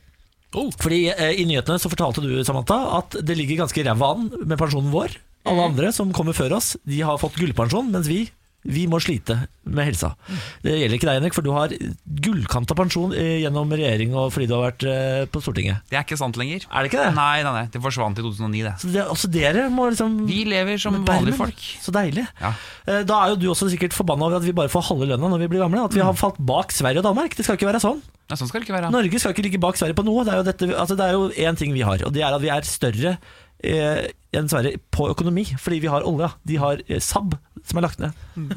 S7: Oh.
S1: Fordi eh, I nyhetene så fortalte du Samantha, at det ligger ganske ræva an med pensjonen vår. Alle andre som kommer før oss, de har fått gullpensjon, mens vi vi må slite med helsa.
S7: Mm.
S1: Det gjelder ikke deg, Henrik, for du har gullkanta pensjon eh, gjennom regjering og fordi du har vært eh, på Stortinget.
S7: Det er ikke sant lenger.
S1: Er det ikke det?
S7: Nei, nei, nei, det forsvant i 2009, det.
S1: Så det, også dere må liksom
S7: Vi lever som
S1: Bermen,
S7: vanlige folk.
S1: Så deilig.
S7: Ja.
S1: Eh, Da er jo du også sikkert forbanna over at vi bare får halve lønna når vi blir gamle. At vi har falt bak Sverige og Danmark. Det skal ikke være sånn.
S7: Nei, Mm. sånn skal det ikke være.
S1: Norge skal ikke ligge bak Sverige på noe. Det er jo, dette, altså det er jo én ting vi har, og det er at vi er større eh, enn Sverige på økonomi, fordi vi har olja. De har eh, SAB, som er lagt ned.
S7: Mm.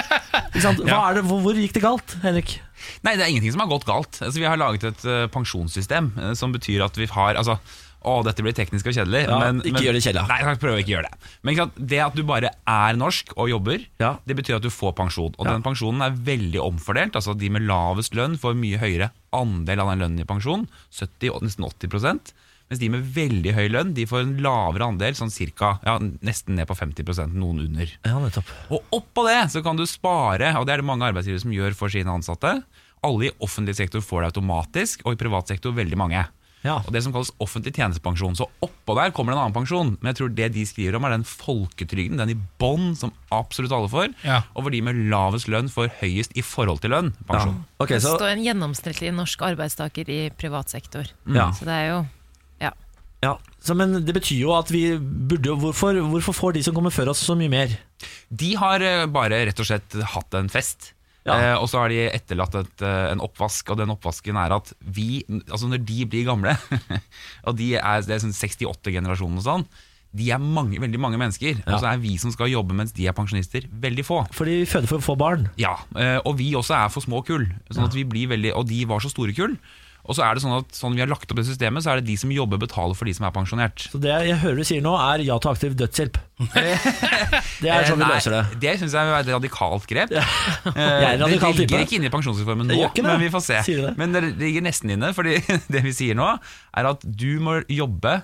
S1: ikke sant? Hva er det, hvor, hvor gikk det galt, Henrik?
S7: Nei, det er ingenting som har gått galt. Altså, vi har laget et eh, pensjonssystem eh, som betyr at vi har altså, å, dette blir teknisk og kjedelig.
S1: Ja,
S7: men,
S1: ikke
S7: men,
S1: gjør det kjedelig.
S7: Nei, jeg prøver å ikke gjøre det. Men ikke sant? det at du bare er norsk og jobber,
S1: Ja.
S7: det betyr at du får pensjon. Og
S1: Ja.
S7: den pensjonen er veldig omfordelt. Altså De med lavest lønn får mye høyere andel av den lønnen i pensjon. 70, og nesten 80 Mens de med veldig høy lønn de får en lavere andel, sånn cirka, ja, nesten ned på 50 noen under.
S1: Ja, nettopp.
S7: Og oppå det så kan du spare, og det er det mange arbeidsgivere som gjør for sine ansatte. Alle i offentlig sektor får det automatisk, og i privat sektor veldig mange.
S1: Ja.
S7: Og Det som kalles offentlig tjenestepensjon. Så oppå der kommer det en annen pensjon. Men jeg tror det de skriver om, er den folketrygden, den i bånn, som absolutt alle får.
S2: Ja.
S7: Og hvor de med lavest lønn får høyest i forhold til lønn. Pensjon.
S1: Ok,
S3: Det
S1: så
S3: står en gjennomsnittlig norsk arbeidstaker i privat sektor.
S1: Ja.
S7: Mm.
S3: Så det er jo ja.
S1: ja. Så, Men det betyr jo at vi burde jo Hvorfor, hvorfor får de som kommer før oss, så mye mer?
S7: De har eh, bare rett og slett hatt en fest.
S1: Ja.
S7: Eh, og så har de etterlatt et, eh, en oppvask, og den oppvasken er at vi, altså når de blir gamle, og de er, det er sånn 68-generasjonen og sånn, de er mange, veldig mange mennesker. Og så er vi som skal jobbe mens de er pensjonister, veldig få.
S1: Fordi vi føder for å få barn.
S7: Ja, eh, og vi også er for små kull. Sånn at vi blir veldig, og de var så store kull. Og så er det sånn at sånn vi har lagt opp det systemet, så er det de som jobber, betaler for de som er pensjonert.
S1: Så det jeg hører du sier nå, er ja til aktiv dødshjelp. Det er
S7: Eh,
S1: sånn vi
S7: nei,
S1: løser det.
S7: Det syns jeg er et radikalt grep. Eh,
S1: Jeg er en radikal
S7: det ligger
S1: type.
S7: ikke inne i pensjonsreformen nå,
S1: Det gjør ikke det.
S7: men vi får se.
S1: Sier du det?
S7: Men det ligger nesten inne, Fordi det vi sier nå, er at du må jobbe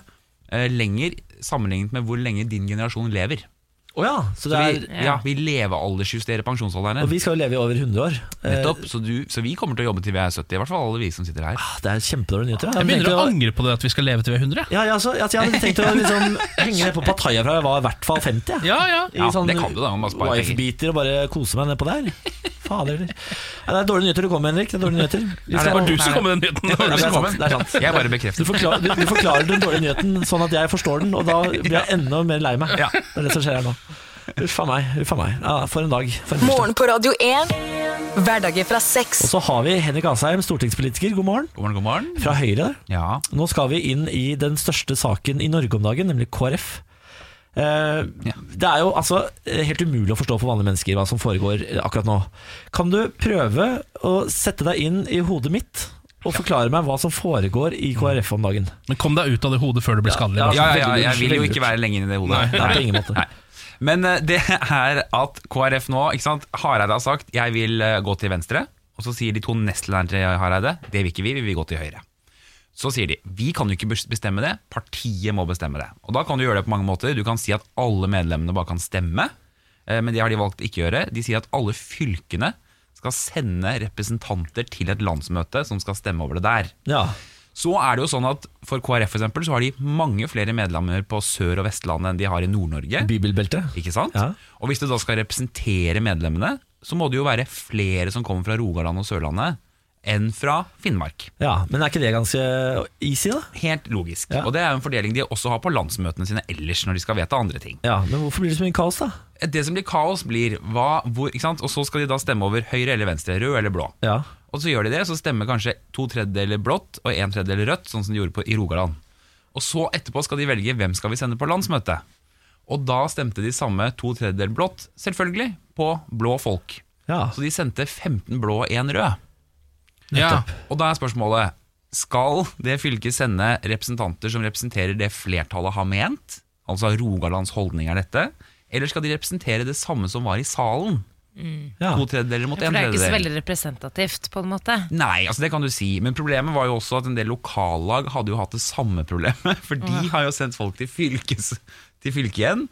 S7: eh, lenger sammenlignet med hvor lenge din generasjon lever.
S1: Å ja, så det
S7: vi,
S1: er-
S7: ja, vi levealdersjusterer pensjonsalderen.
S1: Og vi skal jo leve i over 100 år. Eh,
S7: Nettopp, så, du, så vi kommer til å jobbe til vi er 70, i hvert fall alle vi som sitter her.
S1: Det er kjempedårlige nyheter. da.
S2: Jeg begynner å
S1: tenkte-
S2: angre på det at vi skal leve til vi er 100. jeg.
S1: Ja, ja, altså, altså, jeg hadde tenkt å liksom henge ned på Pattaya fra jeg var i hvert fall 50. jeg.
S2: Ja, ja.
S7: Ja,
S1: I sånn
S7: det kan du da, man bare sparer penger.
S1: Wife-biter og bare kose meg nedpå der. Fader. eller? Nei, det er dårlige nyheter du kommer med, Henrik. Det er dårlige nyheter. Vi
S7: Er
S1: skal-
S2: Det var du som kom med den
S1: Ja, det er
S2: nyheten.
S1: sant, det er sant.
S7: Jeg bare
S1: Du
S7: bekrefter.
S1: forklarer, du, du forklarer den dårlige nyheten sånn at jeg forstår den, og da blir jeg enda mer lei meg.
S7: Ja.
S1: Det er det som skjer her nå. Uff a meg. Uff a meg. Ja, for en dag. For en tirsdag.
S4: Morgen på Radio 1. Hverdager fra seks.
S1: Og så har vi Henrik Asheim, stortingspolitiker. God morgen.
S7: God morgen, god morgen.
S1: Fra Høyre.
S7: Ja.
S1: Nå skal vi inn i den største saken i Norge om dagen, nemlig KrF. Eh, Det er jo altså eh, helt umulig å forstå for vanlige mennesker hva som foregår eh, akkurat nå. Kan du prøve å sette deg inn i hodet mitt og forklare meg hva som foregår i KrF om dagen?
S2: Men kom deg ut av det hodet før det blir skadelig.
S1: Ja,
S2: da.
S7: Ja, ja,
S1: veldig
S7: ja, jeg
S1: lurt,
S7: vil jo
S1: veldig
S7: ikke
S1: lurt.
S7: være lenge inn i det hodet.
S1: Nei, på ingen måte.
S7: Men eh, det er at KrF nå ikke sant? Hareide har sagt 'jeg vil eh, gå til venstre', og så sier de to nestlederne til Hareide 'det vil ikke vi, vi vil gå til høyre'. Så sier de 'vi kan jo ikke bes- bestemme det, partiet må bestemme det'. Og Da kan du gjøre det på mange måter. Du kan si at alle medlemmene bare kan stemme, eh, men det har de valgt ikke å gjøre. De sier at alle fylkene skal sende representanter til et landsmøte som skal stemme over det der.
S1: Ja.
S7: Så er det jo sånn at For KrF for eksempel, så har de mange flere medlemmer på Sør- og Vestlandet enn de har i Nord-Norge.
S1: Bibelbeltet.
S7: Ikke sant?
S1: Ja.
S7: Og hvis du da skal representere medlemmene, så må det jo være flere som kommer fra Rogaland og Sørlandet enn fra Finnmark.
S1: Ja, men er ikke det ganske easy, da?
S7: Helt logisk.
S1: Ja.
S7: Og det er jo en fordeling de også har på landsmøtene sine ellers når de skal vedta andre ting.
S1: Ja, Men hvorfor blir det så mye kaos, da?
S7: Det som blir kaos, blir hva, hvor, ikke sant? Og så skal de da stemme over høyre eller venstre, rød eller blå.
S1: Ja,
S7: Og så gjør de det, så stemmer kanskje to tredjedeler blått og en tredjedel rødt, sånn som de gjorde på, i Rogaland. Og så etterpå skal de velge hvem skal vi sende på landsmøte. Og da stemte de samme to tredjedel blått, selvfølgelig, på blå folk.
S1: ja.
S7: Så de sendte 15 blå og én rød.
S2: Ja.
S7: Og da er spørsmålet Skal det fylket sende representanter som representerer det flertallet har ment? Altså Rogalands holdning er dette? Eller skal de representere det samme som var i salen?
S1: ja.
S7: To tredjedeler mot
S3: For
S7: en
S3: det er ikke så
S7: tredjedel.
S3: veldig representativt, på en måte.
S7: Nei, altså det kan du si. Men problemet var jo også at en del lokallag hadde jo hatt det samme problemet. For de har jo sendt folk til, fylkes, til fylket igjen.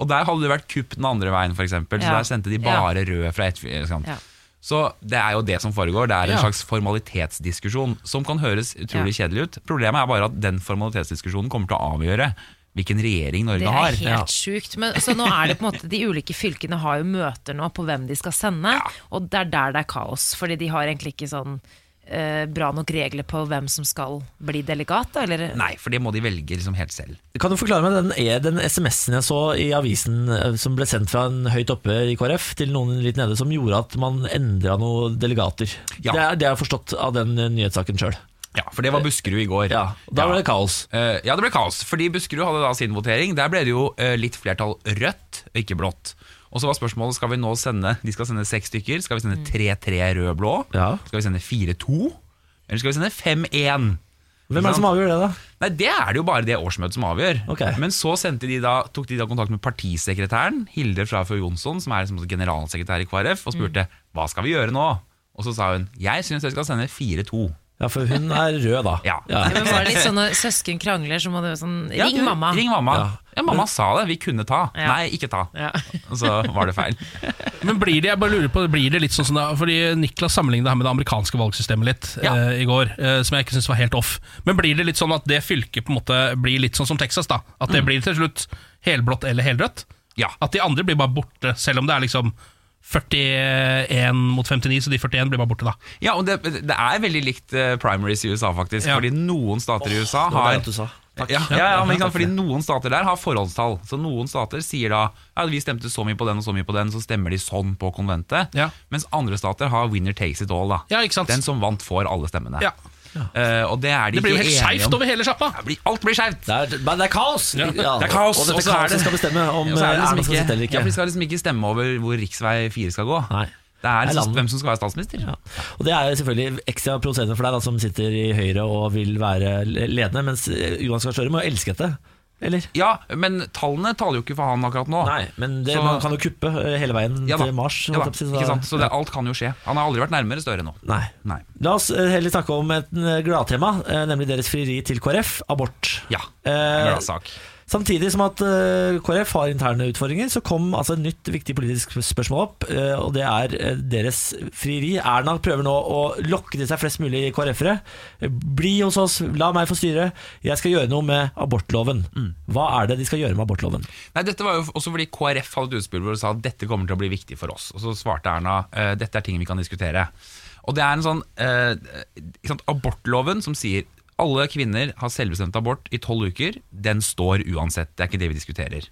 S7: Og der hadde det vært kupp den andre veien, f.eks. eksempel Så
S3: Ja.
S7: der sendte de
S3: Ja.
S7: bare røde fra ett fylke. ikke sant?
S3: Ja.
S7: Så det er jo det som foregår. Det er en
S2: Ja.
S7: slags formalitetsdiskusjon som kan høres utrolig kjedelig ut. Problemet er bare at den formalitetsdiskusjonen kommer til å avgjøre hvilken regjering Norge
S3: Det er
S7: har.
S3: helt sjukt. Men, så nå er det på en måte De ulike fylkene har jo møter nå på hvem de skal sende, og det er der det er kaos. Fordi de har egentlig ikke sånn eh, bra nok regler på hvem som skal bli delegat, da, eller
S7: Nei, for det må de velge liksom helt selv.
S1: Kan du forklare meg den, e- den SMS-en jeg så i avisen eh, som ble sendt fra en høyt oppe i KrF til noen litt nede, som gjorde at man endra noen delegater?
S7: Ja.
S1: Det er det jeg har forstått av den eh, nyhetssaken sjøl.
S7: Ja, For det var Buskerud i går.
S1: Ja, da ble det kaos.
S7: Eh, ja, det ble kaos, fordi Buskerud hadde da sin votering. Der ble det jo eh, litt flertall rødt, ikke blått. Og så var spørsmålet skal vi nå sende De skal sende seks stykker. Skal vi sende 3-3 rød-blå?
S1: Ja.
S7: Skal vi sende 4-2? Eller skal vi sende 5-1?
S1: Hvem er det som avgjør det, da?
S7: Nei, Det er det jo bare det årsmøtet som avgjør.
S1: Ok.
S7: Men så sendte de da, tok de da kontakt med partisekretæren, Hilde Frafjord Jonsson, som er liksom generalsekretær i KrF, og spurte hva skal vi gjøre nå? Og så sa hun jeg syns dere skal sende 4-2.
S1: Ja, for hun er rød, da.
S7: Ja.
S3: Men var det litt sånn når søsken krangler, så må du sånn
S7: Ja,
S3: Ring
S7: du,
S3: mamma!
S7: Ring mamma.
S1: Ja.
S7: Ja. mamma sa det. Vi kunne ta.
S3: Ja.
S7: Nei, ikke ta.
S3: Ja.
S7: Og så var det feil.
S2: Men blir det, jeg bare lurer på, blir det litt sånn som da, fordi Niklas sammenlignet det her med det amerikanske valgsystemet litt
S7: Ja.
S2: eh, i går, eh, som jeg ikke syns var helt off. Men blir det litt sånn at det fylket på en måte blir litt sånn som Texas, da? At
S7: Mm.
S2: det blir til slutt helblått eller helrødt?
S7: Ja.
S2: At de andre blir bare borte, selv om det er liksom 41 mot 59, så de 41 blir bare borte, da.
S7: Ja, og det, det er veldig likt eh, primaries i USA, faktisk.
S2: Ja.
S7: Fordi noen stater i USA
S1: Det var det
S7: har
S1: at du sa. Takk.
S7: Ja, ja, ja, men ikke sant, fordi Noen stater der har forholdstall. Så Noen stater sier da ja, vi stemte så mye på den og så mye på den, så stemmer de sånn på konventet.
S2: Ja.
S7: Mens andre stater har winner takes it all. da
S2: Ja, ikke sant?
S7: Den som vant, får alle stemmene.
S2: Ja.
S10: Eh, og det er de
S2: Det blir jo
S10: ikke
S2: helt
S10: enige om.
S2: skjevt over hele sjappa!
S10: Alt blir skjevt.
S1: men det er kaos!
S10: Ja.
S1: Ja,
S10: Det er kaos,
S1: og dette
S10: så er
S1: kaoset
S10: det-
S1: skal bestemme om,
S10: Ja, så er det
S1: eh, Erna skal
S10: ikke-
S1: sitte eller ikke.
S10: Ja, for de skal liksom ikke stemme over hvor rv. 4 skal gå. Det
S1: Det
S10: er
S1: er
S10: liksom
S1: landet.
S10: hvem som skal være statsminister.
S1: Og Det er jo selvfølgelig ekstra provoserende for deg da, som sitter i Høyre og vil være ledende, mens eh, Johan Gahr Støre må jo elske dette. Eller?
S10: Ja, men tallene taler jo ikke for han akkurat nå.
S1: Nei, men det, man kan jo kuppe eh, hele veien
S10: Ja da.
S1: til Mars.
S10: Ja,
S1: holdt jeg på å
S10: da.
S1: si, så
S10: Ikke
S1: da-
S10: sant? Så det, alt kan jo skje. Han har aldri vært nærmere Støre nå.
S1: Nei.
S10: Nei.
S1: La oss eh, heller snakke om et eh, gladtema, eh, nemlig deres frieri til KrF, abort.
S10: Ja,
S1: Eh,
S10: gladsak.
S1: Samtidig som at eh, KrF har interne utfordringer, så kom altså et nytt viktig politisk spørsmål opp, eh, og det er eh, deres frieri. Erna prøver nå å lokke til seg flest mulig KrF-ere. Bli hos oss, la meg få styre. Jeg skal gjøre noe med abortloven.
S10: Mm.
S1: Hva er det de skal gjøre med abortloven?
S10: Nei, dette var jo også fordi KrF hadde et utspill hvor de sa at dette kommer til å bli viktig for oss. Og så svarte Erna eh, dette er ting vi kan diskutere. Og det er en sånn eh, ikke sant, abortloven som sier alle kvinner har selvbestemt abort i tolv uker. Den står uansett. Det er ikke det vi diskuterer.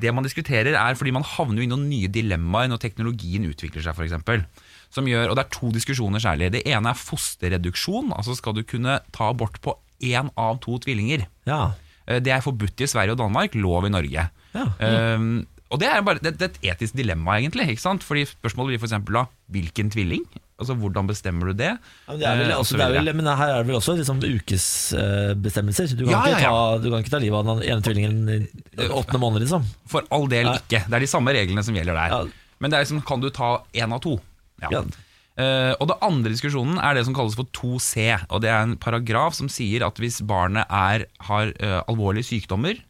S10: Det man diskuterer er fordi man havner jo i noen nye dilemmaer når teknologien utvikler seg, for eksempel. Som gjør, og det er to diskusjoner særlig. Det ene er fosterreduksjon. Altså skal du kunne ta abort på én av to tvillinger.
S1: Ja.
S10: Eh, Det er forbudt i Sverige og Danmark, lov i Norge. Um, og det er, bare, det, det er et etisk dilemma, egentlig. ikke sant? Fordi Spørsmålet blir f.eks. da hvilken tvilling? Altså Hvordan bestemmer du det?
S1: Ja, Men, det er vel,
S10: Eh, og
S1: altså,
S10: så
S1: det er
S10: videre.
S1: vel, men her er det vel også liksom ukesbestemmelser. Du, kan
S10: Ja,
S1: ikke
S10: ja, ja.
S1: ta- du kan ikke ta livet av den ene tvillingen i åttende måned, liksom.
S10: For all del ikke. Det er de samme reglene som gjelder der. Men det er liksom, kan du ta én av to? Ja. Eh, og det andre diskusjonen er det som kalles for 2C. Og Det er en paragraf som sier at hvis barnet er, har eh, alvorlige sykdommer,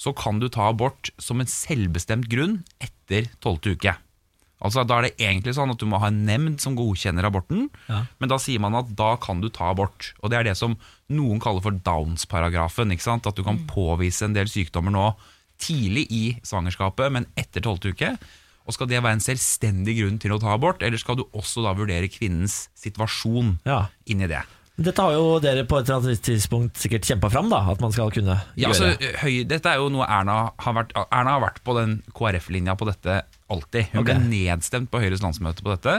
S10: så kan du ta abort som en selvbestemt grunn etter tolvte uke. Altså Da er det egentlig sånn at du må ha en nemnd som godkjenner aborten,
S11: Ja.
S10: men da sier man at da kan du ta abort. Og det er det som noen kaller for Downs-paragrafen. ikke sant? At du kan påvise en del sykdommer nå tidlig i svangerskapet, men etter tolvte uke. Og skal det være en selvstendig grunn til å ta abort, eller skal du også da vurdere kvinnens situasjon inn i det?
S1: Dette har jo dere på et eller annet tidspunkt sikkert kjempa fram, da. At man skal kunne gjøre.
S10: Ja, altså, Høy, dette er jo noe Erna har vært Erna har vært på den KrF-linja på dette alltid. Hun
S1: Ok.
S10: ble nedstemt på Høyres landsmøte på dette.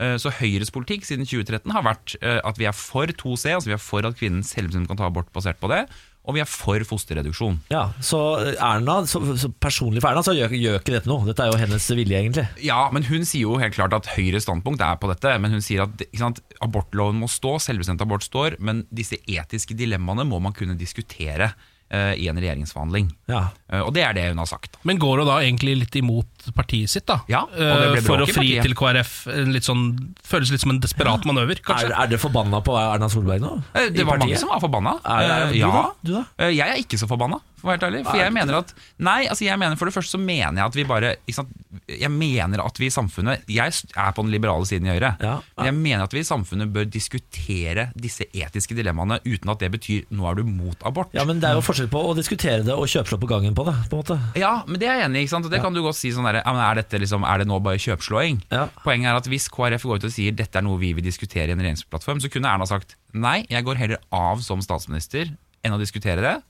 S10: Eh, Så Høyres politikk siden 2013 har vært eh, at vi er for 2C, altså vi er for at kvinnen selvbestemt kan ta abort basert på det, og vi er for fosterreduksjon.
S1: Ja, så Erna, så, så personlig for Erna, så gjør, gjør ikke dette noe. Dette er jo hennes vilje, egentlig.
S10: Ja, men hun sier jo helt klart at Høyres standpunkt er på dette. Men hun sier at ikke sant, abortloven må stå, selvbestemt abort står, men disse etiske dilemmaene må man kunne diskutere eh, i en regjeringsforhandling. Eh, og det er det hun har sagt.
S2: Men går hun da egentlig litt imot partiet sitt, da? Ja,
S10: det ble
S2: For å
S10: bråk i
S2: fri
S10: partiet.
S2: til KrF. en Litt sånn, føles litt som en desperat manøver, kanskje?
S1: Er, er dere forbanna på Erna Solberg nå?
S10: Eh, Det
S1: I
S10: var mange
S1: partiet?
S10: som var forbanna.
S1: Er- er-
S10: Eh,
S1: du
S10: ja.
S1: da? Du da?
S10: Eh, Jeg er ikke så forbanna, for å være helt ærlig. For
S1: Er
S10: jeg
S1: du
S10: mener at Nei, altså jeg mener for det første så mener jeg at vi bare ikke sant? Jeg mener at vi i samfunnet Jeg s- er på den liberale siden i Høyre. Men jeg mener at vi i samfunnet bør diskutere disse etiske dilemmaene uten at det betyr nå er du mot abort.
S1: Ja, men Det er jo forskjell på å diskutere det og kjøpslå på gangen på det. på en måte
S10: Ja, men det er jeg enig i. ikke sant? Og det kan du godt si sånn der, ja, men er, dette liksom, er det nå bare kjøpslåing? Poenget er at hvis KrF går ut og sier dette er noe vi vil diskutere i en regjeringsplattform, så kunne Erna sagt nei, jeg går heller av som statsminister enn å diskutere det.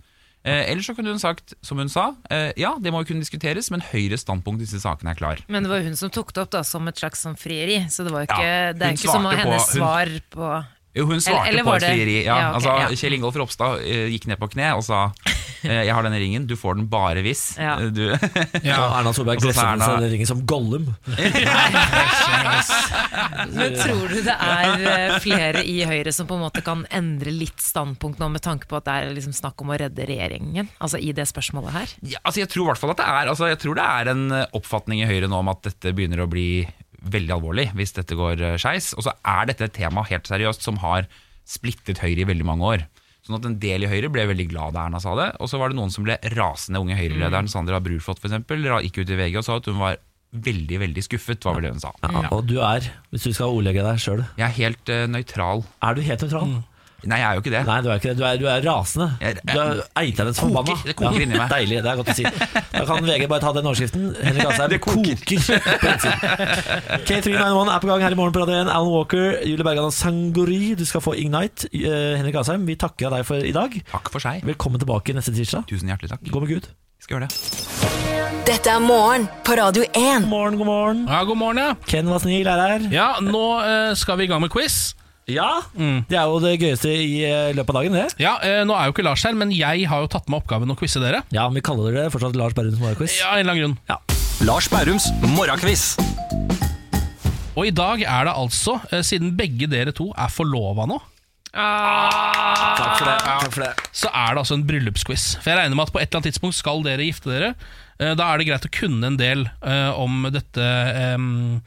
S10: Eh, eller så kunne hun sagt, som hun sa, eh, ja, det må jo kunne diskuteres, men Høyres standpunkt i disse sakene er klar.
S3: Men det var jo hun som tok det opp da som et slags sånn frieri, så det, var jo ikke,
S10: Ja,
S3: det er
S10: hun
S3: ikke som å
S10: svarte på-
S3: hennes
S10: hun-
S3: svar på
S10: Jo, hun svarte
S3: Eller- eller
S10: på
S3: var
S10: et
S3: det-
S10: frieri. Ja,
S3: ja, ok,
S10: altså,
S3: ja.
S10: Kjell Ingolf Ropstad eh, gikk ned på kne og sa eh, jeg har denne ringen, du får den bare hvis.
S3: Ja.
S10: eh, Du.
S1: Og Erna Solberg
S10: Og Altså, så
S1: gresset
S10: sa Erna-
S1: seg den ringen som Gollum.
S3: Men tror du det er eh, flere i Høyre som på en måte kan endre litt standpunkt nå, med tanke på at det er liksom snakk om å redde regjeringen? Altså i det spørsmålet her?
S10: Ja, altså jeg tror i hvert fall at det er altså Jeg tror det er en eh, oppfatning i Høyre nå om at dette begynner å bli veldig alvorlig hvis dette går eh, skeis. Og så er dette et tema helt seriøst som har splittet Høyre i veldig mange år. Sånn at En del i Høyre ble veldig glad da Erna sa det. Og så var det noen som ble rasende. Unge
S1: Mm.
S10: Høyre-lederen Sandra Brurflot for eksempel, ra- gikk ut i VG og sa at hun var veldig veldig skuffet. var vel det hun sa.
S1: Ja, og du er, hvis du skal ordlegge deg sjøl
S10: Jeg er helt eh, nøytral.
S1: Er du helt nøytral?
S10: Mm. Nei, jeg er jo ikke det.
S1: Nei, Du er ikke det, du er, du er rasende. Du er eiternes forbanna.
S10: det koker inni meg.
S1: Deilig, det er godt å si. Da kan VG bare ta den overskriften. Henrik Asheim koker. på innsiden. K391 er på gang her i morgen på Radio 1. Alan Walker, Julie Bergan og Sangori. Du skal få Ignite. Eh, Henrik Asheim, vi takker deg for i dag.
S10: Takk for seg.
S1: Velkommen tilbake neste tirsdag.
S10: Tusen hjertelig takk.
S1: Gå med Gud.
S10: Skal gjøre det.
S4: Dette er morgen på Radio 1.
S1: morgen, god morgen.
S2: Ja, god morgen, ja.
S1: Ken var snill, er her.
S2: Ja, nå eh, skal vi i gang med quiz.
S1: Ja, Mm. det er jo det gøyeste i eh, løpet av dagen, det.
S2: Ja, eh, Nå er jo ikke Lars her, men jeg har jo tatt med oppgaven å quize dere.
S1: Ja, men Vi kaller det fortsatt Lars Berrums morgenquiz.
S2: Ja, en eller annen grunn.
S11: Lars Bærums morgenquiz.
S2: Og i dag er det altså, eh, siden begge dere to er forlova nå
S1: Takk for det. Takk for det.
S2: så er det altså en bryllupsquiz. For jeg regner med at på et eller annet tidspunkt skal dere gifte dere. Eh, Da er det greit å kunne en del eh, om dette em,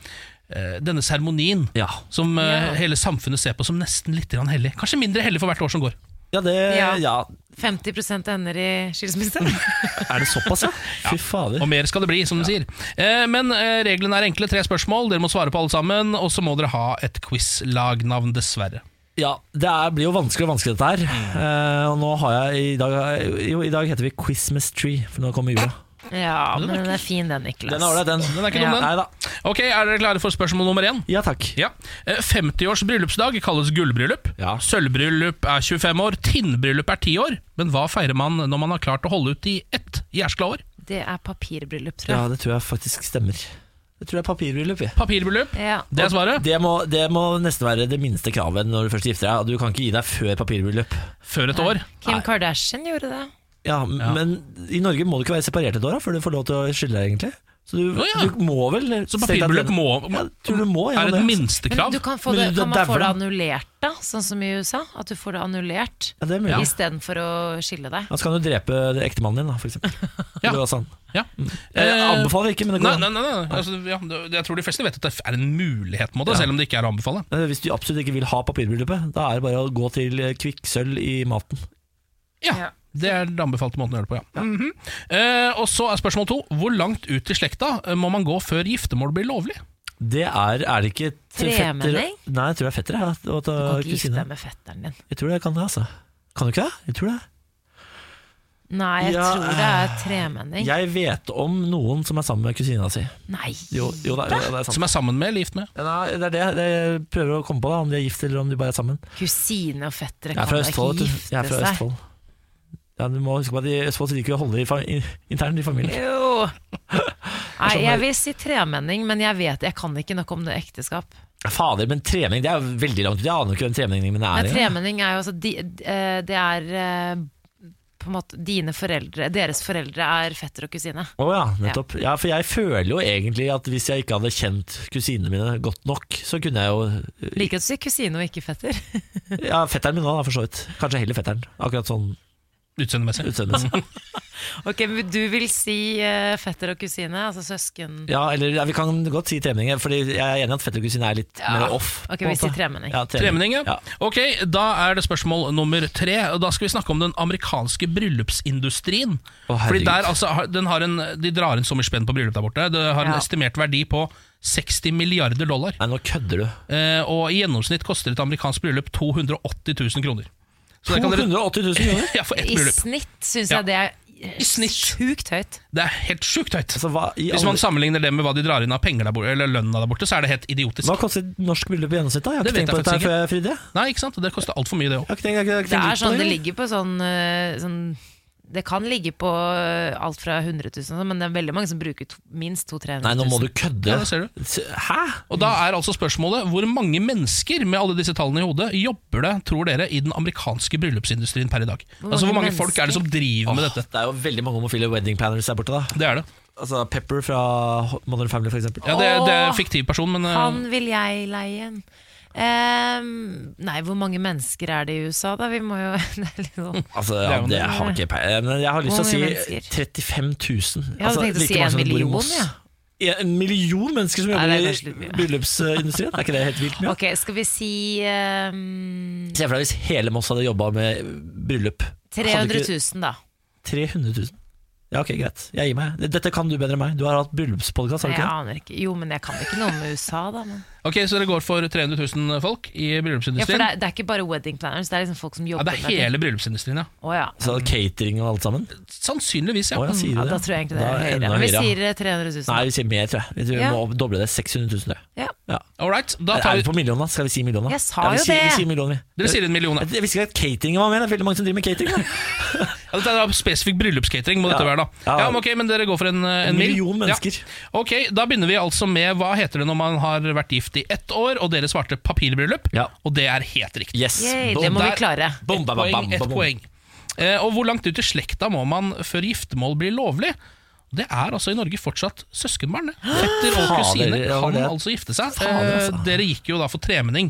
S2: eh, denne seremonien som eh,
S3: Ja.
S2: hele samfunnet ser på som nesten litt grann hellig. Kanskje mindre hellig for hvert år som går.
S1: Ja, det
S3: Ja.
S1: ja.
S3: 50 ender i skilsmisse.
S1: Er det såpass, ja? Fy fader.
S2: Og mer skal det bli, som de sier. Eh, Men eh, reglene er enkle. Tre spørsmål, dere må svare på alle sammen. Og så må dere ha et quiz-lagnavn, dessverre.
S1: Ja, det er, blir jo vanskeligere og vanskeligere dette her. Eh, og nå har jeg i dag Jo, i dag heter vi Quizmas Tree, for nå kommer jula.
S3: Ja, men den er fin, den, Niklas.
S1: Den er ålreit, den.
S2: Den er ikke dum,
S3: Ja.
S2: den.
S1: Nei da.
S2: Ok, Er dere klare for spørsmål nummer én?
S1: Ja takk.
S2: Ja. Eh, 50 års bryllupsdag kalles gullbryllup.
S1: Ja.
S2: Sølvbryllup er 25 år. Tinnbryllup er 10 år. Men hva feirer man når man har klart å holde ut i ett jæskla år?
S3: Det er
S1: Ja,
S3: papirbryllup, tror jeg.
S1: det tror jeg faktisk stemmer. Det tror jeg er papirbryllup. jeg.
S2: Papirbryllup.
S3: Ja.
S2: Det er svaret.
S1: Det må, det må nesten være det minste kravet når du først gifter deg. Du kan ikke gi deg før papirbryllup.
S2: Før et år.
S1: Nei.
S3: Kim Kardashian gjorde det.
S1: Ja, m- Men i Norge må du ikke være separert et år da, før du får lov til å skille deg, egentlig. Så du,
S2: Å, ja.
S1: du må vel
S2: Så papirbryllup må,
S1: Ja, tror du må
S2: er
S1: gjennom
S2: et
S1: det.
S3: Men
S2: minstekrav.
S3: du kan, få
S1: Men
S3: det,
S1: du
S3: kan man få
S1: dauer
S3: det
S1: da.
S3: annullert, da? Sånn som i USA? At du får det annullert
S1: Ja, det er mulig.
S3: i stedet istedenfor å skille deg?
S1: Ja, så kan du drepe det ektemannen din, da, for eksempel.
S2: Ja.
S1: Eller hva sa han?
S2: Ja.
S1: Jeg
S2: Eh,
S1: anbefaler ikke, men det
S2: Nei,
S1: går
S2: nei,
S1: an.
S2: nei, nei. Altså, ja, det- Jeg tror de fleste vet at det er en mulighet, på en måte, selv om det ikke er å anbefale.
S1: Eh, Hvis du absolutt ikke vil ha papirbryllupet, da er det bare å gå til eh, kvikksølv i maten.
S2: Ja, Det er den anbefalte måten å gjøre det på, ja. Mhm. eh, og så er spørsmål to. Hvor langt ut i slekta eh, må man gå før giftermål blir lovlig?
S1: Det er Er det ikke til
S3: Tremenning?
S1: fetter Nei, jeg tror det er fettere. Ja, og
S3: Du
S1: til
S3: kan ikke gifte
S1: kusine.
S3: deg med fetteren din.
S1: Jeg tror det kan det, altså. Kan du ikke det? Jeg tror det.
S3: Nei, jeg
S1: Ja,
S3: tror det er tremenning.
S1: Jeg vet om noen som er sammen med kusina si.
S3: Nei!
S1: Jo, jo, da, jo det er sant.
S2: Som er sammen med eller gift med?
S1: Ja, Nei, det er det det jeg prøver å komme på, da om de er gift eller om de bare er sammen.
S3: Kusine og
S1: Jeg
S3: fettere
S1: er
S3: kan
S1: fra
S3: da ikke
S1: Østfold. vet du.
S3: gifte
S1: Jeg er fra
S3: seg.
S1: Østfold. Ja, du må huske på at I Østfold så liker vi å holde det i fa- i- internt i familien.
S3: Jo! Nei,
S1: sånn
S3: jeg vil si tremenning, men jeg vet jeg kan ikke nok om det ekteskap.
S1: Fader, men tremenning det er jo veldig langt ut. Jeg aner jo ikke hvem tremenningen min er.
S3: Men
S1: engang.
S3: tremenning er jo altså de, eh, Det er eh, på en måte dine foreldre Deres foreldre er fetter og kusine.
S1: Å ja, nettopp. Ja. for jeg føler jo egentlig at hvis jeg ikke hadde kjent kusinene mine godt nok, så kunne jeg jo
S3: Liker at du sier kusine og ikke fetter.
S1: Ja, fetteren min òg, for så vidt. Kanskje heller fetteren. Akkurat sånn
S2: Utseendemessig.
S1: utseendemessig.
S3: Ok, men Du vil si eh, fetter og kusine, altså søsken
S1: Ja, eller ja, vi kan godt si tremenning, Fordi jeg er enig i at fetter og kusine er litt mer off.
S3: Ok,
S1: på en
S3: vi sier
S1: måte.
S3: tremenning.
S1: Ja,
S2: Tremenning, ja. Ok, Da er det spørsmål nummer tre. og Da skal vi snakke om den amerikanske bryllupsindustrien.
S1: Å, herregud.
S2: Fordi der, altså, har- den har en, De drar inn så mye spenn på bryllup der borte. Det har en
S3: Ja.
S2: estimert verdi på 60 milliarder dollar.
S1: Nei, nå kødder du.
S2: Eh, og i gjennomsnitt koster et amerikansk bryllup 280 000 kroner. Så det kan dere-
S1: 280 000 kroner?
S2: ja, for ett
S3: I
S2: bryllup.
S3: snitt syns
S2: Ja.
S3: jeg det er
S2: I snitt.
S3: sjukt høyt.
S2: Det er helt sjukt høyt.
S1: Altså, hva, i
S2: Hvis man
S1: alle-
S2: sammenligner det med hva de drar inn av penger der borte, eller lønna der borte, så er det helt idiotisk.
S1: hva koster et norsk bryllup i gjennomsnitt? da? Jeg har
S2: Det
S1: ikke
S2: vet
S1: tenkt på
S2: jeg
S1: dette her
S2: faktisk
S1: før, jeg- Fride. Jeg
S2: Nei, ikke sant? Det koster altfor mye, det òg.
S1: har ikke tenkt, jeg har ikke- jeg har ikke tenkt litt på
S3: Det er sånn det
S1: engang.
S3: ligger på sånn, eh, sånn Det kan ligge på eh, alt fra 100 000, og sånn, men det er veldig mange som bruker to, minst 200 000-300 000.
S1: Nei, nå må du kødde.
S2: Ja, det ser du.
S1: Hæ?
S2: Og da er altså spørsmålet Hvor mange mennesker med alle disse tallene i hodet jobber det, tror dere, i den amerikanske bryllupsindustrien per i dag?
S3: Hvor
S2: altså Hvor
S3: mange
S2: mange folk er det som driver med
S1: Åh,
S2: dette?
S1: det er jo veldig mange homofile wedding planners der borte. da
S2: Det er det.
S1: Altså Pepper fra Modern Family, for eksempel.
S2: Ja, det, det er en
S3: Åh,
S2: fiktiv person, men eh,
S3: Han vil jeg leie en. Ehm, nei, hvor mange mennesker er det i USA, da? Vi må jo det er litt sånn.
S1: Altså,
S2: er
S1: ja,
S2: jo
S1: det
S2: det.
S1: har ikke peiling. Men jeg har lyst til
S3: Hvor
S1: å si
S3: mange mennesker?
S1: 35 000.
S3: Jeg hadde tenkt å
S1: like
S3: si
S1: mange
S3: en
S1: som bor i
S3: million,
S1: Moss.
S3: ja.
S1: Ja, En million mennesker som
S3: Nei,
S1: jobber
S3: det er kanskje litt
S1: i
S3: mye.
S1: bryllupsindustrien? Er ikke det helt vilt mye?
S3: Ok, skal vi si ehm,
S1: Se for deg hvis hele Moss hadde jobba med bryllup. Hadde
S3: 300
S1: ikke-
S3: 000, da.
S1: 300 000. Ja, ok, greit. Jeg gir meg. Dette kan du bedre enn meg. Du har hatt bryllupspodkast, har du
S3: Jeg
S1: ikke det?
S3: aner ikke. Jo, men jeg kan ikke noe med USA, da. Men.
S2: Ok, Så dere går for 300 000 folk i
S3: Ja, for
S2: bryllupsindustrien?
S3: det er, det er ikke bare wedding planners, det er liksom folk som
S2: Ja,
S3: jobber
S2: det er hele bryllupsindustrien, ja.
S3: Å, ja.
S1: Så catering og alt sammen?
S2: Sannsynligvis, ja.
S1: Å, ja, sier
S3: ja,
S1: du
S3: da
S1: det?
S3: tror jeg egentlig det
S1: Da
S3: er høyere.
S1: enda
S3: Men vi
S1: høyere, ja.
S3: sier eh, 300 000.
S1: Nei, vi sier mer, tror jeg. Vi, tror vi
S3: Ja.
S1: må doble det. 600 000, tror jeg.
S3: Ja.
S1: Ja.
S2: All right, da
S1: Er
S2: tar
S1: vi
S2: vi
S1: på millionen, da? Skal vi si millionen? da?
S3: Jeg sa
S1: vi
S3: jo
S1: sier,
S3: det.
S1: Vi sier millionen, vi.
S2: Dere sier en million, ja.
S1: Jeg jeg visste ikke at catering var med. Det er veldig mange som driver med catering. da.
S2: Ja, dette er da spesifikk bryllupscatering, må dette
S1: Ja.
S2: være, da.
S1: Ja.
S2: Ja, men ok, men dere går for en, eh, en mil.
S1: million mennesker.
S2: Ja. Ok, da begynner vi altså med hva heter det når man har vært gift i ett år, og dere svarte papirbryllup, og det er helt riktig.
S1: Yes. Yay, det må
S2: Der-
S1: vi klare. Bom,
S2: Ett
S1: bam, bam,
S2: poeng,
S1: bam,
S2: ett
S1: bam.
S2: poeng. Eh, og hvor langt ut i slekta må man før giftermål blir lovlig? Det er altså i Norge fortsatt søskenbarn. det. Fetter og
S1: Fader,
S2: kusine
S1: det var
S2: kan
S1: det.
S2: altså gifte seg.
S1: Fader, altså.
S2: Eh, Dere gikk jo da for tremenning.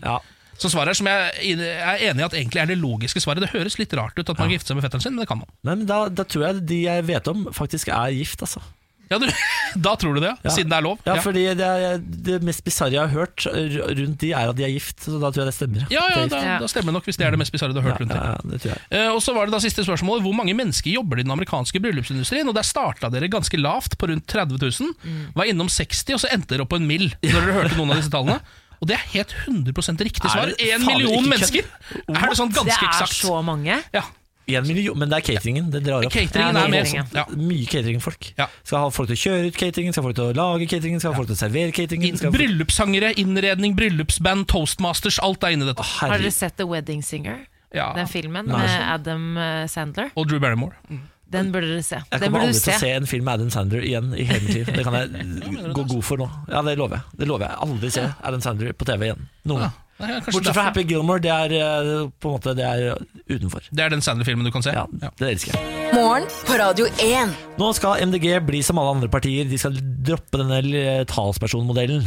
S2: Så svaret her, som jeg er enig i at egentlig er det logiske svaret Det høres litt rart ut at man gifter seg med fetteren sin, men det kan man.
S1: Nei, men da, da tror jeg de jeg vet om, faktisk er gift, altså.
S2: Ja, du, Da tror du det,
S1: Ja.
S2: siden det er lov?
S1: Ja,
S2: Ja.
S1: fordi det, er, det mest bisarre jeg har hørt r- rundt de, er at de er gift. Så da tror jeg det stemmer.
S2: Ja,
S1: At de er
S2: ja,
S1: gift.
S2: da, da stemmer det nok, hvis det er det mest bisarre du har hørt rundt det.
S1: Ja, ja, det tror jeg.
S2: Eh, Og så var det da siste spørsmålet Hvor mange mennesker jobber i den amerikanske bryllupsindustrien? Og Der starta dere ganske lavt, på rundt 30 000.
S3: Mm.
S2: Var innom 60, og så endte dere opp på en mill. Når dere hørte noen av disse tallene Og det er helt 100 riktig
S1: Er
S2: svar.
S1: det faen
S2: Én
S1: ikke
S2: million
S1: kødd?
S2: mennesker! Er det sånn ganske
S3: Det er
S2: eksakt?
S3: så mange.
S2: Ja.
S1: En million, men det er cateringen. Det drar opp.
S2: Cateringen Ja, er mer cateringen.
S1: Også Mye cateringfolk. Skal ha folk til å kjøre ut cateringen, skal ha folk til å lage cateringen, skal ha folk til å servere cateringen. Skal ha folk-
S2: Bryllupssangere, innredning, bryllupsband, toastmasters. Alt er inni dette.
S3: Har dere sett The Wedding Singer?
S2: Ja.
S3: Den filmen
S2: Nei.
S3: med Adam eh, Sandler?
S2: Og Drew Barrymore.
S3: Den burde dere se.
S1: Jeg
S3: Den
S1: kommer
S3: burde du
S1: aldri til å
S3: se.
S1: se en film med Adam Sandler igjen i hele mitt liv. Det kan jeg gå god for nå. Ja, det lover jeg. Det lover jeg. Aldri se Adam Sandler på TV igjen. Noen. gang.
S2: Nei, kanskje
S1: Bortsett
S2: derfor.
S1: fra Happy Gilmore, det er eh, på en måte det er utenfor.
S2: Det er den Sandler-filmen du kan se?
S1: Ja, det elsker jeg.
S4: Morgen på Radio 1.
S1: Nå skal MDG bli som alle andre partier. De skal droppe denne l- talspersonmodellen.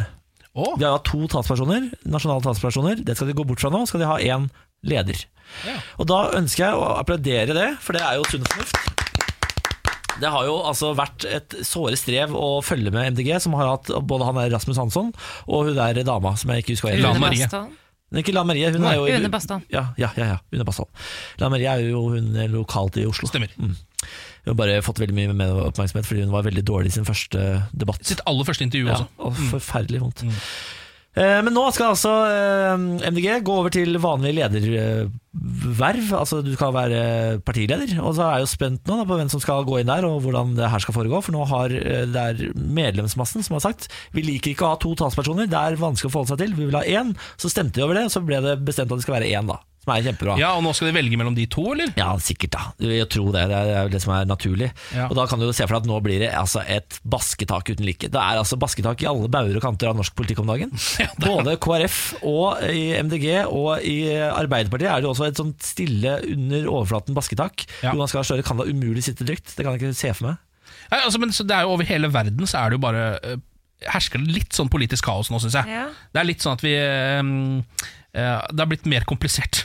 S1: De har hatt to talspersoner, nasjonale talspersoner. Det skal de gå bort fra nå. Skal de ha én leder. Og da ønsker jeg å applaudere det, for det er jo sunn fornuft. Det har jo altså vært et såre strev å følge med MDG, som har hatt både han der Rasmus Hansson og hun der dama som jeg ikke husker hva heter.
S3: Une Bastholm.
S1: Men ikke La Marie, hun
S3: Nei,
S1: er jo
S3: Une Bastholm.
S1: Ja, ja, ja, ja Une Bastholm. La Marie er jo hun lokalt i Oslo.
S2: Stemmer.
S1: Mm. Hun har bare fått veldig mye mer oppmerksomhet fordi hun var veldig dårlig i sin første debatt.
S2: Sitt aller første intervju også. Mm.
S1: Ja, og forferdelig vondt. Eh, Men nå skal altså eh, MDG gå over til vanlig lederverv. Altså du skal være partileder. Og så er jeg jo spent nå da, på hvem som skal gå inn der, og hvordan det her skal foregå. For nå har eh, det er medlemsmassen som har sagt vi liker ikke å ha to talspersoner, det er vanskelig å forholde seg til, vi vil ha én. Så stemte de over det, og så ble det bestemt at det skal være én, da. Som er kjempebra.
S2: Ja, Og nå skal de velge mellom de to, eller?
S1: Ja, sikkert da. Jeg tror det. Det er jo det som er naturlig.
S2: Ja.
S1: Og da kan du jo se for deg at nå blir det altså et basketak uten like. Det er altså basketak i alle bauger og kanter av norsk politikk om dagen. Både KrF og i MDG og i Arbeiderpartiet er det jo også et sånt stille under overflaten basketak. Jonas Gahr Støre kan da umulig sitte trygt. Det kan jeg ikke se for meg.
S2: Nei, altså, men så det er jo Over hele verden så er det jo bare eh, hersker det litt sånn politisk kaos nå, syns jeg.
S1: Ja.
S2: Det er litt sånn at vi eh, eh, Det har blitt mer komplisert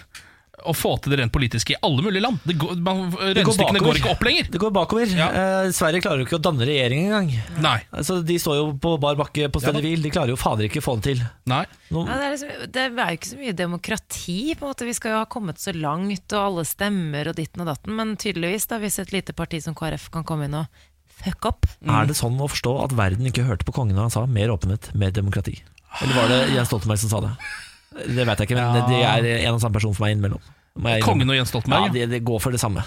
S2: å få til det rent politiske i alle mulige land. Det går, man, Regnestykkene går ikke opp lenger.
S1: Det går bakover. Eh, Sverige klarer jo ikke å danne regjering engang.
S2: Nei.
S1: Altså, de står jo på bar bakke på stedet
S2: Ja da.
S1: hvil. De klarer jo fader ikke å få det til.
S2: Nei.
S1: Nå,
S3: Ja, det, er liksom, det er jo ikke så mye demokrati. på en måte Vi skal jo ha kommet så langt, og alle stemmer og ditten og datten. Men tydeligvis, da, hvis et lite parti som KrF kan komme inn og fuck opp
S2: Mm.
S1: Er det sånn å forstå at verden ikke hørte på kongen da han sa mer åpenhet, mer demokrati? Eller var det Jens Stoltenberg som sa det? Det vet jeg ikke, men
S2: Ah. Ja.
S1: det er en og samme person for meg innimellom. Må jeg innrømme.
S2: Kongen og Jens Stoltenberg,
S1: Ja, det, det går for det samme.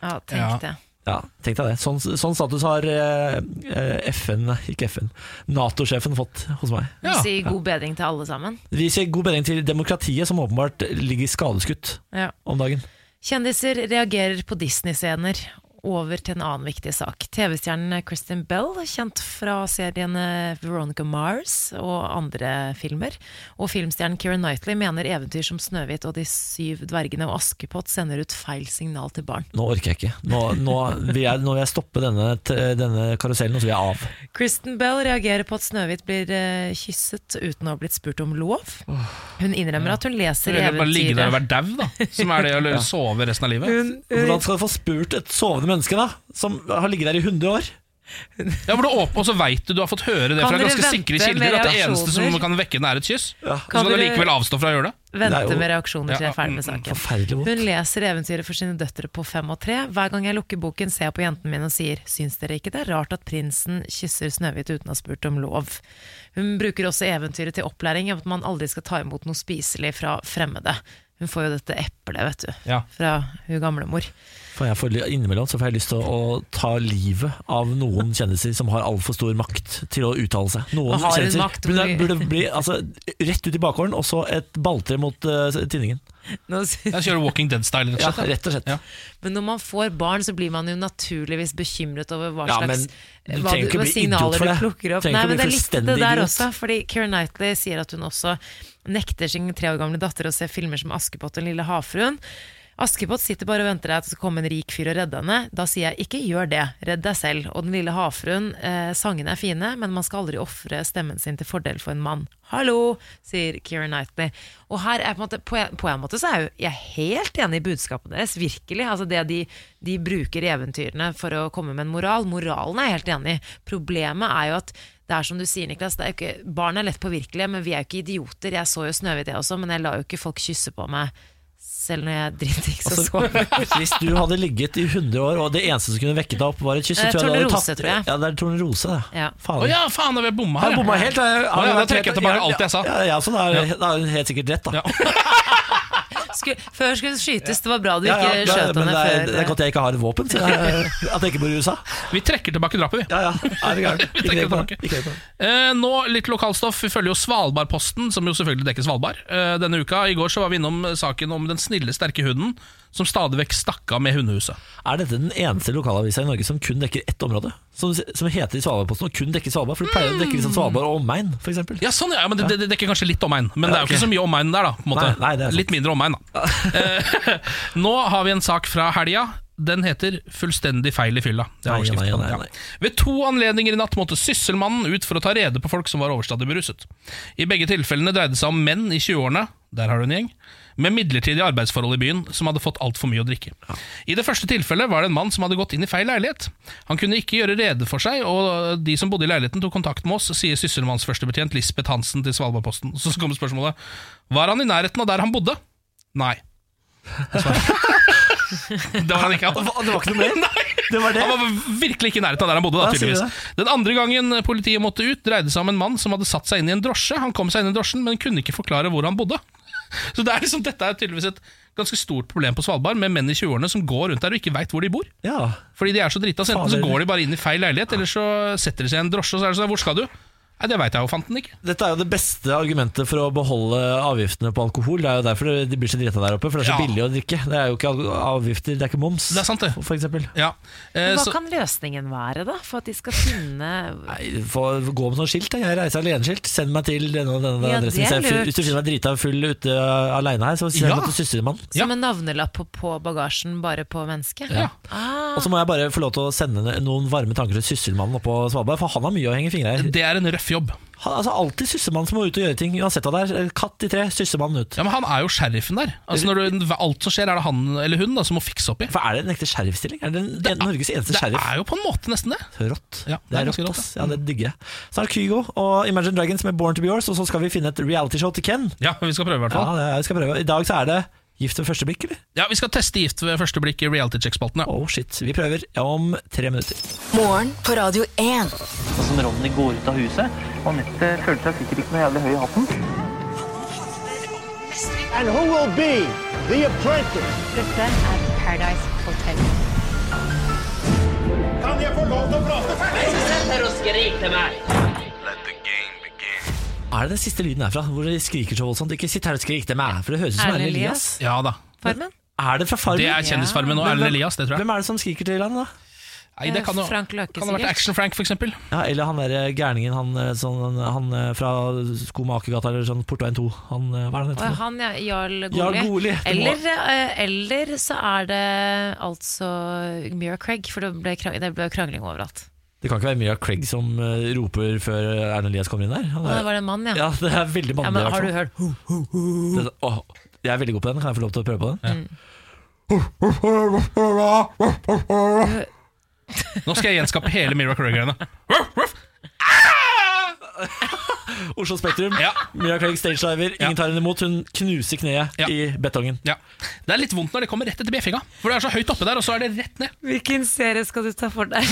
S3: Ja,
S2: Ja.
S3: tenk det.
S1: Ja, tenk deg det. Sånn, sånn status har eh, eh, FN, nei, ikke FN, Nato-sjefen fått hos meg.
S3: Si god bedring til alle sammen.
S1: Vi sier god bedring til demokratiet, som åpenbart ligger skadeskutt
S3: Ja.
S1: om dagen.
S3: Kjendiser reagerer på Disney-scener. Over til en annen viktig sak. TV-stjernen Kristin Bell, kjent fra seriene Veronica Mars og andre filmer, og filmstjernen Keira Knightley mener eventyr som Snøhvit og De syv dvergene og Askepott sender ut feil signal til barn.
S1: Nå orker jeg ikke. Nå, nå, vil, jeg, nå vil jeg stoppe denne, t- denne karusellen, og så vil jeg av.
S3: Kristen Bell reagerer på at Snøhvit blir eh, kysset uten å ha blitt spurt om lov. Hun innrømmer at hun leser
S2: Eller bare ligge der og være
S3: eventyret.
S2: dau, da. Som er det å
S1: Ja.
S2: sove resten av livet.
S1: Hvordan skal du få spurt et sovende menneske da som har ligget der i 100 år?
S2: Ja, for du åp- Og så veit du du har fått høre det
S1: Kan
S2: fra
S1: dere
S2: ganske sikre
S1: vente med
S2: kilder at det
S1: reaksjoner?
S2: eneste som kan vekke den, er et kyss. Og Så skal
S3: Kan
S2: du
S3: dere
S2: likevel avstå fra å gjøre det.
S3: Vente med reaksjoner til jeg er ferdig med saken.
S1: mm, Forferdelig vondt.
S3: Hun leser eventyret for sine døtre på fem og tre. Hver gang jeg lukker boken, ser jeg på jentene mine og sier Syns dere ikke det er rart at prinsen kysser Snøhvit uten å ha spurt om lov? Hun bruker også eventyret til opplæring om at man aldri skal ta imot noe spiselig fra fremmede. Hun får jo dette eplet, vet du,
S1: Ja.
S3: fra hun gamlemor.
S1: For jeg får, innimellom så får jeg lyst til å ta livet av noen kjendiser som har altfor stor makt til å uttale seg. Noen
S3: Og har en
S1: kjendiser
S3: makt-
S1: burde, burde bli altså, rett ut i bakgården, og så et balltre mot eh, tinningen.
S3: Nå
S2: Jeg kjører Walking Dead-style, rett og slett.
S1: Ja, rett og slett.
S3: Men når man får barn, så blir man jo naturligvis bekymret over hva
S1: Ja,
S3: slags
S1: men du
S3: hva
S1: trenger ikke
S3: hva
S1: bli idiot
S3: signaler
S1: for
S3: du
S1: det.
S3: plukker opp.
S1: Trenger
S3: Nei,
S1: ikke bli
S3: men det er litt det
S1: fullstendig
S3: der
S1: idiot.
S3: også, fordi Keira Knightley sier at hun også nekter sin tre år gamle datter å se filmer som Askepott og Den lille havfruen. Askepott sitter bare og venter deg at det skal komme en rik fyr og redde henne. Da sier jeg ikke gjør det, redd deg selv. Og Den lille havfruen, eh, sangene er fine, men man skal aldri ofre stemmen sin til fordel for en mann. Hallo, sier Keira Knightley. Og her er på en måte, på en, på en måte så er jo jeg helt enig i budskapet deres, virkelig. Altså det de, de bruker i eventyrene for å komme med en moral. Moralen er jeg helt enig i. Problemet er jo at det er som du sier, Niklas, det er jo ikke, barn er lett påvirkelige, men vi er jo ikke idioter. Jeg så jo Snøhvit, jeg også, men jeg lar jo ikke folk kysse på meg. Selv når jeg driter ikke så
S1: Altså, hvis du hadde ligget i 100 år, og det eneste som kunne vekket deg opp, var et kyss så
S3: Eh,
S1: tror jeg du hadde
S3: tornerose,
S1: tatt-
S3: tror jeg.
S1: Ja, det er tornerose, det.
S3: Ja.
S1: Faen.
S2: Å ja, faen, da vil jeg bomma her.
S1: Jeg bomma helt. Jeg,
S2: Å ja, da trekker jeg tilbake alt jeg sa.
S1: Ja, ja, så da er da er hun helt sikkert rett, da.
S3: Skulle, før skulle det skytes, det var bra du ikke
S1: Ja, ja, det-
S3: skjøt
S1: men
S3: henne
S1: det er,
S3: før.
S1: Det er godt jeg ikke har våpen, så jeg, at jeg ikke bor i USA.
S2: Vi trekker tilbake drapet, vi.
S1: Ja, ja. Er det gærent?
S2: Vi
S1: Ikke
S2: trekker
S1: tenk på
S2: tilbake.
S1: det. Ikke tenk på det.
S2: Eh, nå litt lokalstoff. Vi følger jo Svalbardposten, som jo selvfølgelig dekker Svalbard. Eh, denne uka, I går så var vi innom eh, saken om den snille, sterke hunden som stadig vekk stakk av med hundehuset.
S1: Er dette den eneste lokalavisa i Norge som kun dekker ett område? Som, som heter Svalbardposten og kun dekker Svalbard? For du pleier å dekke liksom Svalbard og omegn, f.eks.
S2: Ja, sånn, ja, men det, det dekker kanskje litt omegn. Men det er jo
S1: ok.
S2: ikke så mye omegn der, da. På en måte.
S1: Nei, nei, det er sant.
S2: litt mindre omegn, da. Eh, nå har vi en sak fra helga. Den heter 'Fullstendig feil i fylla'. Det er
S1: Nei,
S2: overskriften
S1: nei,
S2: på den,
S1: nei,
S2: ja.
S1: nei.
S2: Ved to anledninger i natt måtte sysselmannen ut for å ta rede på folk som var overstadig beruset. I begge tilfellene dreide det seg om menn i 20-årene der har du en gjeng med midlertidige arbeidsforhold i byen som hadde fått altfor mye å drikke. I det første tilfellet var det en mann som hadde gått inn i feil leilighet. Han kunne ikke gjøre rede for seg, og de som bodde i leiligheten tok kontakt med oss, sier sysselmannsførstebetjent Lisbeth Hansen til Svalbardposten. Så kommer spørsmålet Var han i nærheten av der han bodde? Nei. Svaret. Det var han ikke.
S1: Hva, Det var ikke noe mer?
S2: Nei.
S1: Det var det?
S2: Han var virkelig ikke i nærheten av der han bodde. Da,
S1: Ja, sier du
S2: tydeligvis. Den andre gangen politiet måtte ut, dreide seg om en mann som hadde satt seg inn i en drosje. Han kom seg inn i drosjen, men kunne ikke forklare hvor han bodde. Så det er liksom, dette er tydeligvis et ganske stort problem på Svalbard, med menn i 20-årene som går rundt der og ikke veit hvor de bor.
S1: Ja.
S2: Fordi de er så drita, så enten så
S1: Fader.
S2: går de bare inn i feil leilighet, eller så setter de seg i en drosje, og så er det sånn Hvor skal du? Nei, det veit jeg jo, fant den ikke.
S1: Dette er jo det beste argumentet for å beholde avgiftene på alkohol. Det er jo derfor de blir så drita der oppe, for det er så
S2: Ja.
S1: billig å drikke. Det er jo ikke al- avgifter, det er ikke moms,
S2: Det er sant, det.
S1: for eksempel.
S2: Ja. Eh,
S3: Men Hva
S2: så-
S3: kan løsningen være, da? For at de skal finne
S1: Nei, få gå med sånn skilt. da. Jeg reiser alene-skilt. Send meg til denne og denne
S3: Ja,
S1: adressen.
S3: det er
S1: Så jeg full-
S3: lurt.
S1: Hvis du finner meg drita full ute uh, alene her, så send
S2: Ja.
S1: meg til søstermannen.
S2: Ja.
S3: Som en navnelapp på- på bagasjen, bare på mennesket?
S2: Ja.
S1: Og
S3: Ah,
S1: så må jeg bare få lov til å sende noen varme tanker til sysselmannen oppe på Svalbard, for han har mye å henge i fingra i.
S2: Det er en røff jobb.
S1: Han- Altså, alltid sysselmannen som må ut og gjøre ting, uansett hva det er. eh, Katt i tre, sysselmannen ut.
S2: Ja, Men han er jo sheriffen der. Altså når du, Alt som skjer, er det han eller hun da, som må fikse opp i.
S1: For er det en ekte sheriffstilling? Er det, den, en- Norges eneste
S2: Det
S1: sheriff?
S2: er jo på en måte nesten det.
S1: Rått.
S2: Ja,
S1: det er rått, ass. Ja, Mm. det digger jeg. Så er det Kygo og Imagine Dragons med Born to be yours, og så skal vi finne et realityshow til Ken.
S2: Ja, men vi skal prøve i hvert
S1: Ja,
S2: fall.
S1: det er, jeg skal prøve. I dag så er det Gift ved første blikk, eller?
S2: Ja, Vi skal teste gift ved første blikk i Reality Check-spalten. Ja.
S1: Oh shit. Vi prøver om tre minutter.
S4: Morgen på Radio 1.
S12: Sånn Ronny går ut av huset. Anette følte seg sikkert ikke noe jævlig høy i hatten.
S13: And who will be the apprentice?
S14: Dette er Paradise Hotel.
S13: Kan jeg få lov til å prate
S1: Er det den siste lyden herfra? Hvor de skriker så voldsomt? Ikke sitt her og skrik, det er meg, for det høres ut som
S3: Erlend
S1: Erlend Elias.
S2: ja da.
S3: Farmen?
S1: Er det fra Farmen?
S2: Det er Kjendisfarmen og
S1: Men
S2: Erlend
S1: hvem-
S2: Elias, det tror jeg.
S1: Hvem er det som skriker til han, da?
S2: Nei, det kan jo
S3: Frank Løke,
S2: kan ha vært
S3: sikkert.
S2: Action-Frank, for eksempel.
S1: Ja, eller han der gærningen han, eh, sånn, han eh, fra Skomakergata eller sånn Portveien 2. Han, eh, hva er det han
S3: Og
S1: heter? for noe?
S3: han, ja, Jarl
S1: Jarl
S3: Goli.
S1: Goli, det må-
S3: Eller, eh, eller så er det altså Mira Craig, for det ble, krang det ble krangling overalt.
S1: Det kan ikke være Mira Craig som eh, roper før Erlend Elias kommer inn der. Han
S3: Å, det var det en mann, ja.
S1: Ja, det er veldig
S3: Ja,
S1: mannlig.
S3: men
S1: i hvert
S3: har
S1: fall.
S3: du hørt ho, ho, ho?
S1: Det er så- åh, jeg er veldig god på den. Kan jeg få lov til å prøve på den?
S2: Nå skal jeg gjenskape hele Mira Craig-greiene.
S1: Oslo Spektrum,
S2: Ja.
S1: Mira Craig stagediver. Ingen tar henne imot. Hun knuser kneet
S2: Ja.
S1: i betongen.
S2: Ja. Det er litt vondt når det kommer rett etter bjeffinga. For det er så høyt oppe der, og så er det rett ned.
S3: Hvilken serie skal du ta for deg?
S2: Ja,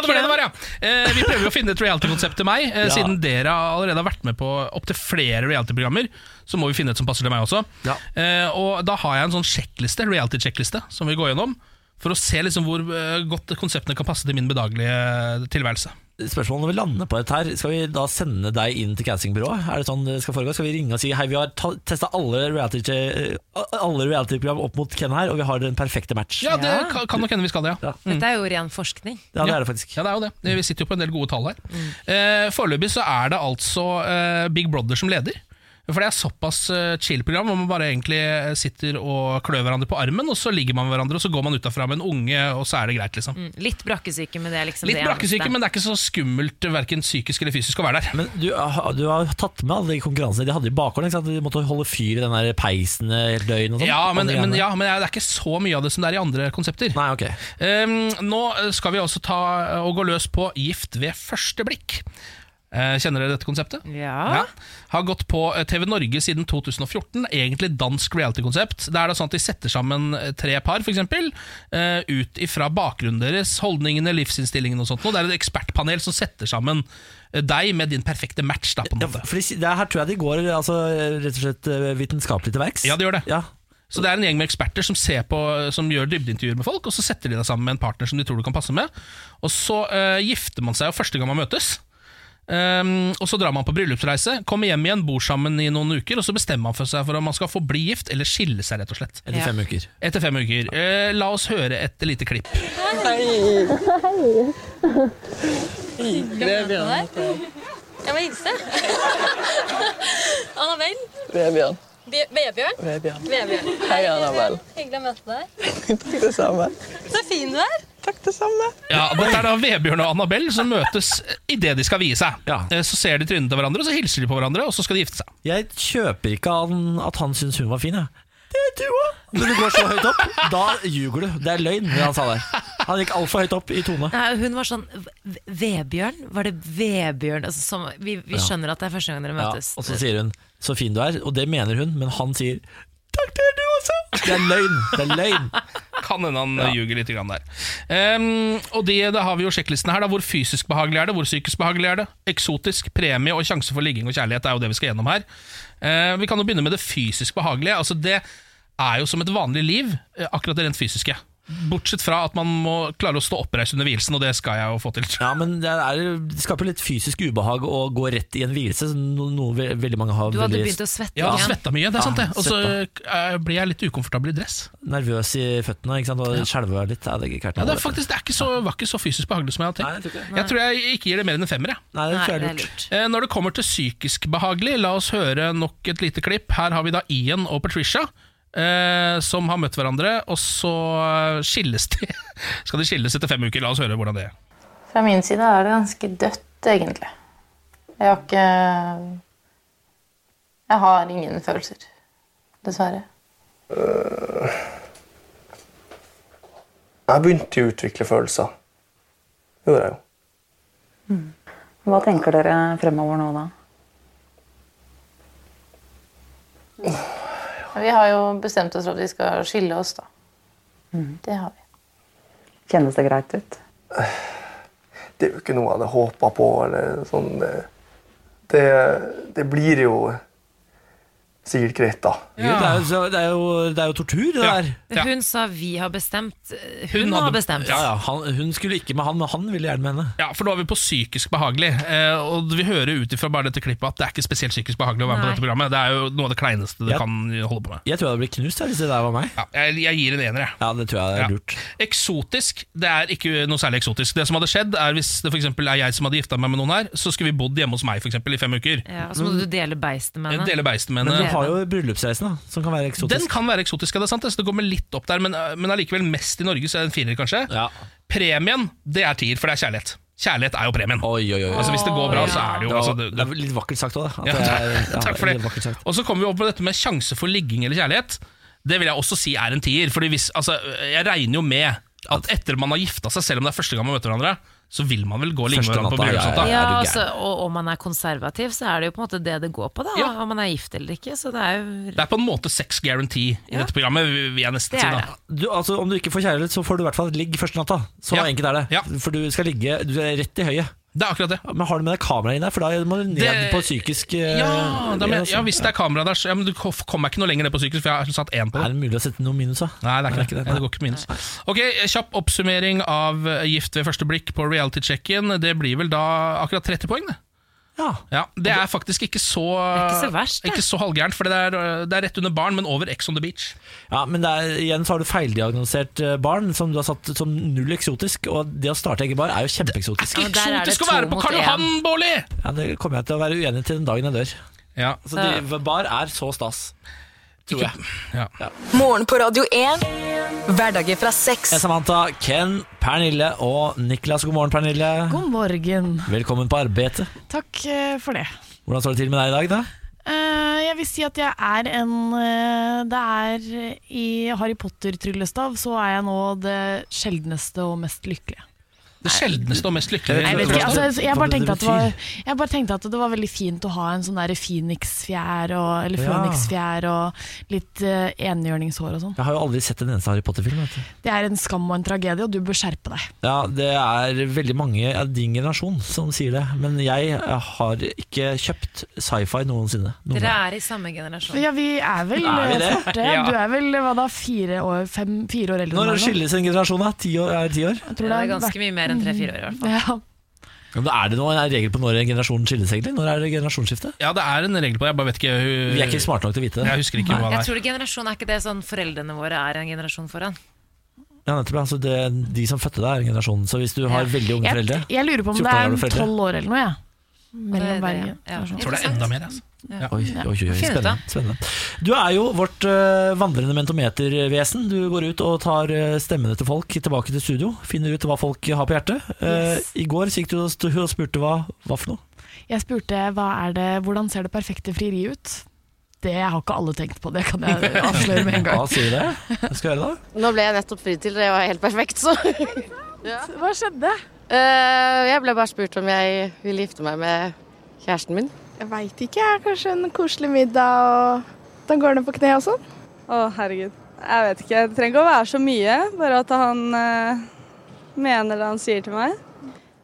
S2: det var det det var, ja. Eh, vi prøver jo å finne et reality-konsept til meg. Eh,
S1: Ja.
S2: Siden dere allerede har vært med på opptil flere reality-programmer, så må vi finne et som passer til meg også.
S1: Ja.
S2: Eh, og da har jeg en sånn sjekkliste, reality-sjekkliste, som vi går gjennom. For å se liksom hvor eh, godt konseptene kan passe til min bedagelige tilværelse.
S1: spørsmål når vi lander på dette her. Skal vi da sende deg inn til castingbyrået? Er det sånn det skal foregå? Skal vi ringe og si hei, vi har ta- testa alle reality- eh, alle reality-program opp mot Ken her, og vi har den perfekte match?
S2: Ja, det kan, kan nok hende vi skal det, ja.
S3: Dette er jo ren forskning.
S1: Ja, det er det faktisk.
S2: Ja, det er jo det. Vi sitter jo på en del gode tall her. Eh, Foreløpig så er det altså eh, Big Brother som leder. For det er såpass eh, chill program hvor man bare egentlig eh, sitter og klør hverandre på armen, og så ligger man med hverandre, og så går man utafra med en unge, og så er det greit, liksom.
S3: Mm, Litt brakkesyke, men det er liksom
S2: Litt
S3: det
S2: brakkesyke, men det er ikke så skummelt verken psykisk eller fysisk å være der.
S1: Men du, har- du har tatt med alle de konkurransene de hadde i bakgården. ikke sant? De måtte holde fyr i den der peisen eh, helt døgn og sånn.
S2: Ja men,
S1: Og det
S2: men,
S1: greiene.
S2: ja, men det er ikke så mye av det som det er i andre konsepter.
S1: Nei, ok
S2: Ehm, Nå skal vi også ta eh, og gå løs på Gift ved første blikk. Eh, Kjenner dere dette konseptet?
S3: Ja.
S2: Har gått på eh, TV Norge siden 2014. Egentlig dansk reality-konsept. Det er da sånn at De setter sammen eh, tre par, f.eks., ut ifra bakgrunnen deres, holdningene, livsinnstillingene og sånt. Og det er et ekspertpanel som setter sammen eh, deg med din perfekte match. Da, på en måte.
S1: For de, det her tror jeg de går altså, rett og slett eh, vitenskapelig til verks.
S2: Ja, det gjør det. Så det er en gjeng med eksperter som, ser på, som gjør dybdeintervjuer med folk, og så setter de deg sammen med en partner som de tror du kan passe med. Og så eh, gifter man seg jo første gang man møtes. Ehm, og så drar man på bryllupsreise, kommer hjem igjen, bor sammen i noen uker, og så bestemmer man for seg for om man skal få bli gift eller skille seg, rett og slett.
S1: Etter fem uker.
S2: Etter fem uker. Eh, la oss høre et lite klipp.
S15: Hyggelig å møte deg. Jeg må hilse. Annabelle.
S16: Vebjørn.
S15: Be- Vebjørn.
S16: Vebjørn.
S15: Vebjørn.
S16: Hei, Annabelle.
S15: Hyggelig å møte deg.
S16: Takk det samme.
S15: Så fin du er.
S2: Ja, Dette er da Vebjørn og Annabelle som møtes idet de skal vie seg. Eh, så ser de trynene til hverandre, og så hilser de på hverandre, og så skal de gifte seg.
S1: Jeg kjøper ikke han, at han syns hun var fin. Jeg. Det er du òg! Når du går så høyt opp, da ljuger du. Det er løgn, det han sa der. Han gikk altfor høyt opp i tone.
S3: Nei, hun var sånn "V- Vebjørn? Var det Vebjørn? Altså, som, vi vi
S1: Ja.
S3: skjønner at det er første gang dere
S1: Ja,
S3: møtes.
S1: og så sier hun 'så fin du er', og det mener hun, men han sier 'takk, det er du også'. Det er løgn. Det er løgn.
S2: Kan hende han eh, ljuger litt grann der. Ehm, og det, da har vi jo sjekklisten her. Da. Hvor fysisk behagelig er det? Hvor psykisk behagelig er det? Eksotisk, premie og sjanse for ligging og kjærlighet er jo det vi skal gjennom her. Eh, vi kan jo begynne med det fysisk behagelige. Altså Det er jo som et vanlig liv, eh, akkurat det rent fysiske. Bortsett fra at man må klare å stå oppreist under vielsen, og det skal jeg jo få til.
S1: Ja, men det, er, det skaper litt fysisk ubehag å gå rett i en hvilelse, som no- noe ve veldig mange har
S3: Du hadde
S1: veldig-
S3: begynt å svette
S2: Jeg hadde
S1: Ja.
S2: svetta mye, det er sant det. Og så
S1: svetta.
S2: eh, blir jeg litt ukomfortabel i dress.
S1: Nervøs i føttene ikke sant? og skjelver litt. Ja, det, er ikke hvert
S2: Ja, det, er
S1: noe.
S2: faktisk, det er ikke så, var ikke så fysisk behagelig som jeg hadde tenkt.
S1: jeg.
S2: jeg tror jeg ikke gir det mer enn en femmer. Jeg.
S1: Nei, det tror jeg er Nei, det er lurt.
S2: Eh, Når det kommer til psykisk behagelig, la oss høre nok et lite klipp. Her har vi da Ian og Patricia. Eh, som har møtt hverandre, og så eh, skilles de. Skal de skilles etter fem uker? La oss høre hvordan det er.
S17: Fra min side er det ganske dødt, egentlig. Jeg har ikke Jeg har ingen følelser, dessverre.
S18: Eh, Jeg begynte jo å utvikle følelser. Det gjorde jeg jo.
S19: Hva tenker dere eh, fremover nå, da?
S17: Vi har jo bestemt oss for at vi skal skille oss, da.
S19: Mhm.
S17: Det har vi.
S19: Kjennes det greit ut?
S18: Det er jo ikke noe jeg hadde håpa på. eller sånn. eh, Det, det blir jo sikkert greit, da.
S1: Jo, det, er jo, det, er jo, det er jo tortur, det der.
S3: Hun sa 'vi har bestemt'. Hun, har bestemt.
S1: Ja, ja, han, hun skulle ikke med han, men han ville gjerne med henne.
S2: Ja, for nå er vi på psykisk behagelig, eh, og vi hører ut ifra bare dette klippet at det er ikke spesielt psykisk behagelig å være
S1: Nei.
S2: med på dette programmet. Det er jo noe av det kleineste du
S1: Ja.
S2: kan holde på med.
S1: Jeg tror jeg hadde blitt knust her, hvis det der var meg.
S2: Ja, jeg, jeg gir en ener, jeg.
S1: Ja, det tror jeg er
S2: Ja.
S1: lurt.
S2: Eksotisk det er ikke noe særlig eksotisk. Det som hadde skjedd er Hvis det for eksempel er jeg som hadde gifta meg med noen her, så skulle vi bodd hjemme hos meg for eksempel, i fem uker.
S3: Ja, og så må du dele beistet med henne.
S2: Dele beistet med
S1: Men
S2: henne.
S1: du har jo bryllupsreisen, da, som kan være eksotisk.
S2: Den kan være eksotisk, ja, det er sant. det, Så det går med litt opp der, men, eh, men allikevel mest i Norge, så er det en firer, kanskje. Premien, det er tier, for det er kjærlighet. Kjærlighet er jo premien. Altså Hvis det går bra, så er det jo altså, det,
S1: det er litt vakkert sagt òg,
S2: Ja,
S1: det. er- ja,
S2: Takk for
S1: litt
S2: det.
S1: vakkert sagt.
S2: Og så kommer vi opp med dette med sjanse for ligging eller kjærlighet. Det vil jeg også si er en tier. Fordi hvis, altså, jeg regner jo med at etter man har gifta seg, selv om det er første gang man møter hverandre, så vil man vel gå og ligge med
S1: Første
S2: hverandre på
S1: natta, ja,
S2: bryllupsnatta.
S3: Ja, altså, og om man er konservativ, så er det jo på en måte det det går på, da. Om man er gift eller ikke. Så det er jo
S2: Det er på en måte sex guarantee i dette programmet, vil jeg nesten
S3: Det
S2: si.
S3: er
S2: da
S1: Du, altså, om du ikke får kjærlighet, så får du i hvert fall et ligg første natta. Så
S2: Ja.
S1: enkelt er det. For du skal ligge du er rett i høyet.
S2: Det er akkurat det.
S1: Men har du med deg kamera inn der? For da må du ned
S2: Det-
S1: på psykisk eh,
S2: Ja, da, men,
S1: altså.
S2: ja, hvis det er kamera der, så ja, men du kom- kommer meg ikke noe lenger ned på sykkel, for jeg har satt én på det.
S1: Er det mulig å sette noen minus, da?
S2: Nei, det er ikke det.
S1: det.
S2: Nei, det går ikke minus. Ok, Kjapp oppsummering av eh, Gift ved første blikk på reality-checken. Det blir vel da akkurat 30 poeng, det.
S1: Ja.
S2: Det er faktisk ikke så
S3: ikke så verst, det.
S2: Ikke så halvgærent, for det er, eh, det er rett under barn, men over Ex on the beach.
S1: Ja, men det er, igjen så har du feildiagnosert eh, barn som du har satt som null eksotisk, og det å starte egen bar er jo kjempeeksotisk.
S3: Og der er det
S2: Eksotisk å
S3: to
S2: være på
S3: mot
S2: Karl
S3: en.
S2: Johan, Bårli!
S1: Ja, det kommer jeg til å være uenig til den dagen jeg dør.
S2: Ja.
S1: Så de, bar er så stas, tror jeg. Ja.
S20: Morgen på Radio 1. Hverdager fra seks.
S1: Jeg er Samantha, Ken, Pernille og Niklas. God morgen, Pernille.
S4: God morgen.
S1: Velkommen på arbeidet.
S4: Takk eh, for det.
S1: Hvordan står det til med deg i dag, da?
S4: Eh, jeg vil si at jeg er en eh, Det er i Harry Potter-tryllestav, så er jeg nå det sjeldneste og mest lykkelige.
S2: Det sjeldneste og mest lykkelige.
S4: Jeg, vet ikke, altså, jeg- jeg, bare
S2: Hva det
S4: tenkte at det var,
S2: betyr.
S4: jeg bare tenkte at det var veldig fint å ha en sånn der Phoenix-fjær og, eller
S1: Ja.
S4: Phoenix-fjær og litt uh, enhjørningshår og sånn.
S1: Jeg har jo aldri sett en eneste Harry Potter-film. vet du.
S4: Det er en skam og en tragedie, og du bør skjerpe deg.
S1: Ja, Det er veldig mange av din generasjon som sier det, men jeg eh, har ikke kjøpt sci-fi noensinne. Noen
S3: Dere
S1: gang.
S3: er i samme generasjon.
S4: Ja, vi er vel
S1: Er vi
S4: eh,
S1: det?
S4: fort det.
S1: Ja.
S4: Du er vel hva da, fire år, fem, fire år eldre enn
S1: Når
S4: meg nå?
S1: skilles en generasjon, da? Ti år? Er det ti år?
S4: Jeg tror
S3: det
S4: har
S3: er ganske
S4: vært-
S3: mye mer enn tre-fire år, i hvert fall.
S4: Ja.
S1: Ja, men er det noen regel på når en generasjon skilles, egentlig? Når er det generasjonsskifte?
S2: Ja, det er en regel på det. Jeg bare vet ikke
S1: Vi
S2: hun-
S1: er ikke smarte nok til å vite det.
S2: Jeg husker ikke hva det
S3: Jeg
S2: er.
S3: tror det generasjon er ikke det sånn foreldrene våre er en generasjon foran.
S1: Ja, nettopp, altså det, De som fødte deg, er en generasjon. Så hvis du har veldig unge
S4: Jeg,
S1: foreldre
S4: jeg lurer på
S1: 14
S4: om det
S1: gamle
S4: er
S1: foreldre.
S4: tolv år eller noe, jeg. Mellom hver
S2: Jeg tror det er enda mer, altså. Ja.
S1: Oi, oi, oi, oi,
S2: Finn ut
S1: spennende,
S2: av.
S1: spennende. Du er jo vårt eh, vandrende mentometervesen. Du går ut og tar eh, stemmene til folk tilbake til studio. Finner ut hva folk har på hjertet. Eh,
S4: Yes.
S1: I går så gikk du og stu- og spurte hva, hva for noe.
S4: Jeg spurte hva er det, hvordan ser det perfekte frieriet ut? Det har ikke alle tenkt på, det kan jeg avsløre med en gang.
S1: Hva sier du det? Hva skal jeg gjøre da?
S21: Nå ble jeg nettopp fridd til, det var helt perfekt, så. Eh,
S4: Hva skjedde?
S21: jeg ble bare spurt om jeg ville gifte meg med kjæresten min.
S22: Jeg veit ikke. jeg. Kanskje en koselig middag og Da går det på kne og sånn.
S23: Å, herregud. Jeg vet ikke. Det trenger ikke å være så mye, bare at han eh, mener det han sier til meg.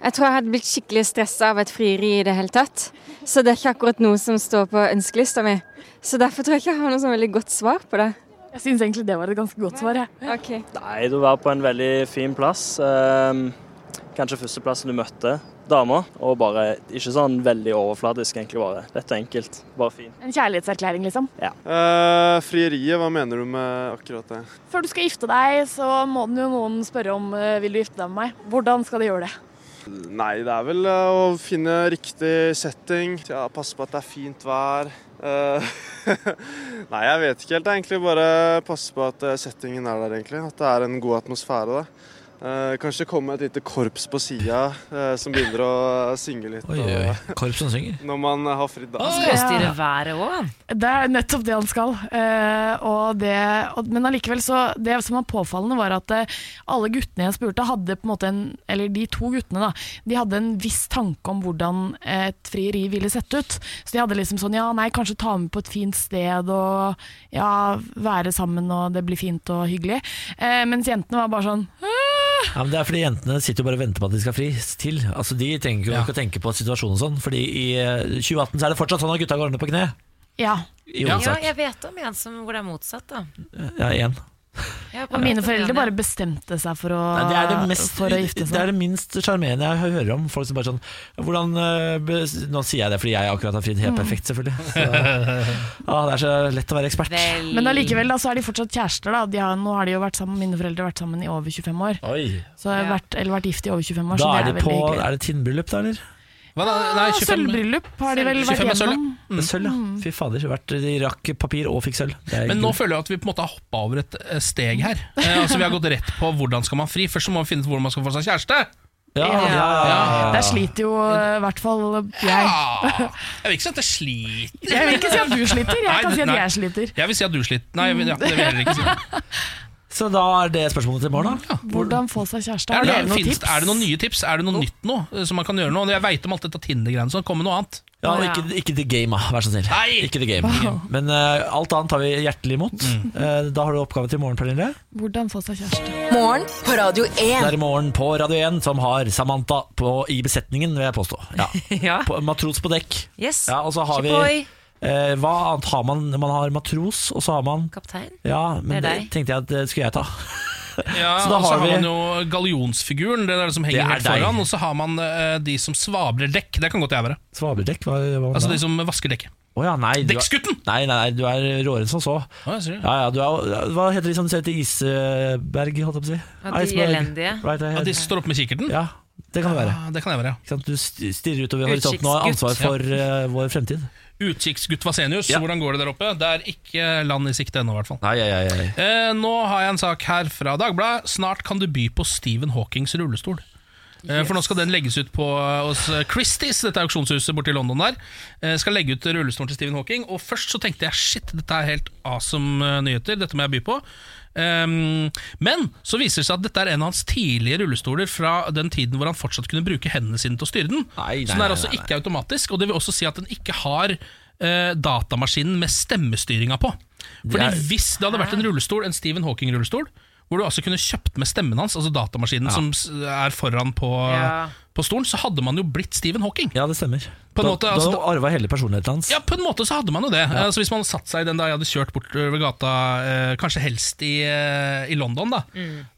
S24: Jeg tror jeg hadde blitt skikkelig stressa av et frieri i det hele tatt. Så det er ikke akkurat noe som står på ønskelista mi. Så derfor tror jeg ikke jeg har noe sånn veldig godt svar på det.
S4: Jeg syns egentlig det var et ganske godt svar, jeg.
S25: Nei, du var på en veldig fin plass. Ehm, kanskje førsteplassen du møtte dama, og bare ikke sånn veldig overfladisk, egentlig bare. Dette er enkelt, bare fin.
S4: En kjærlighetserklæring, liksom.
S25: Ja.
S7: Eh, frieriet, hva mener du med akkurat det?
S4: Før du skal gifte deg, så må den jo noen spørre om eh, vil du gifte deg med meg. Hvordan skal de gjøre det?
S7: Nei, det er vel eh, å finne riktig setting, ja, passe på at det er fint vær. Eh, Nei, jeg vet ikke helt. Det er egentlig bare passe på at eh, settingen er der, egentlig. At det er en god atmosfære, da. Eh, kanskje det kommer et lite korps på sida eh, som begynner å synge litt.
S1: Oi, oi, oi. Korps som synger.
S7: Når man har fridd, da.
S3: Han skal jo styre været òg.
S4: Det er nettopp det han skal. eh, og det, og, men allikevel, så Det som var påfallende, var at eh, alle guttene jeg spurte, hadde på en måte en Eller de to guttene, da. De hadde en viss tanke om hvordan et frieri ville sett ut. Så de hadde liksom sånn Ja, nei, kanskje ta med på et fint sted, og ja, være sammen, og det blir fint og hyggelig. Eh, mens jentene var bare sånn
S1: Ja, men det er fordi Jentene sitter jo bare og venter på at de skal fri til. Altså De trenger jo ikke å tenke på situasjonen og sånn. Fordi i eh, 2018 så er det fortsatt sånn at gutta går ned på kne.
S4: Ja.
S1: I
S3: ja,
S1: hovedsak.
S3: jeg vet om en som, hvor det er motsatt, da.
S1: Ja, igjen.
S3: Jeg
S4: Og mine foreldre bare bestemte seg for å,
S1: Nei, det, er det, mest,
S4: for å gifte seg.
S1: det er det minst sjarmerende jeg hører om. Folk som bare sånn hvordan, eh, bes- Nå sier jeg det fordi jeg akkurat har fridd helt
S4: Mm.
S1: perfekt, selvfølgelig. Så, ah, det er så lett å være ekspert.
S4: Men allikevel da, så er de fortsatt kjærester. da de har, Nå har de jo vært sammen, Mine foreldre har vært sammen i over 25 år.
S1: Oi.
S4: Så har vært, eller vært gift i over 25 år,
S1: Da
S4: så
S1: er
S4: det
S1: de
S4: Sånn er
S1: på
S4: veldig hyggelig.
S1: Er det tinnbryllup, da, eller?
S3: Ah,
S4: nei, 25 Sølvbryllup har de vel vært 25 er sølv, ja. gjennom.
S1: Mm. Sølv, ja. Fy fader. så vært- De rakk papir og fikk sølv. Det er
S2: Men nå
S1: gull.
S2: føler jeg at vi på en måte har hoppa over et eh, steg her. Eh, altså Vi har gått rett på hvordan skal man fri. Først så må vi finne ut hvordan man skal få seg kjæreste.
S1: Ja, ja, ja, ja.
S4: Der sliter jo eh, i hvert fall jeg.
S2: Jeg vil ikke si at jeg sliter.
S4: Jeg vil ikke si at du sliter, jeg kan si at jeg
S2: sliter. Jeg vil si at du sliter. Nei, jeg vil, ja, det vil jeg heller ikke si.
S1: Så da er det spørsmålet til i morgen, da.
S16: Hvordan få seg kjæreste?
S2: Er
S16: Har
S2: det,
S16: dere noen
S2: finnes,
S16: tips?
S2: er det noen nye tips? Er det noe nytt nå eh, som man kan gjøre nå? Jeg veit om alt dette Tinder-greiene, så kom med noe annet.
S1: Ja, og ikke, ikke The Game, da, vær så snill. Ikke the game. Men eh, alt annet tar vi hjertelig imot. Eh, da har du oppgave til i morgen, Pernille.
S16: Hvordan få seg kjæreste?
S4: Morgen på Radio 1.
S1: Det er i morgen på Radio 1 som har Samantha på, i besetningen, vil jeg påstå. Ja. På, matros på dekk.
S3: Yes.
S1: Ja, og så har vi
S3: Shipoi.
S1: eh, Hva annet har man? Man har matros, og så har man
S3: Kaptein.
S1: Ja, men
S3: Det er
S1: det,
S3: deg.
S1: tenkte jeg at det skulle jeg ta.
S2: Ja,
S1: Så da
S2: og så
S1: har
S2: har
S1: vi-
S2: man jo gallionsfiguren, det er det som
S1: Det
S2: henger
S1: er
S2: helt
S1: deg.
S2: foran. Og så har man eh, de som svabler dekk. Det kan godt jeg være.
S1: Svabeldekk? Hva, hva
S2: Altså de som vasker dekket.
S1: Å ja, nei, du er-
S2: Dekksgutten!
S1: Nei, nei, nei, du er råere enn som så.
S2: Å, jeg ser det.
S1: Ja, ja, du er, hva heter de som ser til Isberg, holdt jeg på å si?
S3: Ja, de
S1: Iceberg.
S3: elendige.
S1: Right ahead.
S2: Ja, de står oppe med kikkerten?
S1: Ja, det kan det være.
S2: Ja, det kan jeg være, ja.
S1: Ikke sant? Du st- stirrer utover horisonten og har ansvar
S2: Utkikksgutt,
S1: for
S2: ja.
S1: eh, vår fremtid.
S2: Utkikksgutt Vasenius,
S1: Ja.
S2: hvordan går det der oppe? Det er ikke land i sikte ennå, i hvert fall.
S1: Nei, nei, nei, nei.
S2: Eh, nå har jeg en sak her fra Dagbladet. Snart kan du by på Stephen Hawkings rullestol. Eh, For nå skal den legges ut på eh, hos eh, Christie's, dette auksjonshuset borte i London der. Eh, Skal legge ut rullestolen til Stephen Hawking. Og først så tenkte jeg shit, dette er helt awesome eh, nyheter, dette må jeg by på. Ehm, men så viser det seg at dette er en av hans tidlige rullestoler fra den tiden hvor han fortsatt kunne bruke hendene sine til å styre den.
S1: nei,
S2: så den
S1: nei,
S2: er altså
S1: nei, nei.
S2: ikke automatisk, og det vil også si at den ikke har eh, datamaskinen med stemmestyringa på.
S1: Det
S2: Fordi
S1: er-
S2: hvis det hadde vært en rullestol, en Stephen Hawking-rullestol, hvor du altså kunne kjøpt med stemmen hans, altså datamaskinen
S1: Ja.
S2: som s- er foran på,
S1: Ja.
S2: på stolen, så hadde man jo blitt Stephen Hawking.
S1: Ja, det stemmer.
S2: På en
S1: Da-
S2: måte,
S1: da
S2: altså, da-
S1: arva hele personligheten hans.
S2: Ja, på en måte så hadde man jo det. Altså, hvis man satt seg i den da jeg hadde kjørt bortover gata, eh, kanskje helst i, eh, i London, da,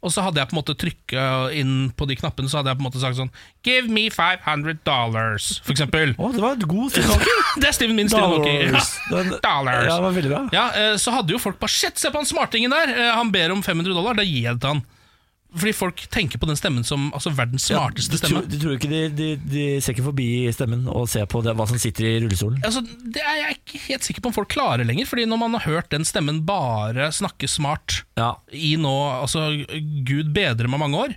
S2: og så hadde jeg på en måte trykka inn på de knappene, så hadde jeg på en måte sagt sånn Give me 500 dollars, for eksempel.
S1: det var et god Stephen Hawking.
S2: det er Stephen min Stephen Hawking.
S1: Dollars. Den-
S2: dollars.
S1: Ja, det var veldig bra.
S2: Ja, eh, så hadde jo folk bare Shit, se på han smartingen der! Eh, Han ber om 500 dollar, da gir jeg det til han. Fordi folk tenker på den stemmen som altså, verdens smarteste
S1: de,
S2: stemme.
S1: tror, de tror ikke de, de, de ser ikke forbi stemmen og ser på det, hva som sitter i rullestolen.
S2: Altså, det er jeg ikke helt sikker på om folk klarer lenger, Fordi når man har hørt den stemmen bare snakke smart i nå, altså gud bedre med mange år,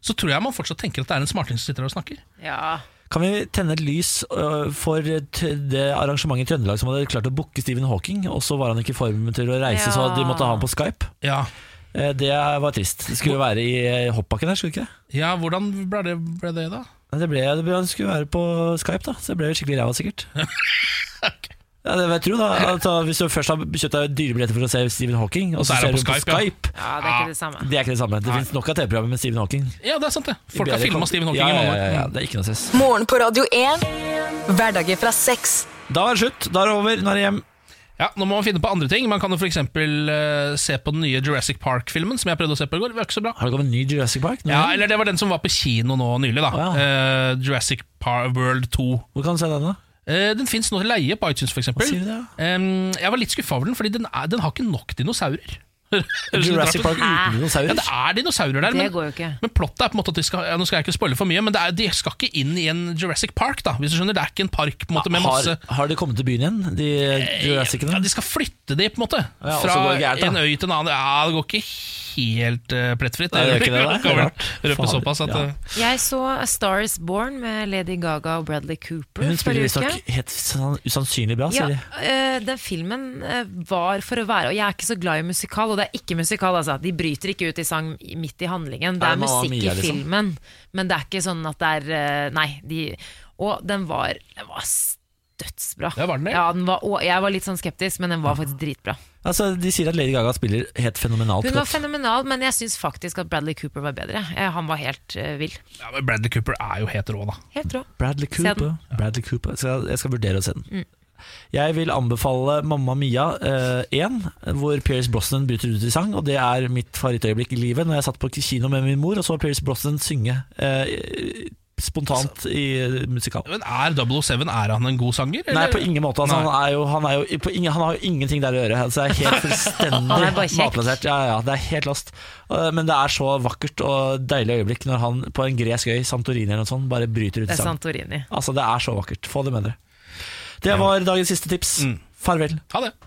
S2: så tror jeg man fortsatt tenker at det er en smarting som sitter der og snakker.
S3: Ja.
S1: Kan vi tenne et lys øh, for t- det arrangementet i Trøndelag som hadde klart å booke Stephen Hawking, og så var han ikke i form til å reise, så
S2: Ja.
S1: de måtte ha ham på Skype? Eh, Det var trist. Det skulle jo være i eh, hoppbakken her, skulle det ikke det?
S2: Ja, hvordan ble det, ble det da?
S1: Nei, Det, ble, det, ble, det skulle være på Skype, da. Så det ble skikkelig ræva, sikkert. Ja, det vil jeg tro, da. Altså, hvis du først har kjøpt deg dyre billetter for å se Stephen Hawking, og så
S2: er
S1: ser
S2: han
S1: du
S2: på
S1: på
S2: Skype, ja.
S1: Skype,
S3: Ja, det er ikke det samme.
S1: det er ikke det samme. Det fins nok av TV-programmer med Stephen Hawking.
S2: Ja, det er sant, det. Folk
S1: Bedre
S2: har filma
S1: kom-
S2: Stephen Hawking
S1: ja,
S2: i mange
S1: ja, ja, ja,
S2: år.
S1: det er ikke noe stress.
S4: Morgen på Radio 1. Hverdager fra seks.
S1: Da er det slutt. Da er det over. Nå er det hjem.
S2: Ja, Nå må man finne på andre ting. Man kan jo f.eks. Uh, se på den nye Jurassic Park-filmen, som jeg prøvde å se på i går. Det var ikke så bra.
S1: Har det kommet en ny Jurassic Park?
S2: Ja, eller det var den som var på kino nå nylig, da. Eh, Jurassic Par World 2.
S1: Hvor kan du se den, da?
S2: den fins nå til leie på iTunes, f.eks.
S1: Hva sier du det,
S2: jeg var litt skuffa over den, fordi den, er, den har ikke nok dinosaurer. Høres litt
S1: Jurassic
S2: rart ut.
S1: Park uten
S2: Ja,
S1: dinosaurer?
S2: det er dinosaurer der,
S3: Det
S2: men,
S3: går jo ikke.
S2: men plottet er på en måte at de skal ja, Nå skal jeg ikke spoile for mye, men det er, de skal ikke inn i en Jurassic Park, da, hvis du skjønner. Det er ikke en park på en måte, med
S1: Har,
S2: masse Eh,
S1: har de kommet til byen igjen, de eh, Jurassicene?
S2: ja, De skal flytte de, på en måte.
S1: Ja, og så
S2: Fra
S1: går det gærent, da.
S2: en øy til en annen. Ja, det går ikke helt eh, plettfritt.
S1: Nei, det gjør ikke det, det er
S2: kan vel
S1: rart.
S2: Røpe
S1: Fader,
S2: såpass at
S1: ja.
S2: eh,
S3: Jeg så A Star Is Born med Lady Gaga og Bradley Cooper
S1: Hun spiller
S3: forrige
S1: visstnok
S3: uke.
S1: helt sann- usannsynlig bra,
S3: Ja,
S1: sier de.
S3: eh, den filmen eh, var for å være Og jeg er ikke så glad i musikal, og det er ikke musikal. Altså. De bryter ikke ut i sang i- midt i handlingen. Det
S1: Er
S3: er
S1: det Mamma
S3: musikk
S1: Mia,
S3: i
S1: liksom?
S3: filmen, men det er ikke sånn at det er eh, Nei. De, og den var, den var s- dødsbra.
S2: Ja, var den det?
S3: Ja, den var, og jeg var litt sånn skeptisk, men den var faktisk dritbra.
S1: Altså, de sier at Lady Gaga spiller helt fenomenalt
S3: Hun var
S1: godt.
S3: fenomenal, men jeg syns faktisk at Bradley Cooper var bedre. Eh, Han var helt eh, vill.
S2: ja, men Bradley Cooper er jo helt rå, da.
S3: Helt rå.
S1: Bradley
S3: Se den.
S1: Cooper. Bradley Cooper. Så jeg- jeg skal vurdere å se den.
S3: Mm.
S1: Jeg vil anbefale Mamma Mia eh, 1, hvor Pierce Brosnan bryter ut i sang. Og det er mitt favorittøyeblikk i livet, når jeg satt på kino med min mor og så Pierce Brosnan synge eh, spontant i musikal.
S2: Men er 007 er han en god sanger?
S1: Nei, på ingen måte. Altså,
S2: Nei.
S1: han, er jo, han, er jo, på ingen, han har jo ingenting der å gjøre. Altså, det er helt
S3: Han er bare
S1: fullstendig
S3: kjekk.
S1: matplassert. Ja, ja, det er helt lost. Uh, Men det er så vakkert og deilig øyeblikk når han på en gresk øy, Santorini eller noe sånt, bare bryter ut
S3: Det
S1: i
S3: er
S1: sang.
S3: Santorini.
S1: Altså, det er så vakkert. Få det med dere. Det var dagens siste tips. Farvel.
S2: Ha det.